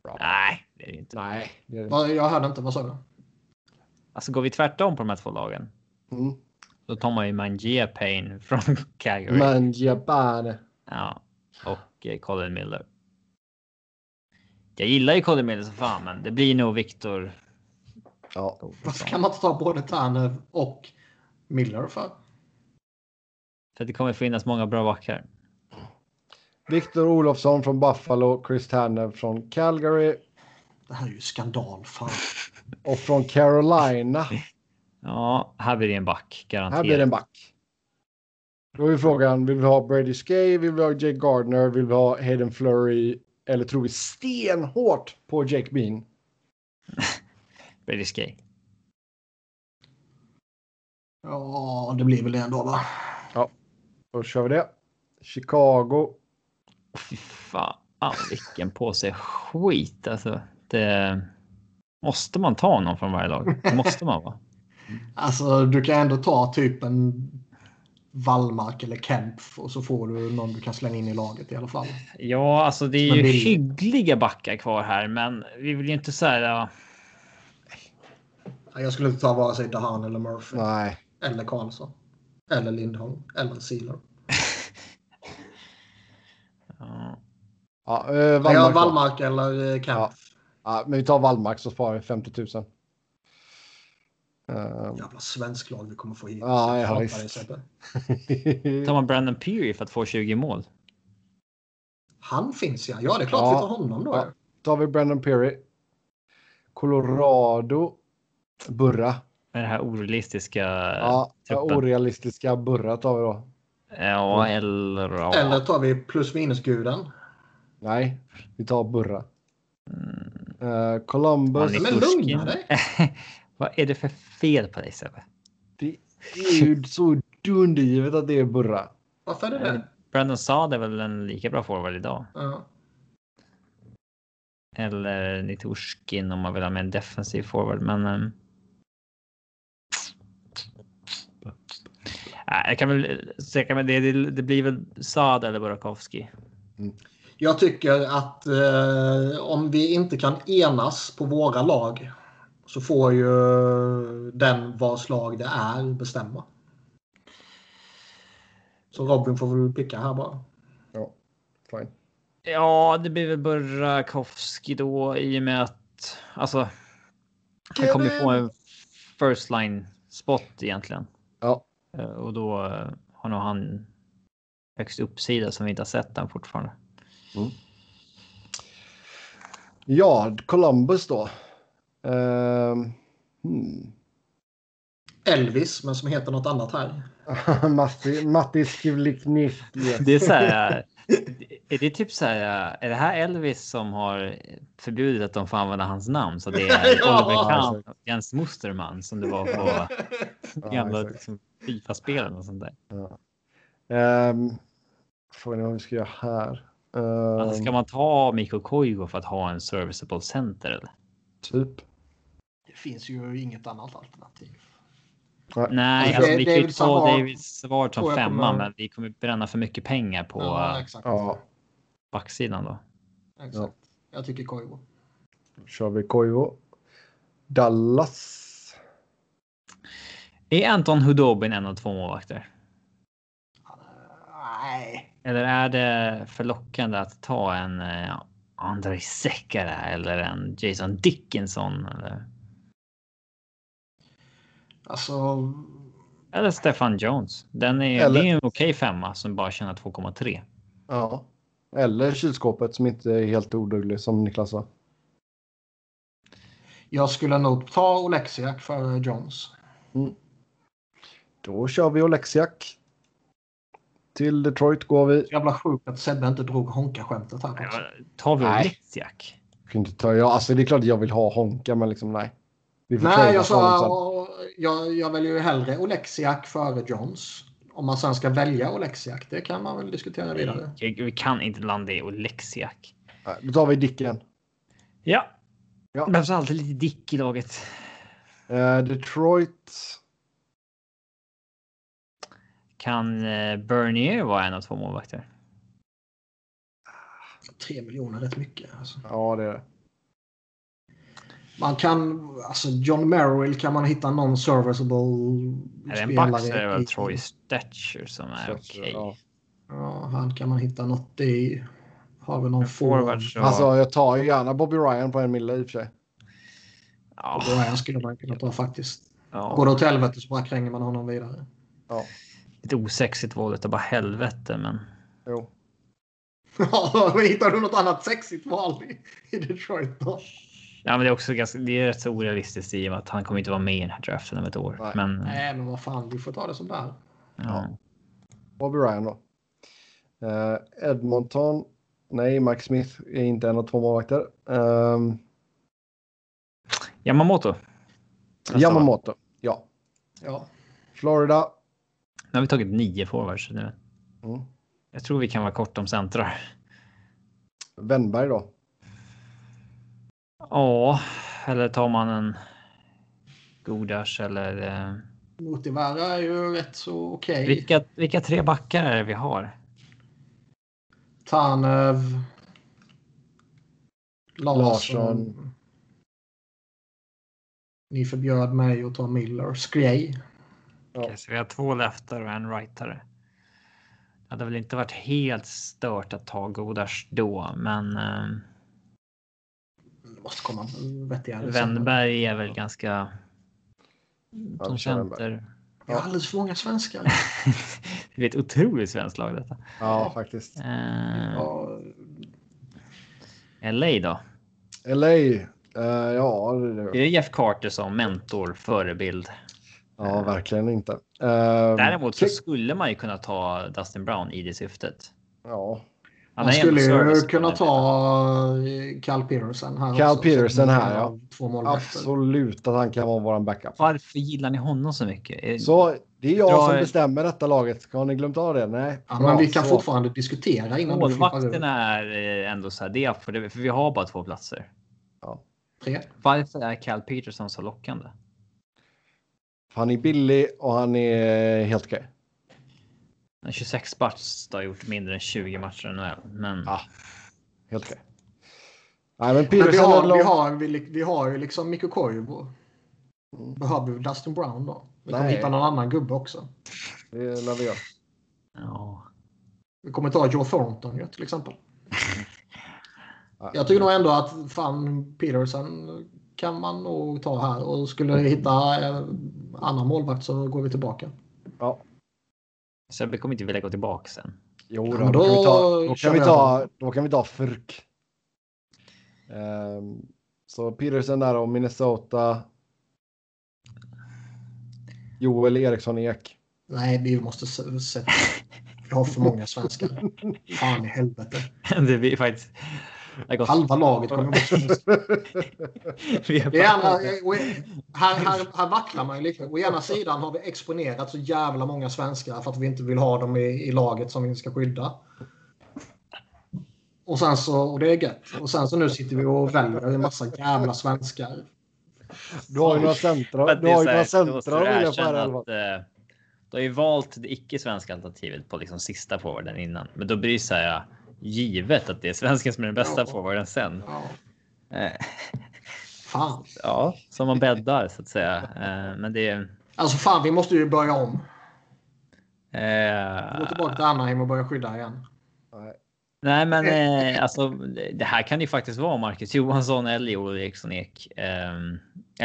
A: Bra.
B: Nej, det är det inte.
A: Nej. det är det inte.
C: Vad- Jag hörde inte, vad sa du?
B: Alltså går vi tvärtom på de här två lagen,
A: Mm.
B: då tar man ju Mangia Payne från Calgary.
A: Men Japan.
B: Ja, och eh, Colin Miller. Jag gillar ju Colin Miller så fan, men det blir nog Viktor.
A: Ja.
C: Varför kan man inte ta både Tanev och Miller för?
B: För det kommer finnas många bra backar.
A: Victor Olofsson från Buffalo, Chris Tannen från Calgary
C: Det här är ju skandal. Fan.
A: och från Carolina.
B: Ja, här blir det en back
A: Här blir det
B: garanterat.
A: en back. Då är frågan, vill vi ha Brady Skay, vill vi ha Jake Gardner, vill vi ha Hayden Flurry eller tror vi stenhårt på Jake Bean?
B: Brady Skay.
C: Ja, det blir väl det ändå va?
A: Då kör vi det. Chicago.
B: Fy fan, vilken påse skit alltså. Det... Måste man ta någon från varje lag? Det måste man va?
C: Alltså, du kan ändå ta typ en Wallmark eller Kemp och så får du någon du kan slänga in i laget i alla fall.
B: Ja, alltså det är
C: Men
B: ju
C: det är-
B: hyggliga backar kvar här, men vi vill ju inte så här. ja,
C: Jag skulle inte ta vare sig Dahan eller Murphy.
A: Nej.
C: Eller Karlsson. Eller Lindholm. Eller Sealer.
B: Ja.
A: Ja, eh, Wallmark,
C: Ja,
A: då.
C: Wallmark eller eh, Kemp.
A: Ja. Ja, men vi tar Wallmark så sparar vi 50 000. Eh,
C: Jävla svensk lag vi kommer få hit.
A: Ja, ja,
C: Hatar dig,
A: visst.
C: Sebbe.
A: Eh,
B: Tar man Brandon Peary för att få 20 mål?
C: Han finns ja. Ja, det är klart
A: Ja.
C: vi tar honom då.
A: Ja. tar vi Brandon Perry. Colorado.
B: Äh,
A: Burra.
B: Med det här orealistiska.
A: Ja,
B: truppen.
A: orealistiska Burra tar vi då.
B: Ja, eller... Ja.
C: Eller tar vi plus minus-guden.
A: Nej, vi tar Burra.
B: Mm.
A: Eh, Columbus.
B: Han är
C: Men
B: Torsken.
C: lugna dig.
B: Vad är det för fel på dig Sebbe?
A: Det är ju så dundergivet att det är Burra.
C: Varför är det det?
B: Brandon Saad är väl en lika bra forward idag?
C: Ja.
B: Eller Niturskin om man vill ha med en defensiv forward, men... ehm, Nej, jag kan väl söka med det. Det det blir väl Saad eller Burakovsky.
C: Jag tycker att eh, om vi inte kan enas på våra lag så får ju den vars lag det är bestämma. Så Robin får väl picka här bara.
A: Ja, fine.
B: Ja, det blir väl Burakovsky då i och med att alltså. Han kommer ju få en first line spot egentligen.
A: Ja,
B: Eh, Och då eh, har nog han högst uppsida som vi inte har sett den fortfarande.
A: ja Columbus då. Ehm, hmm.
C: Elvis, men som heter något annat här.
A: Matti, Matti Skivliknitje.
B: Det är så här. eh, Är det typ så här? eh, Är det här Elvis som har förbjudit att de får använda hans namn? Så det är
C: Ja,
B: Oliver Kahn
A: exakt.
B: och Jens Musterman som det var på gamla liksom, Fifa-spelen och sånt där.
A: Um, frågan är vad vi ska göra här. Ehm,
B: Alltså, ska man ta Mikko Koivu för att ha en serviceable center? Eller?
C: Alltså,
A: Typ.
C: Det finns ju inget annat alternativ.
B: Nej,
C: Alltså,
B: alltså, vi kan ju
C: David
B: ta
C: Savard-
B: David Savard
C: tror
B: som
C: jag
B: femma,
C: kommer-
B: men vi kommer bränna för mycket pengar på
C: ja,
B: eh,
C: exakt.
A: Ja,
B: backsidan då.
C: exakt. Jag tycker Koivu.
A: då kör vi Koivu. Dallas.
B: Är Anton Hudobin en av två målvakter?
C: Nej.
B: Eller är det för lockande att ta en eh, Andrei Sekara eller en Jason Dickinson? Eller,
C: Alltså,
B: eller Stefan Jones? Den är,
A: Eller-
B: Det är en okej femma som bara tjänar 2,3.
A: Ja. Eller kylskåpet som inte är helt oduglig som Niklas sa.
C: jag skulle nog ta Oleksiak före Jones.
A: Då kör vi Oleksiak. Till Detroit går vi.
C: Jävla sjukt att Sebbe inte drog Honka-skämtet här.
B: Ja,
C: också.
B: Tar vi
A: Nej.
B: Oleksiak?
A: Jag kan inte ta, ja, alltså det är klart jag vill ha Honka, men liksom nej. Vi får trada
C: Nej, jag
A: för alltså, honom sen.
C: sa jag, jag väljer ju hellre Oleksiak före Jones. Om man sen ska välja Oleksiak, det kan man väl diskutera vidare.
B: Vi vi kan inte landa i Oleksiak.
A: Nej, Då tar vi Dicken.
B: Ja.
A: Ja.
B: Det behövs alltid lite dick i laget.
A: Eh, Detroit.
B: Kan eh, Bernier vara en av två målvakter?
C: Tre miljoner är rätt mycket. Alltså.
A: Ja, det är det.
C: Man kan, alltså John Merrill kan man hitta någon serviceable
B: Är det en back så är det väl Troy Stetcher som är
A: Så,
B: okej.
A: ja.
C: Ja, han kan man hitta något i. Har vi någon
B: En
C: forward?
B: forward så...
A: Alltså jag tar ju gärna Bobby Ryan på en mille i och för sig.
B: ja,
C: Då är han skulle man kunna ta faktiskt. Går
B: ja.
C: det åt helvete så bara kränger man honom vidare.
A: Ja,
B: Lite osexigt var det, bara helvete. Men
A: jo.
C: Ja, men hittar du något annat sexigt val i, i Detroit då?
B: Mm. Ja, men det är också ganska, det är rätt så orealistiskt i och med att han kommer inte vara med i den här draften om ett år.
A: Nej.
B: Men
C: Nej, men vad fan, vi får ta det som det är.
B: ja.
A: Bobby Ryan då. Eh, Edmonton. Nej, Mike Smith är inte en av två målvakter. Ehm,
B: Yamamoto. Nästa va?
A: Yamamoto. Ja.
C: Ja.
A: Florida.
B: Nu har vi tagit nio forwards nu.
A: Mm.
B: Jag tror vi kan vara kort om centrar.
A: Wennberg då.
B: Ja, eller tar man en Godars eller... Eh,
C: Motivara är ju rätt så okej.
B: vilka, vilka tre backar är det vi har?
C: Tanev. Larsson.
A: Larsson.
C: Ni förbjöd mig att ta Miller. Skrej.
A: Ja.
B: Okej, så vi har två leftare och en rightare. Det hade väl inte varit helt stört att ta Godars då, men eh,
C: Det måste komma vettigare.
B: Wennberg är väl ganska...
A: vi
B: Som
A: kör Wennberg.
B: center.
C: Jag har alldeles för många svenskar.
B: Mm. det är ett otroligt svenskt lag detta.
A: Ja, faktiskt.
B: Eh,
C: Ja,
B: LA då?
A: LA. eh, ja, det,
B: Det är Jeff Carter som mentor, förebild.
A: ja, verkligen inte. Uh,
B: Däremot så skulle man ju kunna ta Dustin Brown i det syftet.
A: Ja.
B: Han
C: man
B: är ändå
C: skulle ju
B: service-
C: kunna ta Cal Peterson här
A: Cal
C: också,
A: Peterson
C: som
A: här,
C: en
A: ja.
C: av Två målvakter.
A: Absolut att han kan vara vår backup.
B: Varför gillar ni honom så mycket? Eh, Är-
A: Så det är jag
B: Dra-
A: som bestämmer detta laget. Har ni glömt av det? Nej.
C: Ja,
A: Bra,
C: men vi kan
A: så.
C: fortfarande diskutera innan du flippar ut.
B: Målvakterna är eh, ändå så här, det är för, det, för vi har bara två platser.
C: Tre.
B: Varför är Cal Peterson så lockande?
A: Han är billig och han är helt okej.
B: En 26 bast har gjort mindre än 20 matcher i NHL, men
A: Ja. Helt okej. Nej, men
C: Men vi,
A: Peterson är
C: har,
A: lång.
C: vi, har, vi, li- vi har ju liksom Mikko Koivu. Behöver vi Dustin Brown då? Vi kommer
A: Nej.
C: hitta någon annan gubbe också.
A: Det lär vi göra.
B: ja.
C: Vi kommer ta Joe Thornton ju, till exempel.
A: Ja.
C: Jag tycker nog ändå att fan Peterson kan man nog ta här. Och skulle vi hitta eh, annan målvakt så går vi tillbaka.
A: Ja.
B: Så jag kommer inte vilja gå tillbaka sen.
A: Jo,
C: Ja,
A: då,
C: men
A: då, kan vi ta,
C: då
A: då,
C: kör
A: kan vi
C: vi
A: ta, då kan vi ta Furk. Ehm, så Peterson där och Minnesota. Joel Eriksson Ek.
C: Nej, vi måste s- sätta... Vi har för många svenskar. Fan i helvete.
B: det blir faktiskt. Det har gått-
C: Halva laget kommer vara svenskar.
B: vi har
C: Det är andra,
B: bara-
C: och- här, här, här vacklar man ju lite. Å ena sidan har vi exponerat så jävla många svenskar för att vi inte vill ha dem i, i laget som vi ska skydda. Och sen så, och det är gött. Och sen så nu sitter vi och väljer en massa jävla svenskar.
A: Du har ju
B: Oj.
A: några
B: För
A: centra.
B: att
A: Du
B: det är
A: har ju
B: så
A: några
B: här, du måste
A: centra att
B: erkänna
A: välja på här elvan.
B: att, eh, Du har ju valt det icke svenska alternativet på liksom sista forwarden innan, men då blir det så här givet att det är svensken som är den bästa
C: Ja.
B: forwarden sen.
C: Ja.
B: Eh,
C: Fan.
B: Ja, som man bäddar så att säga. Eh, Men det är...
C: Alltså fan, vi måste ju börja om. Gå
B: Eh,
C: tillbaka till Anaheim och börja skydda igen.
A: Nej.
B: nej, men eh, alltså, det här kan ju faktiskt vara Marcus Johansson eller Joel Eriksson Ek. Eh,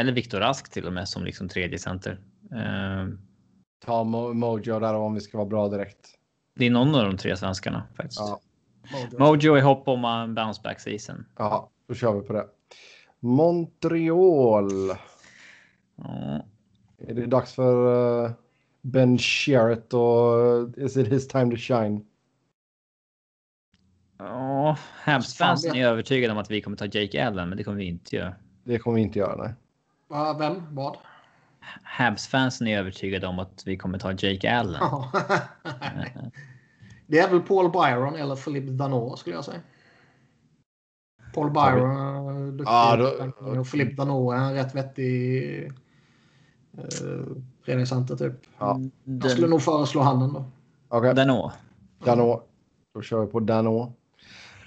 B: eller Viktor Rask till och med som liksom tredje center. Eh,
A: Ta Mo- Mojo där om vi ska vara bra direkt.
B: det är någon av de tre svenskarna faktiskt.
A: Ja,
B: Mojo i hopp om en bounceback season.
A: ja, då kör vi på det. Montreal.
B: Ja.
A: Är det dags för eh, Ben Sherrett och eh, is it his time to shine?
B: Ja, Habs-fansen är övertygade om att vi kommer ta Jake Allen, men det kommer vi inte göra.
A: Det kommer vi inte göra, nej.
C: Va, vem? Vad?
B: Habs-fansen är övertygade om att vi kommer ta Jake Allen.
C: Ja. det är väl Paul Byron eller Philippe Danault skulle jag säga. Paul Byron är duktig.
A: Ja, då-
C: Och Philippe Danault är en rätt vettig eh, träningscenter typ.
A: Ja.
C: Jag skulle
B: Den,
C: nog föreslå handen då.
A: Okej,
B: Mm. den å.
A: Dano. Då kör vi på Dano.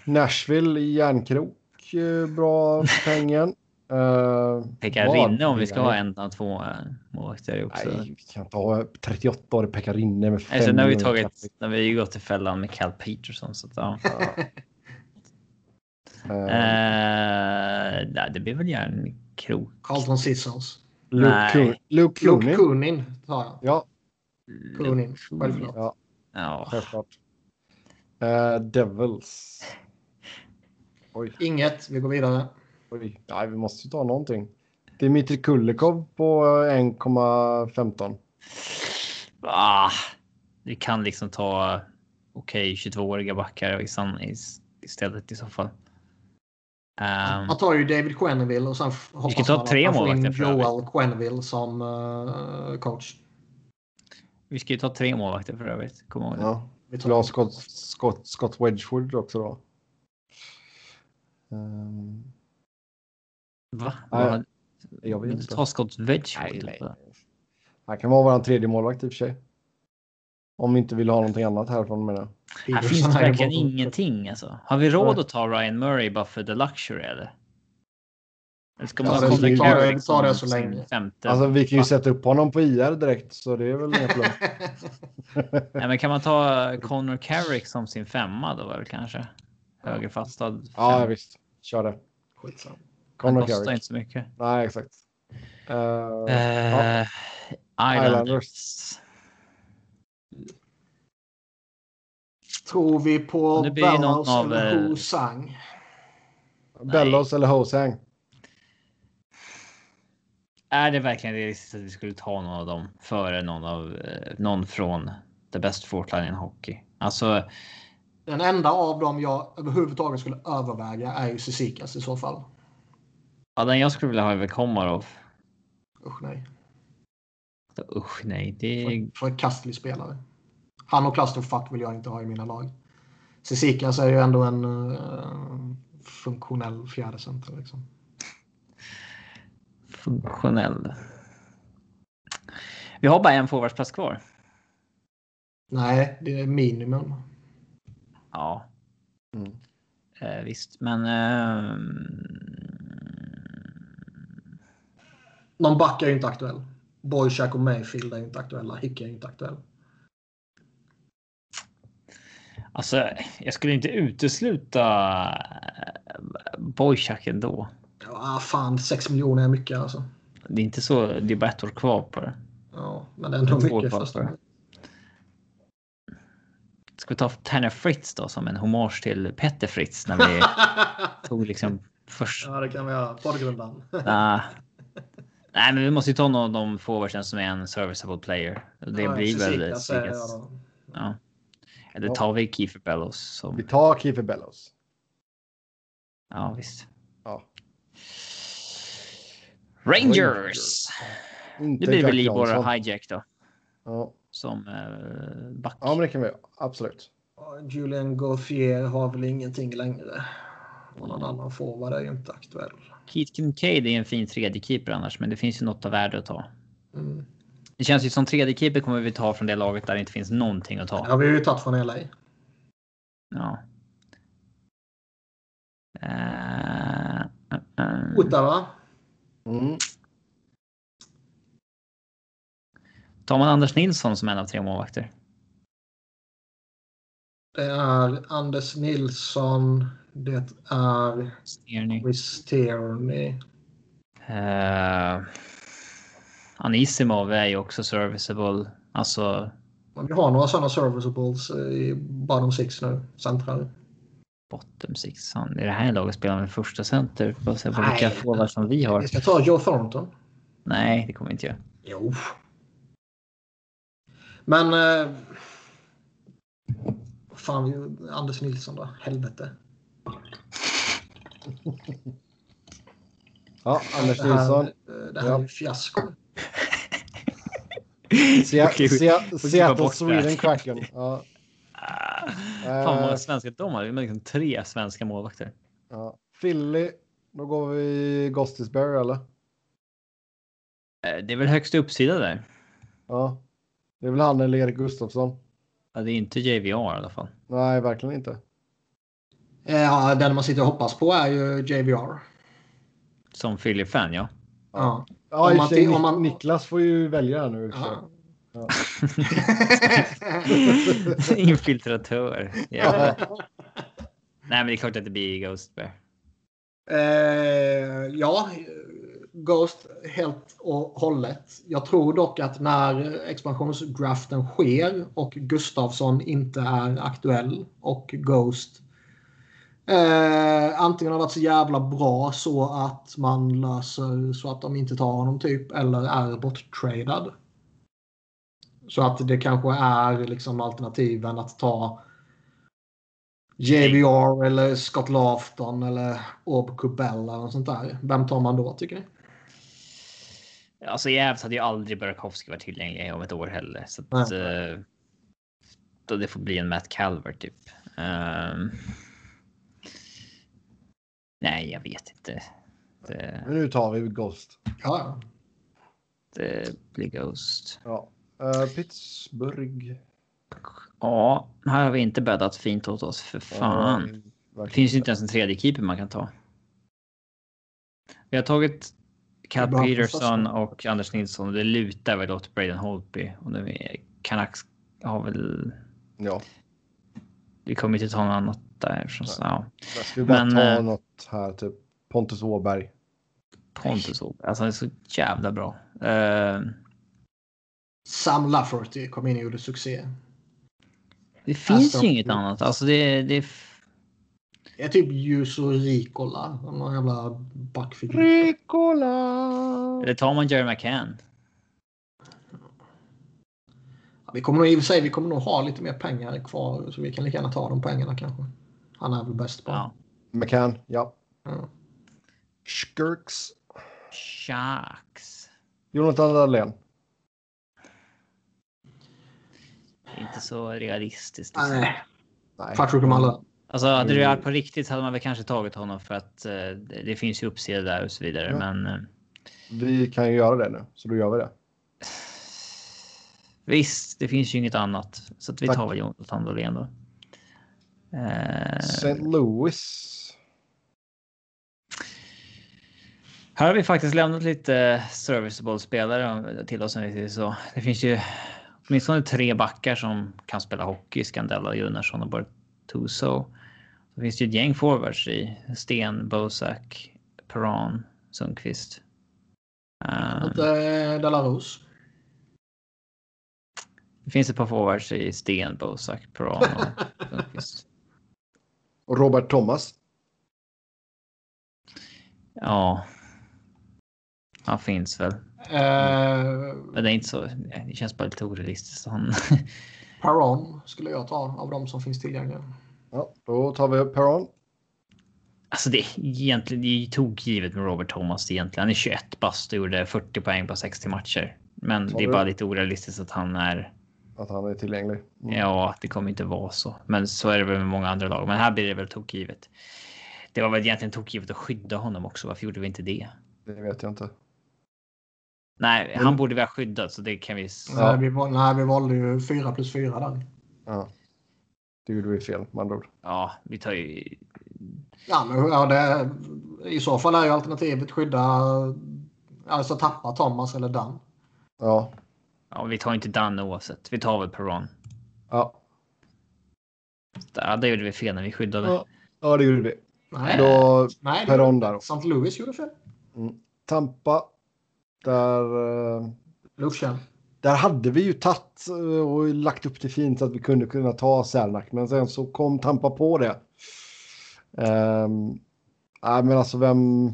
A: Nashville, järnkrok. eh, Bra för pengen. Uh,
B: Pekka Rinne om vi ska ha en av två eh, målvakter också.
A: Nej, vi kan ta 38 år Pekka Rinne med fem.
B: Nej, sen Alltså, har vi
A: miljoner
B: tagit, när vi gått till fällan med Cal Peterson. Så att, ja.
A: kronor. Eh,
B: Eh, nej, det blir väl järnkrok.
C: Carlton Sissons.
A: Luke, Kun-
B: Eh, nej.
A: Luke
C: Luke
A: Kunin.
C: Kunin tar jag.
A: Ja,
C: Kunin, självklart.
A: ja,
B: Ja.
A: självklart. Eh, Devils. Oj,
C: Inget, vi går vidare.
B: Um,
A: oj. Nej, vi måste ju ta någonting. Dimitri Kulikov på eh, 1,15.
B: Ah, vi kan liksom ta okej 22-åriga backar i san- i- istället i så fall. Ehm,
C: Man tar ju David Quenneville och sen f- hoppas
B: ta
C: man
B: tre
C: att man får in
B: målvakter för övrigt.
C: Joel Quenneville som eh, coach.
B: vi ska ju ta tre målvakter för övrigt. Kom ihåg det.
A: Ja.
C: Vi tar-
A: Vill ha Scott, Scott, Scott Wedgwood också då? Ehm,
B: Va?
A: Nej,
B: Vad-
A: jag vet
B: vill du
A: inte.
B: ta Scott Wedgwood?
A: Han kan vara vår tredje målvakt i och för sig. Om vi inte vill ha någonting annat härifrån menar jag.
B: Här
C: Peterson
B: finns det
C: är ju
B: verkligen
C: bara-
B: ingenting alltså. Har vi råd att ta Ryan Murray bara för the luxury eller? Eller ska man
A: Alltså,
B: ha Colin
A: vi tar-
B: Carrick
C: vi tar det
B: som
C: så länge.
B: Femte?
A: Alltså vi kan ju sätta upp honom på IR direkt så det är väl inga problem.
B: Nej, men kan man ta Connor Carrick som sin femma då väl kanske? Högerfastad. Fem.
A: ja visst, kör det.
C: Skitsamma.
A: Connor
B: det kostar
A: Carrick.
B: inte så mycket.
A: Nej exakt. Eh,
B: Eh, Islanders.
A: Islanders.
C: Tror vi på
B: Nu blir ju någon
C: Bellows
B: av,
C: eller
B: eh,
C: Ho Sang?
A: Bellows eller Hosang?
B: Är det verkligen realistiskt att vi skulle ta någon av dem före någon av eh, någon från the best fourth line in hockey? Alltså,
C: Den enda av dem jag överhuvudtaget skulle överväga är ju Cezikas i så fall.
B: ja, den jag skulle vilja ha är väl Komarov.
C: Usch nej.
B: Usch nej, det är
C: För- Förkastlig spelare. Han och Clusterfuck vill jag inte ha i mina lag. Cezikas är ju ändå en eh, funktionell fjärdecenter. Liksom.
B: funktionell. Vi har bara en forwardsplats kvar.
C: Nej, det är minimum.
B: Ja.
A: Mm.
B: Eh, visst, men... Eh,
C: Någon back är ju inte aktuell. Boychuk och Mayfield är ju inte aktuella. Hicke är ju inte aktuell.
B: alltså, jag skulle inte utesluta eh, Boychuk ändå.
C: Ja, fan, 6 miljoner är mycket alltså.
B: Det är inte så. Det är bara ett år kvar på det.
C: Ja, men det är ändå
B: Två
C: mycket.
B: kvar
C: Fast...
B: för. Ska vi ta Tanner Fritz då som en hommage till Petter Fritz när vi tog liksom först
C: ja, det kan vi göra. Poddgrundaren.
B: Nej. Nej, men vi måste ju ta någon av de forwardsen som är en serviceable player. Det
C: Ja,
B: blir väl
C: Cezikas är-
B: Sigas.
C: ja,
B: Ja. Eller tar vi Kiefer Bellows som...
A: Vi tar Kiefer Bellows.
B: Ja, visst.
A: Ja.
B: Rangers!
A: Inte
B: Det blir väl
A: Jack Johnson.
B: Libor Hijack då.
A: Ja.
B: Som eh, back.
A: ja men det kan vi göra. Absolut.
C: då. Julian Gauthier har väl ingenting längre. Och någon annan forward är ju inte aktuell.
B: Keith Kincaid är en fin tredje keeper annars, men det finns ju något av värde att ta.
C: Mm.
B: Det känns ju som tredje keeper kommer vi ta från det laget där det inte finns någonting att ta.
C: Ja, vi har ju tagit från LA.
B: Ja. Eh, eh, eh.
C: Ottawa.
A: Mm.
B: Tar man Anders Nilsson som en av tre målvakter?
C: Det är Anders Nilsson. Det är
B: Sterning.
C: Chris Tierney.
B: Uh, Anisimov är ju också serviceable. Alltså
C: Men Vi har några sådana serviceables eh, i bottom six nu, centrar.
B: bottom six. Han, I det här laget spelar han väl första center. Får se på
C: Nej.
B: vilka forwards som vi har.
C: Vi ska ta Joe Thornton.
B: Nej, det kommer vi inte göra.
C: Jo. Men... Eh, fan, vi- Anders Nilsson då. Helvete.
A: Ja, Anders
C: det här,
A: Nilsson.
C: eh, Det här är
A: Ja.
C: ju fiasko.
A: Sea-
B: Okej, vi-
A: Sea-
B: vi klipper
A: Seattle
B: bort det här.
A: Sweden-cracken. Ja,
B: Ah, Fan vad många svenska de har. Det är liksom tre svenska målvakter.
A: ja. Philly. Då går vi Gostisberry eller?
B: Eh, Det är väl högst uppsida där.
A: Ja. Det är väl han eller Erik Gustafsson?
B: Ja, det är inte JVR i alla fall.
A: Nej, verkligen inte.
C: Eh, Ja, den man sitter och hoppas på är ju JVR.
B: Som Philly-fan, ja.
C: Ja.
A: Ja,
C: Om
A: i och
C: man
A: för sig,
C: ti- om
A: Nik-
C: man-
A: Niklas får ju välja här nu. i och för sig.
C: Ja.
A: Ja.
B: Infiltratör. Ja. Nej, men det är klart att det blir Ghost Bear.
C: Eh, ja, Ghost helt och hållet. Jag tror dock att när expansionsdraften sker och Gustafsson inte är aktuell och Ghost eh, antingen har varit så jävla bra så att man löser så att de inte tar honom typ eller är borttradad. Så att det kanske är liksom alternativen att ta JVR eller Scott Laughton eller Aub Kubella och sånt där. Vem tar man då tycker ni?
B: Alltså Jävs hade ju aldrig Burakovsky varit tillgänglig om ett år heller. Så att,
C: Nej.
B: eh, då det får bli en Matt Calvert typ. Ehm. nej, jag vet inte. Det,
A: Men nu tar vi Ghost.
C: Ja,
B: det blir Ghost.
A: Ja. Eh, Pittsburgh.
B: Ja, här har vi inte bäddat fint åt oss för fan.
A: Ja,
B: Det
A: verkligen.
B: finns ju inte ens en tredje keeper man kan ta. Vi har tagit
C: Vi
B: Cal
C: behöver
B: Peterson
C: första.
B: och Anders Nilsson och det lutar väl åt Braden Holtby. Och nu är Canucks har väl...
A: Ja,
B: Vi kommer inte ta något annat där. Så, ja.
A: där ska vi bara
B: Men,
A: ta
B: eh,
A: något här, typ Pontus Åberg.
B: Pontus Åberg. Alltså han är så jävla bra. Eh,
C: Sam Lafferty kom in och gjorde succé.
B: det finns
C: Alltså,
B: ju inget annat. Alltså det, det är... f-
C: Det är typ Juso Ricola. Någon jävla backfigur.
A: Ricola!
B: Eller tar man Jerry McCann?
C: Ja, vi kommer nog i och för sig vi kommer nog ha lite mer pengar kvar så vi kan lika gärna ta de pengarna kanske. Han är väl bäst på.
B: Ja.
A: McCann, ja.
C: Ja.
A: Skirks.
B: Sharks.
A: Jonathan Dahlén.
B: Det är Inte så realistiskt. liksom.
C: Nej,
A: Nej.
C: Patrick O'Malley.
B: Alltså hade det varit på riktigt så hade man väl kanske tagit honom för att eh, det- det finns ju uppsida där och så vidare.
A: Ja.
B: Men eh,
A: Vi kan ju göra det nu, så då gör vi det.
B: visst, det finns ju inget annat. Så att vi
A: Tack.
B: tar väl Jonathan Dahlén då. Eh,
A: St. Louis.
B: här har vi faktiskt lämnat lite serviceable spelare till oss. om vi säger Så det finns ju åtminstone tre backar som kan spela hockey. Scandella, Gunnarsson och Bartuso. Det finns ju ett gäng forwards i Sten, Bosak, Peran, Sundqvist. Ehm,
C: Inte eh, Delarose.
B: Det finns ett par forwards i Sten, Bosak, Peran och Sundqvist.
A: Och Robert Thomas.
B: Ja. Han finns väl.
C: Eh,
B: Men det är inte så. Det känns bara lite orealistiskt. Han...
C: Paron skulle jag ta av de som finns tillgängliga.
A: Ja, då tar vi Perron.
B: Alltså det är egentligen det är ju tokgivet med Robert Thomas egentligen. Han är 21 bast och gjorde 40 poäng på 60 matcher. Men
A: Sa
B: det är
A: du?
B: bara lite orealistiskt att han är.
A: Att han är tillgänglig. Mm.
B: Ja, att det kommer inte vara så. Men så är det väl med många andra lag. Men här blir det väl tokgivet. Det var väl egentligen tokgivet att skydda honom också. Varför gjorde vi inte det?
A: Det vet jag inte.
B: Nej,
A: Mm.
B: han borde vi ha skyddat så det kan vi. s-
A: Ja.
C: Nej, vi, val- nej, vi valde ju 4 plus 4 där.
A: Ja. Det gjorde vi fel med andra ord.
B: Ja, vi tar ju
C: Ja, men ja, det, I så fall är ju alternativet skydda Alltså tappa Thomas eller Dan.
A: Ja.
B: Ja, vi tar inte Dan oavsett. Vi tar väl Peron.
A: Ja.
B: Ja, det gjorde vi fel när vi skyddade.
A: Ja. ja, det gjorde vi.
C: Nej,
A: Då
C: nej det
A: Peron där.
C: St. Louis gjorde fel.
A: Tampa. Där, eh,
C: Lucian.
A: där hade vi ju tagit eh, och lagt upp det fint så att vi kunde kunna ta Särnak. Men sen så kom Tampa på det. Ehm, nej, men alltså vem...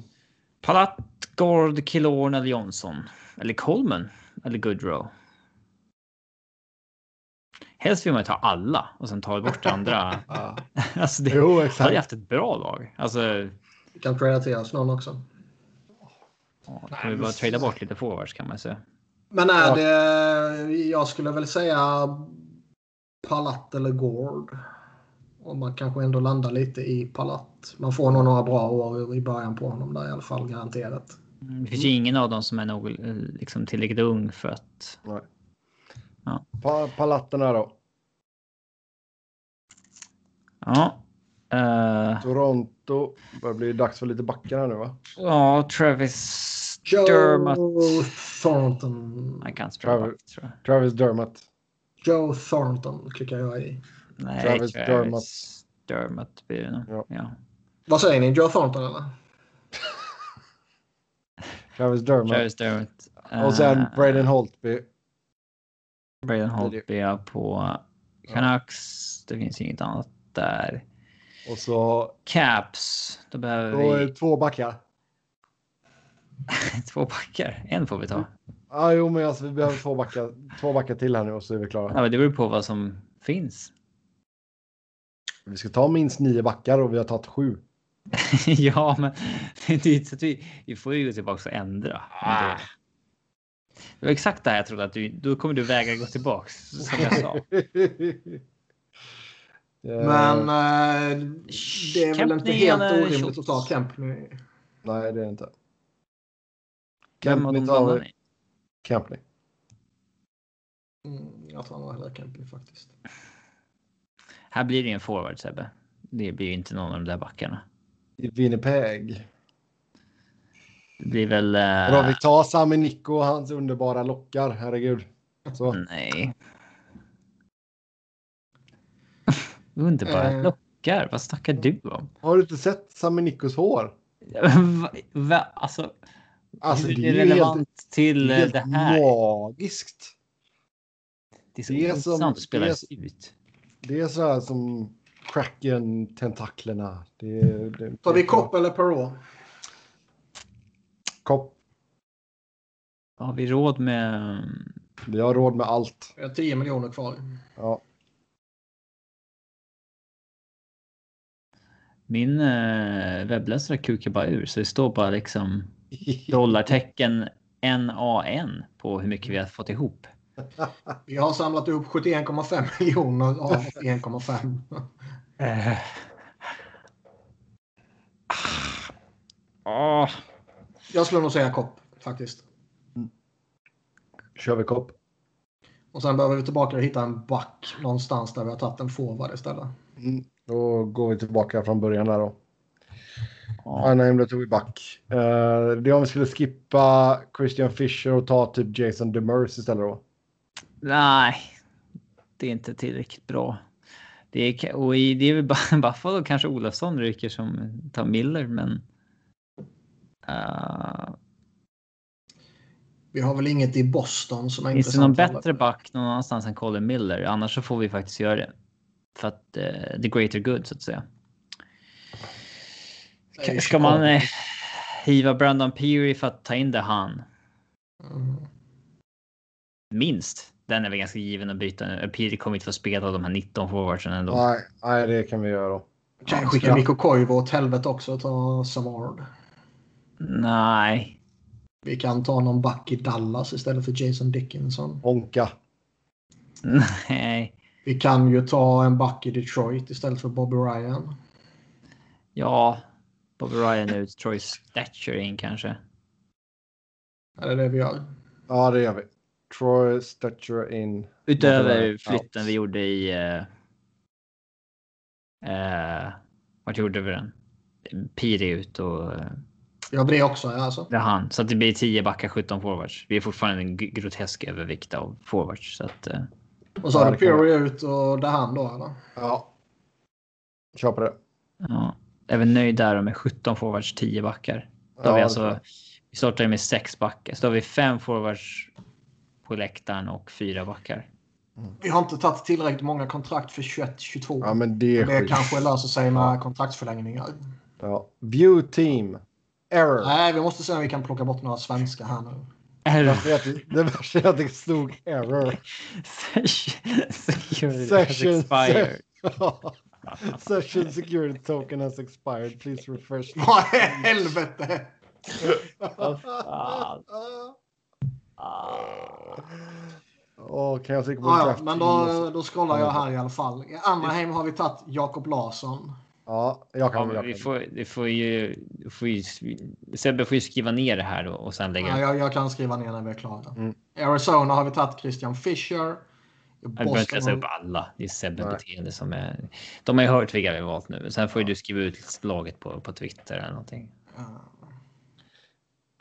B: Palat, Gord, Killorn eller Johnson? Eller Coleman? Eller Goodrow? Helst vill man ju ta alla och sen ta bort det andra.
A: Ja.
B: alltså det
A: Jo,
B: hade ju
A: exakt.
B: haft ett bra lag. Alltså,
C: Vi kan tradea till oss någon också.
B: ja, då kan vi bara trada bort lite forwards kan man säga.
C: Men är
A: Ja.
C: det... Jag skulle väl säga Palat eller Gord. Och man kanske ändå landar lite i Palat. Man får nog några bra år i början på honom där i alla fall, garanterat.
A: Mm.
B: Det finns ju ingen av dem som är nog, eh, liksom, tillräckligt ung för att...
A: Nej.
B: Ja.
A: Pa, palatterna då.
B: Ja. Eh,
A: Toronto. börjar bli dags för lite backar här nu va?
B: ja, Travis
C: Joe
B: Dermott.
C: Thornton.
B: Han kan spela
A: Travis-
B: back, tror jag.
A: Travis Dermott.
C: Joe Thornton klickar jag i.
B: Nej,
A: Travis
B: Travis,
A: Dermott.
B: Dermott blir det nog.
A: Ja.
B: Ja.
C: Vad säger ni? Joe Thornton eller?
A: Travis Dermott.
B: Travis Dermott.
A: Och sen
B: Eh,
A: Braden Holtby.
B: Braden Holtby är på Canucks. Det finns inget annat där.
A: Och så
B: Caps. Då behöver
A: då är det
B: vi
A: två backar.
B: två backar. En får vi ta.
A: Ja, jo, men alltså, vi behöver två backar, två backar till här nu och så är vi klara.
B: Ja, men det beror på vad som finns.
A: Vi ska ta minst nio backar och vi har tagit sju.
B: ja, men det är ju inte så att vi, vi får ju gå tillbaka och ändra. Men det- Det var exakt det här jag trodde att du, då kommer du vägra gå tillbaka. Som jag sa.
A: Eh,
C: Men eh, det är väl inte
B: Kempney
C: helt
B: eller
C: orimligt
B: Schultz?
C: att ta Kempney.
A: Nej, det är det inte.
B: Vem av
A: Kempney
B: dem
A: tar
B: landar
A: vi.
B: ni?
A: Kempney.
C: Mm, jag tar nog hellre Kempney faktiskt.
B: Här blir det ju en forward Sebbe. Det blir ju inte någon av de där backarna.
A: I Winnipeg.
B: Det blir väl... eh,
A: Och då vi tar Sami Nikko och hans underbara lockar. Herregud.
B: Mm.
A: Så.
B: Nej. Underbara
C: Eh.
B: lockar. Vad snackar du om?
A: Har du inte sett Sami Nikkos hår?
B: va, va, alltså,
A: Alltså,
B: hur
A: det är
B: är det
A: ju
B: relevant
A: helt,
B: till eh,
A: helt
B: det här?
A: magiskt.
B: det är så
A: det är som-
B: intressant att spela
A: det är-
B: ut.
A: Det är så här som cracken tentaklerna. Det, är- det,
C: Tar vi
A: det är bra.
C: Kopp eller Perrault?
A: Kopp.
B: Har vi råd med... mm,
A: Vi har råd med allt.
C: Vi har 10 miljoner kvar.
A: Ja.
B: Min eh, webbläsare kukar bara ur så det står bara liksom dollartecken NAN på hur mycket vi har fått ihop.
C: Vi har samlat ihop 71,5 miljoner av 1,5.
B: Eh. Ah. Ah.
C: Jag skulle nog säga Kopp faktiskt.
A: Kör vi kopp.
C: Och sen behöver vi tillbaka och hitta en back någonstans där vi har tagit en forward istället.
A: Då går vi tillbaka från början där då.
B: Ja.
A: Anna Himla tog vi back. Eh, det är om vi skulle skippa Christian Fisher och ta typ Jason Demers istället då.
B: Nej, det är inte tillräckligt bra. Det är, ka- och i, det är väl bara Buffalo kanske Olofsson ryker som tar Miller, men. eh,
C: Vi har väl inget i Boston som är
B: finns det någon
C: intressant.
B: bättre back någon annanstans än Colin Miller? Annars så får vi faktiskt göra det. För att eh, the greater good så att säga.
C: Nej, vi
B: Ska
C: kör
B: man
C: Kopp.
B: eh, hiva Brandon Peary för att ta in det han?
C: Mm.
B: Minst. Den är väl ganska given att byta. Peary kommer inte få spela de här 19 forwardsen ändå.
A: Nej, nej, det kan vi göra då.
C: Kan skicka Mikko Koivu åt helvete också och ta Savard.
B: Nej,
C: Vi kan ta någon back i Dallas istället för Jason Dickinson.
A: Honka.
B: Nej,
C: Vi kan ju ta en back i Detroit istället för Bobby Ryan.
B: ja. Bobby Ryan ut, Troy Stetcher in kanske.
C: Är det det vi gör?
A: Ja, det gör vi. Troy Stetcher in.
B: Utöver
A: Bobby Ryan
B: flytten
A: out.
B: vi gjorde i... Eh, eh, vart gjorde vi den? Piri ut och eh,
C: Jag blir också ja, alltså.
B: Det är han. Så att det blir 10 backar, 17 forwards. Vi är fortfarande en g- grotesk övervikt av forwards. Så att, eh,
C: Och så har
A: Ja,
C: du
A: det kan
C: Fury ut och Dahan då eller?
A: Ja. Kör på det.
B: ja. Även nöjd där med 17 forwards, 10 backar. Då
A: Ja,
B: har vi,
A: det tror
B: alltså,
A: jag.
B: vi startar ju med 6 backar. Så då har vi 5 forwards på läktaren och 4 backar.
C: Vi har inte tagit tillräckligt många kontrakt för 21-22.
A: Ja, men det är
C: det
A: skit.
C: kanske löser sig med kontraktsförlängningar.
A: Ja. View team. Error.
C: Nej, vi måste se om vi kan plocka bort några svenskar här nu.
B: Error.
A: Jag vet- Det värsta är att det stod error.
B: Security has
A: Session,
B: expired.
A: se- Session security token has expired. Please refresh.
C: Vad i helvete!
B: Vad fan.
A: Åh, kan jag trycka på
C: Ah, Ja, ja,
A: draft
C: men
A: team och
C: då,
A: så-
C: då scrollar jag här i alla fall. I Anaheim har vi tagit Jakob Larsson.
A: Ja, jag
B: Ja,
A: kan. jag
B: men vi
A: kan.
B: får, vi får ju, vi får ju... Sebbe får ju skriva ner det här och, och sen lägga
C: Ja, jag, jag kan skriva ner när vi är klara.
A: Mm.
C: Arizona har vi tagit Christian Fisher. I
B: Jag behöver inte läsa
C: Boston,
B: upp alla. Det är Sebbe
A: Nej.
B: beteende som är... De har ju hört vilka vi har valt nu. Sen får ju du skriva ut laget på, på Twitter eller någonting.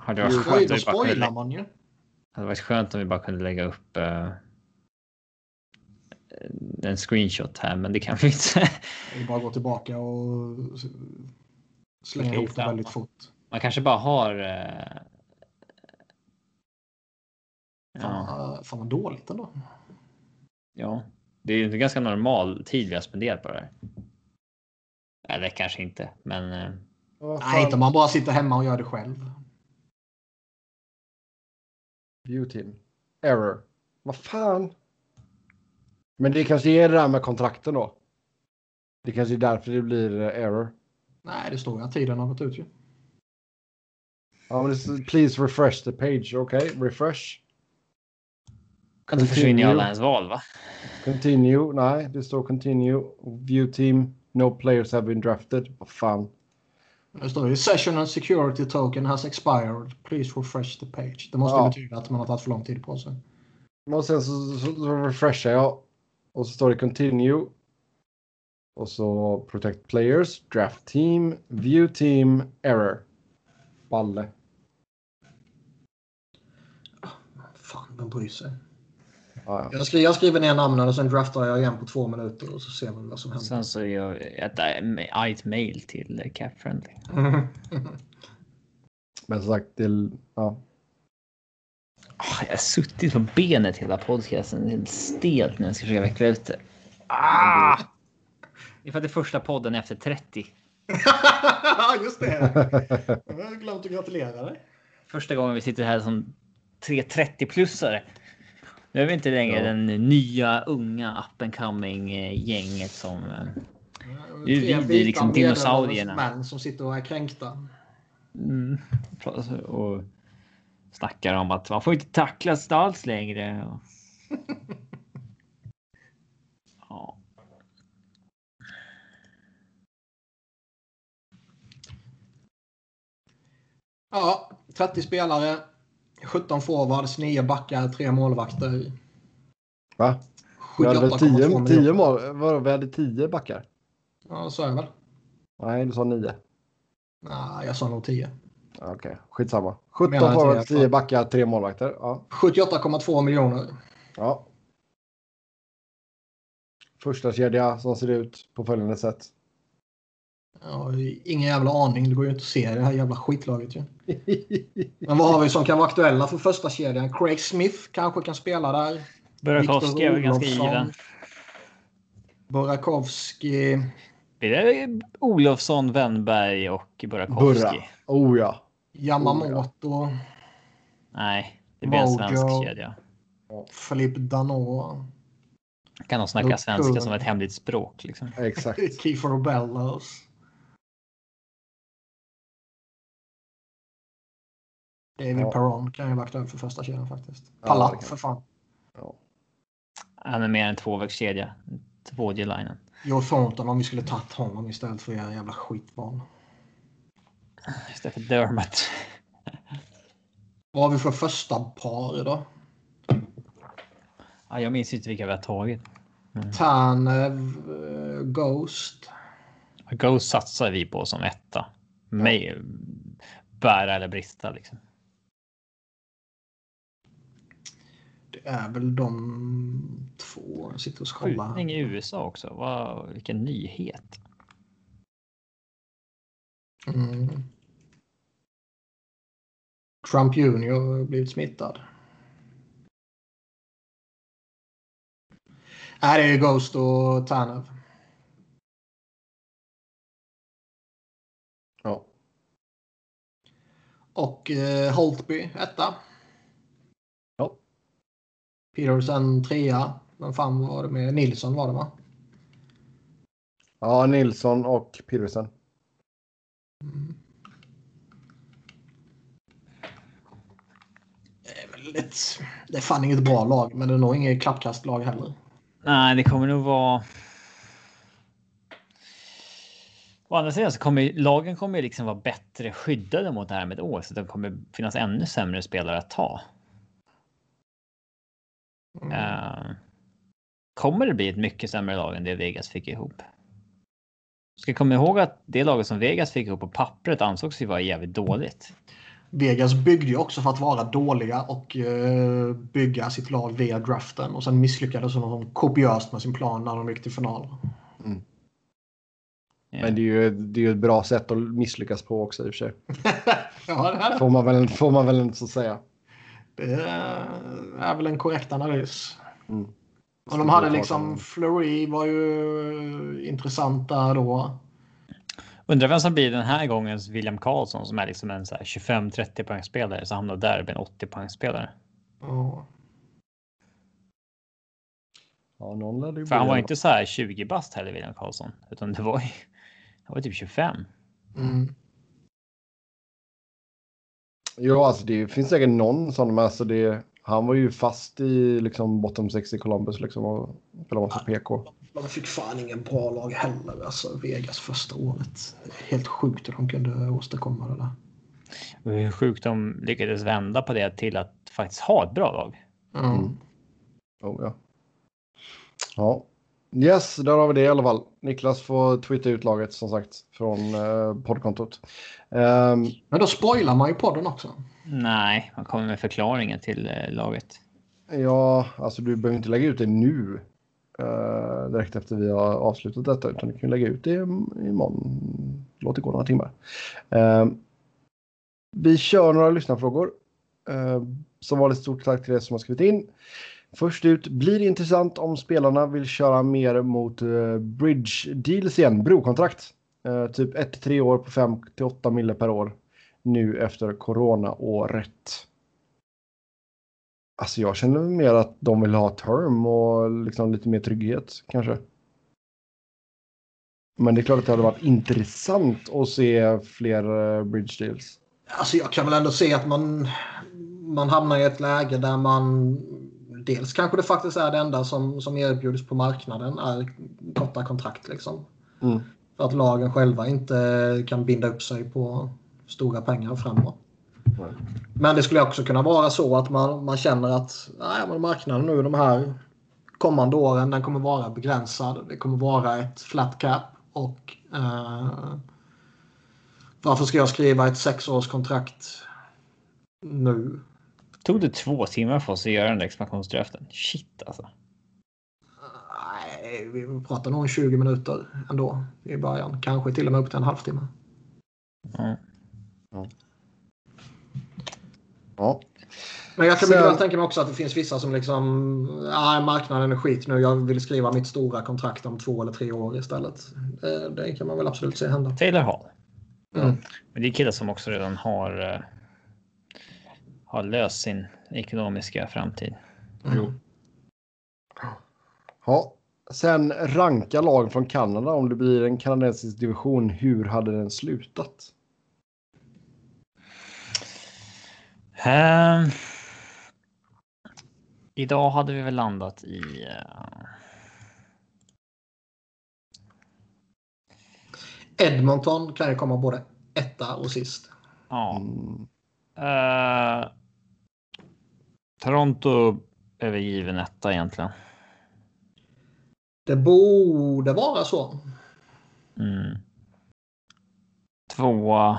B: Har det,
A: Jo,
B: varit
A: då
B: skönt om vi bara kunde
C: Oj, då spoilar
B: lägga,
C: man ju.
B: hade varit skönt om vi bara kunde lägga upp eh, en screenshot här, men det kan vi inte.
C: Det är bara att gå tillbaka och s- slänga
B: Okej,
C: ihop det
B: samma.
C: väldigt fort.
B: Man kanske bara har... eh, Ja,
C: Fan, fan vad dåligt ändå.
B: ja, det är ju en ganska normal tid vi har spenderat på det här. Eller kanske inte, men... eh,
A: Vad fan?
C: Nej, inte om man bara sitter hemma och gör det själv.
A: View team. Error. Vad fan? Men det kanske är det där med kontrakten då. Det kanske är därför det blir eh, error.
C: Nej, det står ju att tiden har gått ut ju.
A: Ja, men det står, please refresh the page. Okej, refresh.
B: Kan inte försvinna i
A: Continue.
B: alla ens val, va?
A: Continue. Nej, det står continue. View team. No players have been drafted. Vad fan.
C: Det står ju session and security token has expired. Please refresh the page. Det måste
A: Ja.
C: betyda att man har tagit för lång tid på sig.
A: Och sen så, så, så refreshar jag. Och så står det continue. Och så protect players, draft team, view team, error. Balle.
C: Fan, vem bryr sig?
A: Ja, ja.
C: Jag skriver, jag skriver ner namnen och sen draftar jag igen på två minuter och så ser vi vad som händer.
B: Sen så gör jag ett, äh, ett mail till eh, Cap Friendly.
C: Mm.
A: Men som sagt, det, ja.
B: Ah, jag har suttit på benet hela podcasten. Det är helt stelt när jag ska försöka veckla ut det. Ah! Det är för att det är första podden efter 30.
C: Ja, just det. Jag har glömt att gratulera dig.
B: Första gången vi sitter här som tre 30-plussare. Nu är vi inte längre
A: Ja.
B: den nya unga up and coming eh, gänget som... eh,
C: Det
B: vi, det är liksom dinosaurierna.
C: Män som sitter och är kränkta.
B: Mm, pratar och snackar om att man får inte tacklas alls längre. och- Ja.
C: Ja, 30 spelare, 17 forwards, 9 backar, 3 målvakter.
A: Va? Vi hade väl
C: 78,2
A: tio,
C: miljoner.
A: tio mål? Vadå, vi hade tio backar?
C: Ja, så är det väl.
A: Nej, du sa nio.
C: Nej, jag sa nog 10.
A: Ja, Okej, skitsamma.
C: Menar
A: 17
C: jag att
A: forwards,
C: det är kvar.
A: 10 backar, tre målvakter. Ja.
C: 78,2 miljoner.
A: ja. Första kedja som ser ut på följande sätt.
C: Jag har ju ingen jävla aning. Det går ju inte att se det här jävla skitlaget ju. Men vad har vi som kan vara aktuella för första kedjan? Craig Smith kanske kan spela där.
B: Burakovsky var ganska
C: Olofsson.
B: given.
C: Burakovsky.
B: Det är Olofsson, Wennberg och Burakovsky.
A: Burra. Oh ja.
C: Yamamoto.
B: Nej, det blir en
C: Mojo.
B: svensk kedja.
C: Philippe Danault.
B: Kan de snacka
C: Mojo.
B: svenska som ett hemligt språk? Liksom.
A: Exakt.
C: Kiefer Bellows. David
A: Ja.
C: Perron kan ju vara aktuell för första kedjan faktiskt.
A: Ja,
C: Palat
A: det kan-
C: för fan.
B: Han är mer en tvåvägskedja. Tvådjelinen.
C: Joe Thornton om vi skulle tagit honom istället för era jävla skitbarn.
B: Istället för Dermot.
C: Vad har vi för första par idag?
B: Ja, jag minns inte vilka vi har tagit.
A: Mm.
C: Tanev, eh, Ghost.
B: Go satsar vi på som etta. May, bära eller brista liksom.
C: Det är väl de två. Jag sitter och scrollar.
B: Skjutning i USA också. Vad, vilken nyhet.
C: Mm. Trump Junior har blivit smittad. Nej, det är ju Ghost och Tanev.
A: Ja.
C: Och eh, Holtby etta.
A: Ja.
C: Petersen trea. Vem fan var det med? Nilsson var det va?
A: ja, Nilsson och Pirvisen.
C: Det är väl ett, det är fan inget bra lag, men det är nog inget klappkastlag heller.
B: Nej, det kommer nog vara. Å andra sidan så kommer ju- lagen kommer ju liksom vara bättre skyddade mot det här med ett år, så det kommer finnas ännu sämre spelare att ta.
C: Mm.
B: Eh, kommer det bli ett mycket sämre lag än det Vegas fick ihop? Ska komma ihåg att det laget som Vegas fick ihop på pappret ansågs ju vara jävligt dåligt.
C: Vegas byggde ju också för att vara dåliga och eh, bygga sitt lag via draften. Och sen misslyckades de kopiöst med sin plan när de gick till final.
B: Eh,
A: Men det är ju det är ju ett bra sätt att misslyckas på också i och för sig.
C: ja, det här
A: Får man väl, får man väl inte så säga.
C: det är väl en korrekt analys.
A: Mm.
C: Och de hade liksom, Flurry var ju intressant där då.
B: Undrar vem som blir den här gångens William Karlsson som är liksom en så här 25-30 poängspelare som hamnar där och blir en 80 poängspelare.
C: Ja.
A: Ja, någon lärde ju
B: För han
A: bli
B: var
A: en-
B: inte så här 20 bast heller, William Karlsson, utan det var ju. Han var typ 25.
C: Mm.
A: Ja, alltså det finns säkert någon sån, men alltså det, han var ju fast i liksom bottom 6 i Columbus liksom och spelade massa PK.
C: De fick fan ingen bra lag heller, alltså Vegas första året. Helt sjukt hur de kunde åstadkomma det där.
B: Och Hur sjukt de lyckades vända på det till att faktiskt ha ett bra lag.
C: Mm.
A: Mm. Oh, ja. ja. Yes, där har vi det i alla fall. Niklas får tweeta ut laget som sagt från eh, poddkontot. Ehm,
C: Men då spoilar man ju podden också.
B: Nej, man kommer med förklaringen till eh, laget.
A: ja, alltså du behöver inte lägga ut det nu. eh, direkt efter vi har avslutat detta, utan du kan lägga ut det im- imorgon. Låt det gå några timmar. Ehm, vi kör några lyssnarfrågor. Ehm, som vanligt stort tack till er som har skrivit in. Först ut, blir det intressant om spelarna vill köra mer mot eh, bridge deals igen, brokontrakt. Eh, typ 1-3 år på 5-8 mille per år nu efter coronaåret. Alltså jag känner mer att de vill ha term och liksom lite mer trygghet kanske. Men det är klart att det hade varit intressant att se fler eh, bridge deals.
C: Alltså jag kan väl ändå se att man, man hamnar i ett läge där man dels kanske det faktiskt är det enda som, som erbjuds på marknaden är korta kontrakt liksom.
A: Mm.
C: För att lagen själva inte kan binda upp sig på stora pengar framåt.
A: Nej.
C: Men det skulle också kunna vara så att man, man känner att nej, men marknaden nu de här kommande åren den kommer vara begränsad. Det kommer vara ett flat cap och eh, varför ska jag skriva ett sexårskontrakt nu?
B: Tog det två timmar för oss att göra den där expansionsdraften? Shit alltså.
C: Nej, vi pratar nog om 20 minuter ändå i början. Kanske till och med upp till en halvtimme.
B: Ja.
A: Ja.
C: Men jag kan mycket
A: Sen-
C: väl tänka mig också att det finns vissa som liksom... Nej, marknaden är skit nu. Jag vill skriva mitt stora kontrakt om två eller tre år istället. Det, det kan man väl absolut se hända.
B: Taylor Hall.
C: Mm.
B: Men det är killar som också redan har. eh, Har löst sin ekonomiska framtid.
A: Jo. Ja. Sen ranka lag från Kanada om det blir en kanadensisk division. Hur hade den slutat?
B: Ehm, idag hade vi väl landat i. eh,
C: Edmonton kan ju komma både etta och sist.
B: ja.
A: Mm.
B: Eh, Toronto övergiven etta egentligen.
C: Det borde vara så.
B: Mm. Tvåa.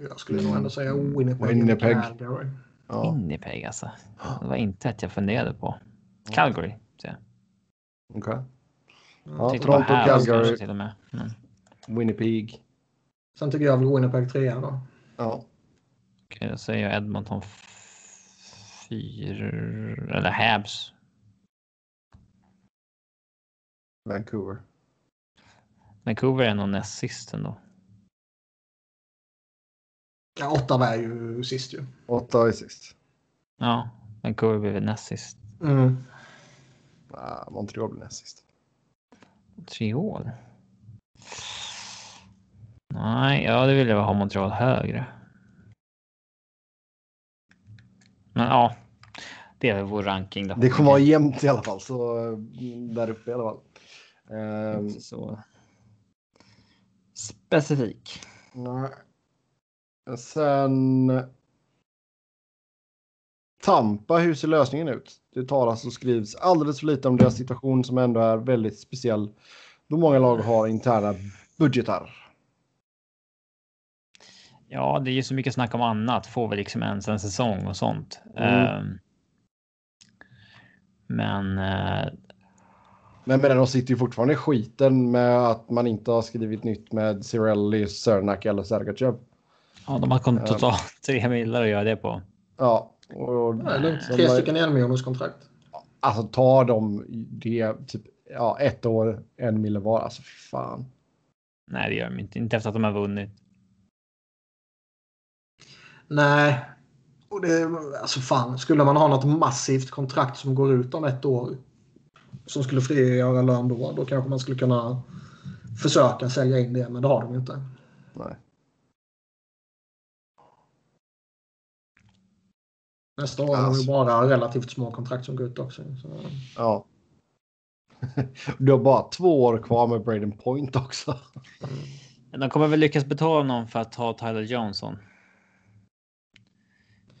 C: Jag skulle nog ändå säga Winnipeg.
A: Winnipeg.
C: Calgary.
A: Ja.
B: Winnipeg alltså. Det var inte ett jag funderade på. Calgary. Så jag
A: Okej. Ja,
B: tänkte bara
A: Toronto,
B: här kanske
A: Calgary.
B: Till och med. Mm.
A: Winnipeg.
C: Sen tycker jag väl Winnipeg trea då.
A: Ja.
B: Okej, då säger jag Edmonton f- fyra eller Habs.
A: Vancouver.
B: Vancouver är nog näst sist ändå.
C: Ja, Ottawa är ju sist ju.
A: Åtta är sist.
B: Ja, Vancouver blir väl näst sist.
C: Mm.
A: Ah, Montreal blir näst sist.
B: Montreal. Nej, ja, det vill jag ha Montreal högre. Men ja, det är väl vår ranking. Då.
A: Det kommer vara jämnt i alla fall, så eh, där uppe i alla fall. Ehm,
B: Inte så specifik.
A: nej. Sen. Tampa, hur ser lösningen ut? Det talas och skrivs alldeles för lite om deras situation som ändå är väldigt speciell då många lag har interna budgetar.
B: Ja, det är ju så mycket snack om annat. Får vi liksom ens en säsong och sånt.
A: Mm.
B: Ehm, men eh,
A: Men med den, de sitter ju fortfarande i skiten med att man inte har skrivit nytt med Cirelli, Cernak eller Sergachev.
B: ja, de har
C: Ehm.
B: kommit totalt tre miljoner att göra det på.
A: Ja, och
C: Ja, det är lugnt.
A: de-
C: Tre stycken enmiljonerskontrakt.
A: Alltså ta dem, det typ ja, ett år, en mille var. Alltså fy fan.
B: Nej, det gör de inte. Inte efter att de har vunnit.
C: Nej. Och det, alltså fan, skulle man ha något massivt kontrakt som går ut om ett år som skulle frigöra lön då, då kanske man skulle kunna försöka sälja in det, men det har de ju inte.
A: Nej.
C: Nästa år har
A: Alltså.
C: vi bara relativt små kontrakt som går ut också. Så.
A: Ja. Du har bara två år kvar med Braden Point också.
B: De kommer väl lyckas betala någon för att ta Tyler Johnson.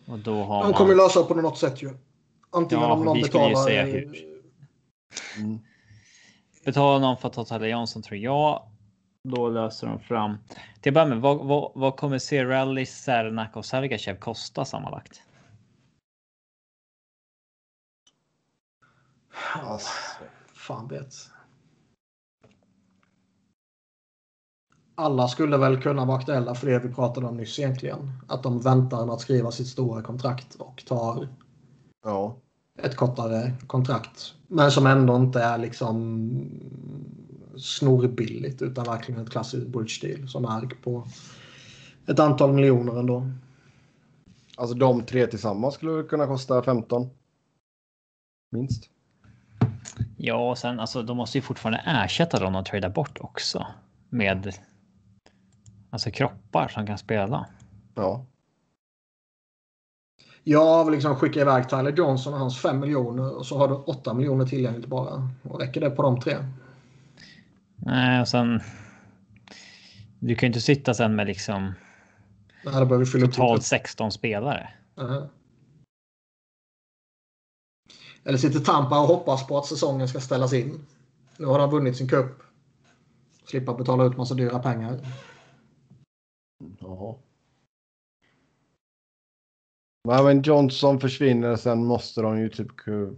B: Och då har
C: De
B: man...
C: kommer lösa på något sätt ju. Antingen
B: Ja,
C: om någon
B: vi skulle ju
C: betalar...
B: säga typ hur.
A: Mm.
B: betala någon för att ta Tyler Johnson tror jag. Då löser de fram. Till att börja med, vad, vad, vad kommer Cirelli, Sernak och Sergachev kosta sammanlagt?
C: Ja, Alltså, fan vet. Alla skulle väl kunna vara aktuella för det vi pratade om nyss egentligen. Att de väntar med att skriva sitt stora kontrakt och tar
A: Ja.
C: ett kortare kontrakt. Men som ändå inte är liksom snorbilligt utan verkligen ett klassiskt bridge deal som är på ett antal miljoner ändå.
A: Alltså de tre tillsammans skulle kunna kosta 15. Minst.
B: Ja, och sen alltså, de måste ju fortfarande ersätta dem de tradar bort också med. Alltså kroppar som kan spela.
A: Ja.
C: Jag vill liksom skicka iväg Tyler Johnson och hans 5 miljoner och så har du 8 miljoner tillgängligt bara. Och räcker det på de tre?
B: Nej, och sen. Du kan ju inte sitta sen med liksom
C: Nej, då behöver vi fylla upp
B: totalt 16 spelare.
C: Mhm. Eller sitter Tampa och hoppas på att säsongen ska ställas in. Nu har de vunnit sin cup. Slippa betala ut massa dyra pengar.
A: Jaha. Nej, men Johnson försvinner sen måste de ju typ... ku-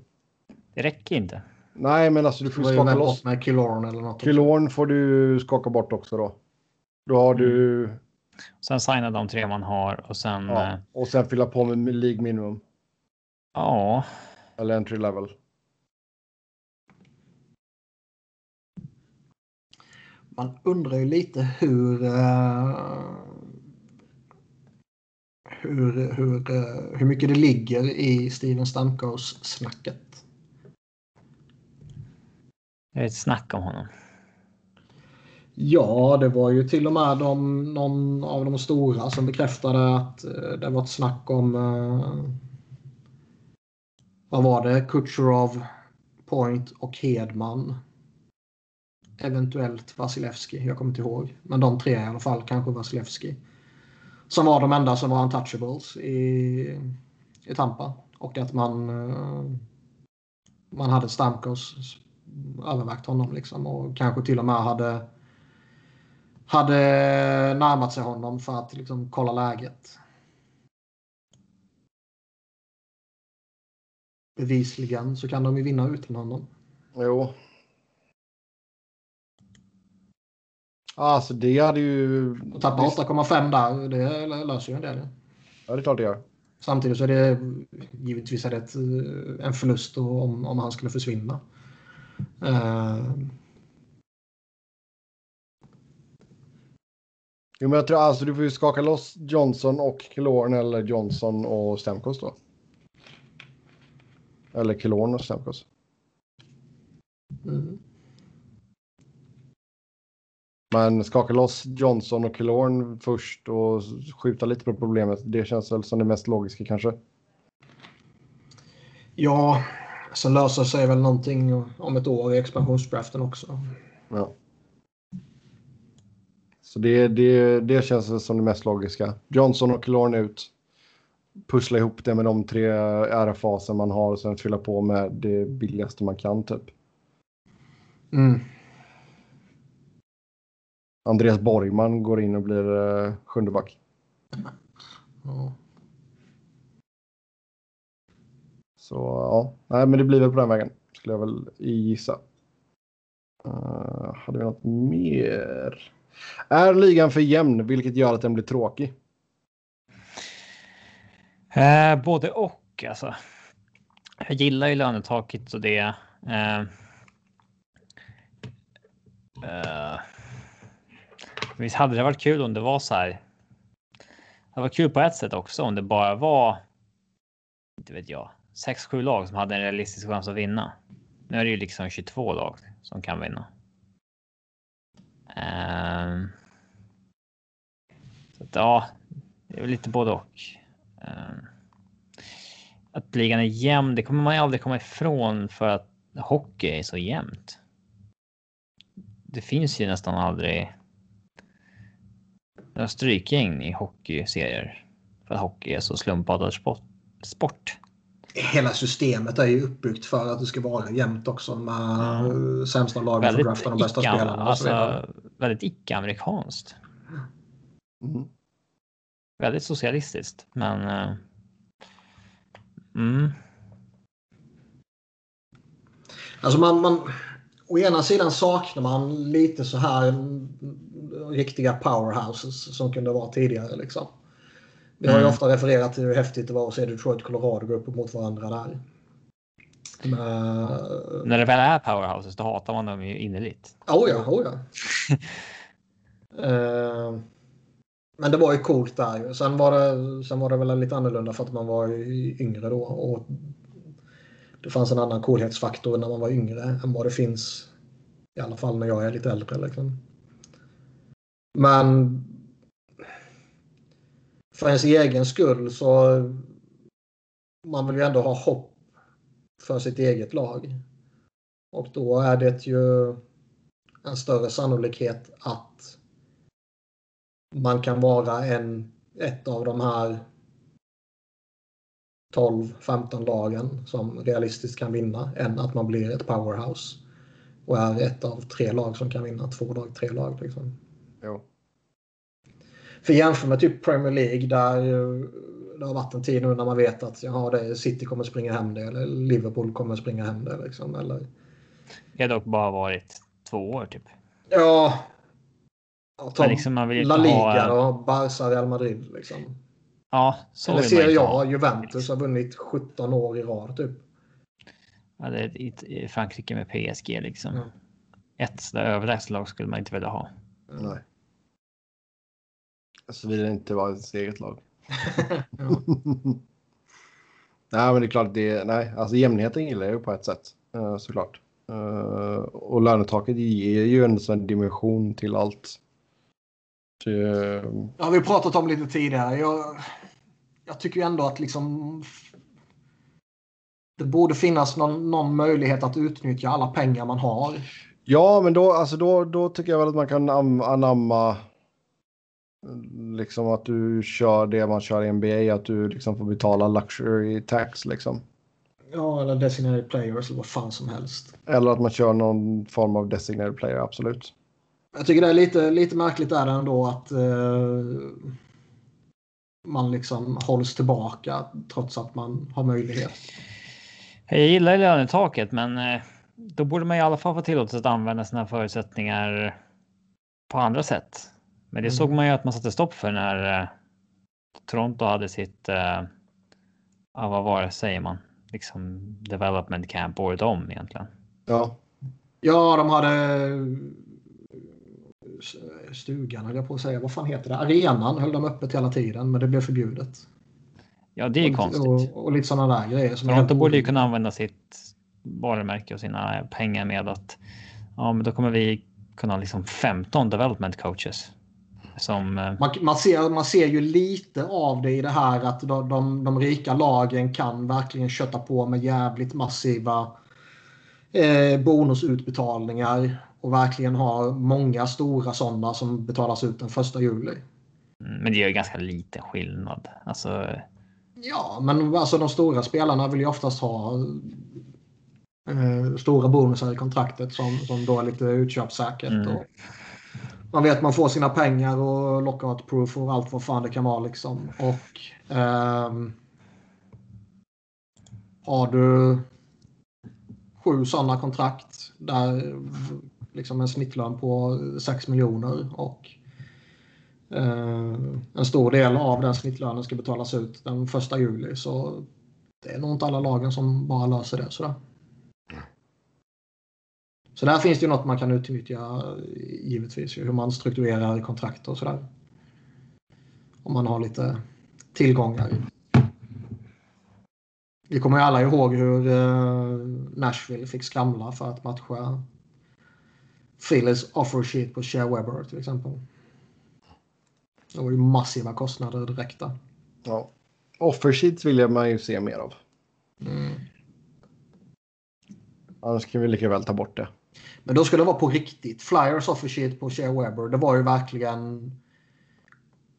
B: Det räcker inte.
A: Nej men alltså du
C: Du
A: får
C: var ju
A: skaka
C: väl
A: loss.
C: bort med Kilorn eller något.
A: Kilorn får du skaka bort också då. Då har du...
B: Sen signar de tre man har och sen.
A: Ja,
B: eh,
A: och sen fylla på med League Minimum.
B: ja
A: Eller entry level.
C: Man undrar ju lite hur... eh, hur, hur, eh, hur mycket det ligger i Steven Stamkos-snacket.
B: det är ett snack om honom.
C: Ja, det var ju till och med de, någon av de stora som bekräftade att eh, det var ett snack om... Eh, vad var det? Kucherov, Point och Hedman. Eventuellt Vasilevski, jag kommer inte ihåg. Men de tre i alla fall, kanske Vasilevski. Som var de enda som var untouchables i, i Tampa. Och att man, eh, man hade Stamkos övervägt honom liksom. Och kanske till och med hade hade närmat sig honom för att liksom kolla läget. Bevisligen så kan de ju vinna utan honom.
A: Jo. Alltså det hade ju...
C: Och tappa 8,5 där, det löser ju en del. ja.
A: Ja, det är klart det gör.
C: Samtidigt så är det givetvis är det ett, eh, en förlust då om, om han skulle försvinna. Eh,
A: Jo, men jag tror alltså du får ju skaka loss Johnson och Kilorn eller Johnson och Stamkos då. Eller Kilorn och Stamkos.
C: mm.
A: Men skaka loss Johnson och Kilorn först och skjuta lite på problemet. Det känns väl som det mest logiska kanske.
C: Ja, sen löser sig väl någonting om ett år i expansionsdraften också.
A: Ja. Så det, det, det känns väl som det mest logiska. Johnson och Kilorn ut. Pussla ihop det med de tre RFA-sen man har och sen fylla på med det billigaste man kan typ.
C: Mm.
A: Andreas Borgman går in och blir uh, sjunde back.
C: Ja.
A: Så ja, nej, men det blir väl på den vägen skulle jag väl gissa. Eh, hade vi något mer? Är ligan för jämn, vilket gör att den blir tråkig?
B: Eh, både och alltså. Jag gillar ju lönetaket och det. Eh, eh, visst hade det varit kul om det var så här. Det var kul på ett sätt också om det bara var. Inte vet jag, 6 7 lag som hade en realistisk chans att vinna. Nu är det ju liksom 22 lag som kan vinna. Ehm. så att, ja, det är väl lite både och. Ehm. Att ligan är jämn, det kommer man ju aldrig komma ifrån för att hockey är så jämnt. Det finns ju nästan aldrig några strykgäng i hockeyserier. För att hockey är så slumpartad sport. sport.
C: Hela systemet är ju uppbyggt för att det ska vara jämnt också med
B: Ja.
C: eh, sämsta lagen som
B: Väldigt
C: draftar de bästa
B: icke-
C: spelarna. och så vidare.
B: Alltså, väldigt icke-amerikanskt.
A: Mm.
B: Väldigt socialistiskt, men... eh, mm.
C: Alltså man, man, å ena sidan saknar man lite så här mm, riktiga powerhouses som kunde vara tidigare. Liksom. Vi har ju
B: Mm.
C: ofta refererat till hur häftigt det var att se Detroit och Colorado gå upp mot varandra där. Men,
B: När det väl är powerhouses, då hatar man dem ju innerligt.
C: oh ja, oh ja. Eh, men det var ju coolt där. ju. Sen var, det, sen var det väl lite annorlunda för att man var ju yngre då. Och det fanns en annan coolhetsfaktor när man var yngre än vad det finns. I alla fall när jag är lite äldre. Liksom. Men för ens egen skull så man vill ju ändå ha hopp för sitt eget lag. Och då är det ju en större sannolikhet att man kan vara en, ett av de här 12-15 lagen som realistiskt kan vinna än att man blir ett powerhouse och är ett av tre lag som kan vinna. Två lag, tre lag. Liksom.
A: Jo.
C: För jämför med typ Premier League där eh, det har varit en tid nu när man vet att jaha, det är City kommer springa hem det eller Liverpool kommer springa hem det. Liksom, eller
B: Det har dock bara varit två år typ.
C: Ja. ja ta
B: Men liksom, man vill ju
C: La
B: inte
C: Liga
B: ha...
C: då, Barca, Real Madrid liksom.
B: Ja, så
C: Eller
B: vill man
C: Serie
B: ju
C: A,
B: ha.
C: Juventus har vunnit 17 år i rad typ.
B: Eller i i Frankrike med PSG liksom.
C: Ja.
B: Ett sådär överlägset lag skulle man inte vilja ha.
A: Nej. Såvida det inte var ens eget lag.
C: Ja.
A: Nej, men det är klart, det, nej, alltså jämnheten gillar jag ju på ett sätt eh, såklart. Eh, och lönetaket ger ju en sån dimension till allt. eh, Det,
C: Det har vi pratat om lite tidigare. Jag, jag tycker ju ändå att liksom... Det borde finnas någon, någon möjlighet att utnyttja alla pengar man har.
A: ja, men då, alltså då, då tycker jag väl att man kan am- anamma eh, liksom att du kör det man kör i NBA, att du liksom får betala luxury tax liksom.
C: Ja, eller designated players eller vad fan som helst.
A: Eller att man kör någon form av designated player, absolut.
C: Jag tycker det är lite, lite märkligt är det ändå att eh, man liksom hålls tillbaka trots att man har möjlighet.
B: Jag gillar lönetaket, men eh, då borde man i alla fall få tillåtelse att använda sina förutsättningar på andra sätt. Men det
C: Mm.
B: såg man ju att man satte stopp för när eh, Toronto hade sitt. Eh, ja, vad var det säger man? Liksom development camp året om egentligen.
A: Ja.
C: Ja, de hade eh, stugan höll jag på att säga. Vad fan heter det? Arenan höll de öppet hela tiden, men det blev förbjudet.
B: Ja, det är ju konstigt.
C: Och, och lite sådana där grejer. Som är
B: Toronto
C: helt
B: borde ju
C: orimligt.
B: kunna använda sitt varumärke och sina pengar med att ja, men då kommer vi kunna ha liksom 15 development coaches som eh,
C: Man, man, ser, man ser ju lite av det i det här att de, de, de rika lagen kan verkligen kötta på med jävligt massiva eh, bonusutbetalningar och verkligen ha många stora sådana som betalas ut den första juli.
B: men det gör ju ganska liten skillnad. Alltså,
C: Ja, men alltså de stora spelarna vill ju oftast ha eh, stora bonusar i kontraktet som, som då är lite utköpssäkert.
B: Mm.
C: Och man vet man får sina pengar och lockout-proof och allt vad fan det kan vara. Liksom. Och ehm, har du sju sådana kontrakt där liksom en snittlön på 6 miljoner och Eh, en stor del av den snittlönen ska betalas ut den första juli. Så det är nog inte alla lagen som bara löser det. Sådär. Så där finns det ju något man kan utnyttja eh, givetvis. ju, Hur man strukturerar kontrakt och sådär. Om man har lite tillgångar. Vi kommer ju alla ihåg hur eh, Nashville fick skramla för att matcha Phillies offer sheet på Shea Weber till exempel. Det var ju massiva kostnader direkt där.
A: ja. Offersheets vill man ju se mer av. Annars kan vi lika väl ta bort det.
C: Men då skulle det vara på riktigt. Flyers offer sheet på Shea Weber. Det var ju verkligen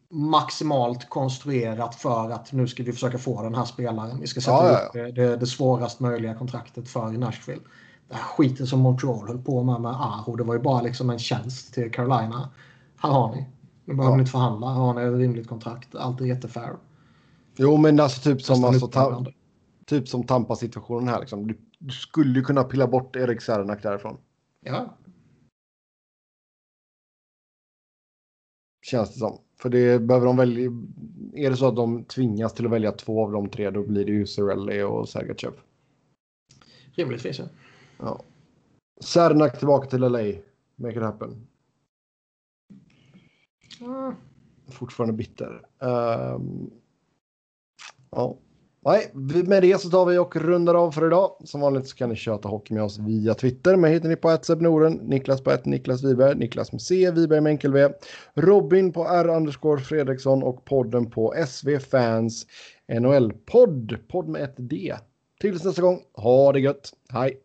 C: maximalt konstruerat för att nu ska vi försöka få den här spelaren. Vi ska sätta
A: Ja, ja,
C: upp det, det, det svårast möjliga kontraktet för Nashville. Den här skiten som Montreal höll på med med Aho. Det var ju bara liksom en tjänst till Carolina. Här har ni. Nu behöver
A: Ja.
C: ni inte förhandla. Här har ni ett rimligt kontrakt. Allt är jättefair.
A: Jo, men alltså typ som,
C: Fast
A: alltså,
C: den
A: ta, typ som Tampa-situationen här. Liksom. Du, du skulle ju kunna pilla bort Erik Sernak därifrån.
C: Ja.
A: Känns det som. För det behöver de välja. Är det så att de tvingas till att välja två av de tre, då blir det ju Cirelli och Sergachev.
C: Rimligtvis ja.
A: Ja. Sernak tillbaka till LA. Make it happen.
C: Mm.
A: Fortfarande bitter. Ehm, ja. Nej, vi- med det så tar vi och rundar av för idag. Som vanligt så kan ni köta hockey med oss via Twitter. Mig hittar ni på @sebnoren, Niklas på ett Niklas Wiberg, Niklas med C, Wiberg med enkel V, Robin på R underscore Fredriksson och podden på SV Fans NHL-podd, podd med ett D. Tills nästa gång, ha det gött, hej!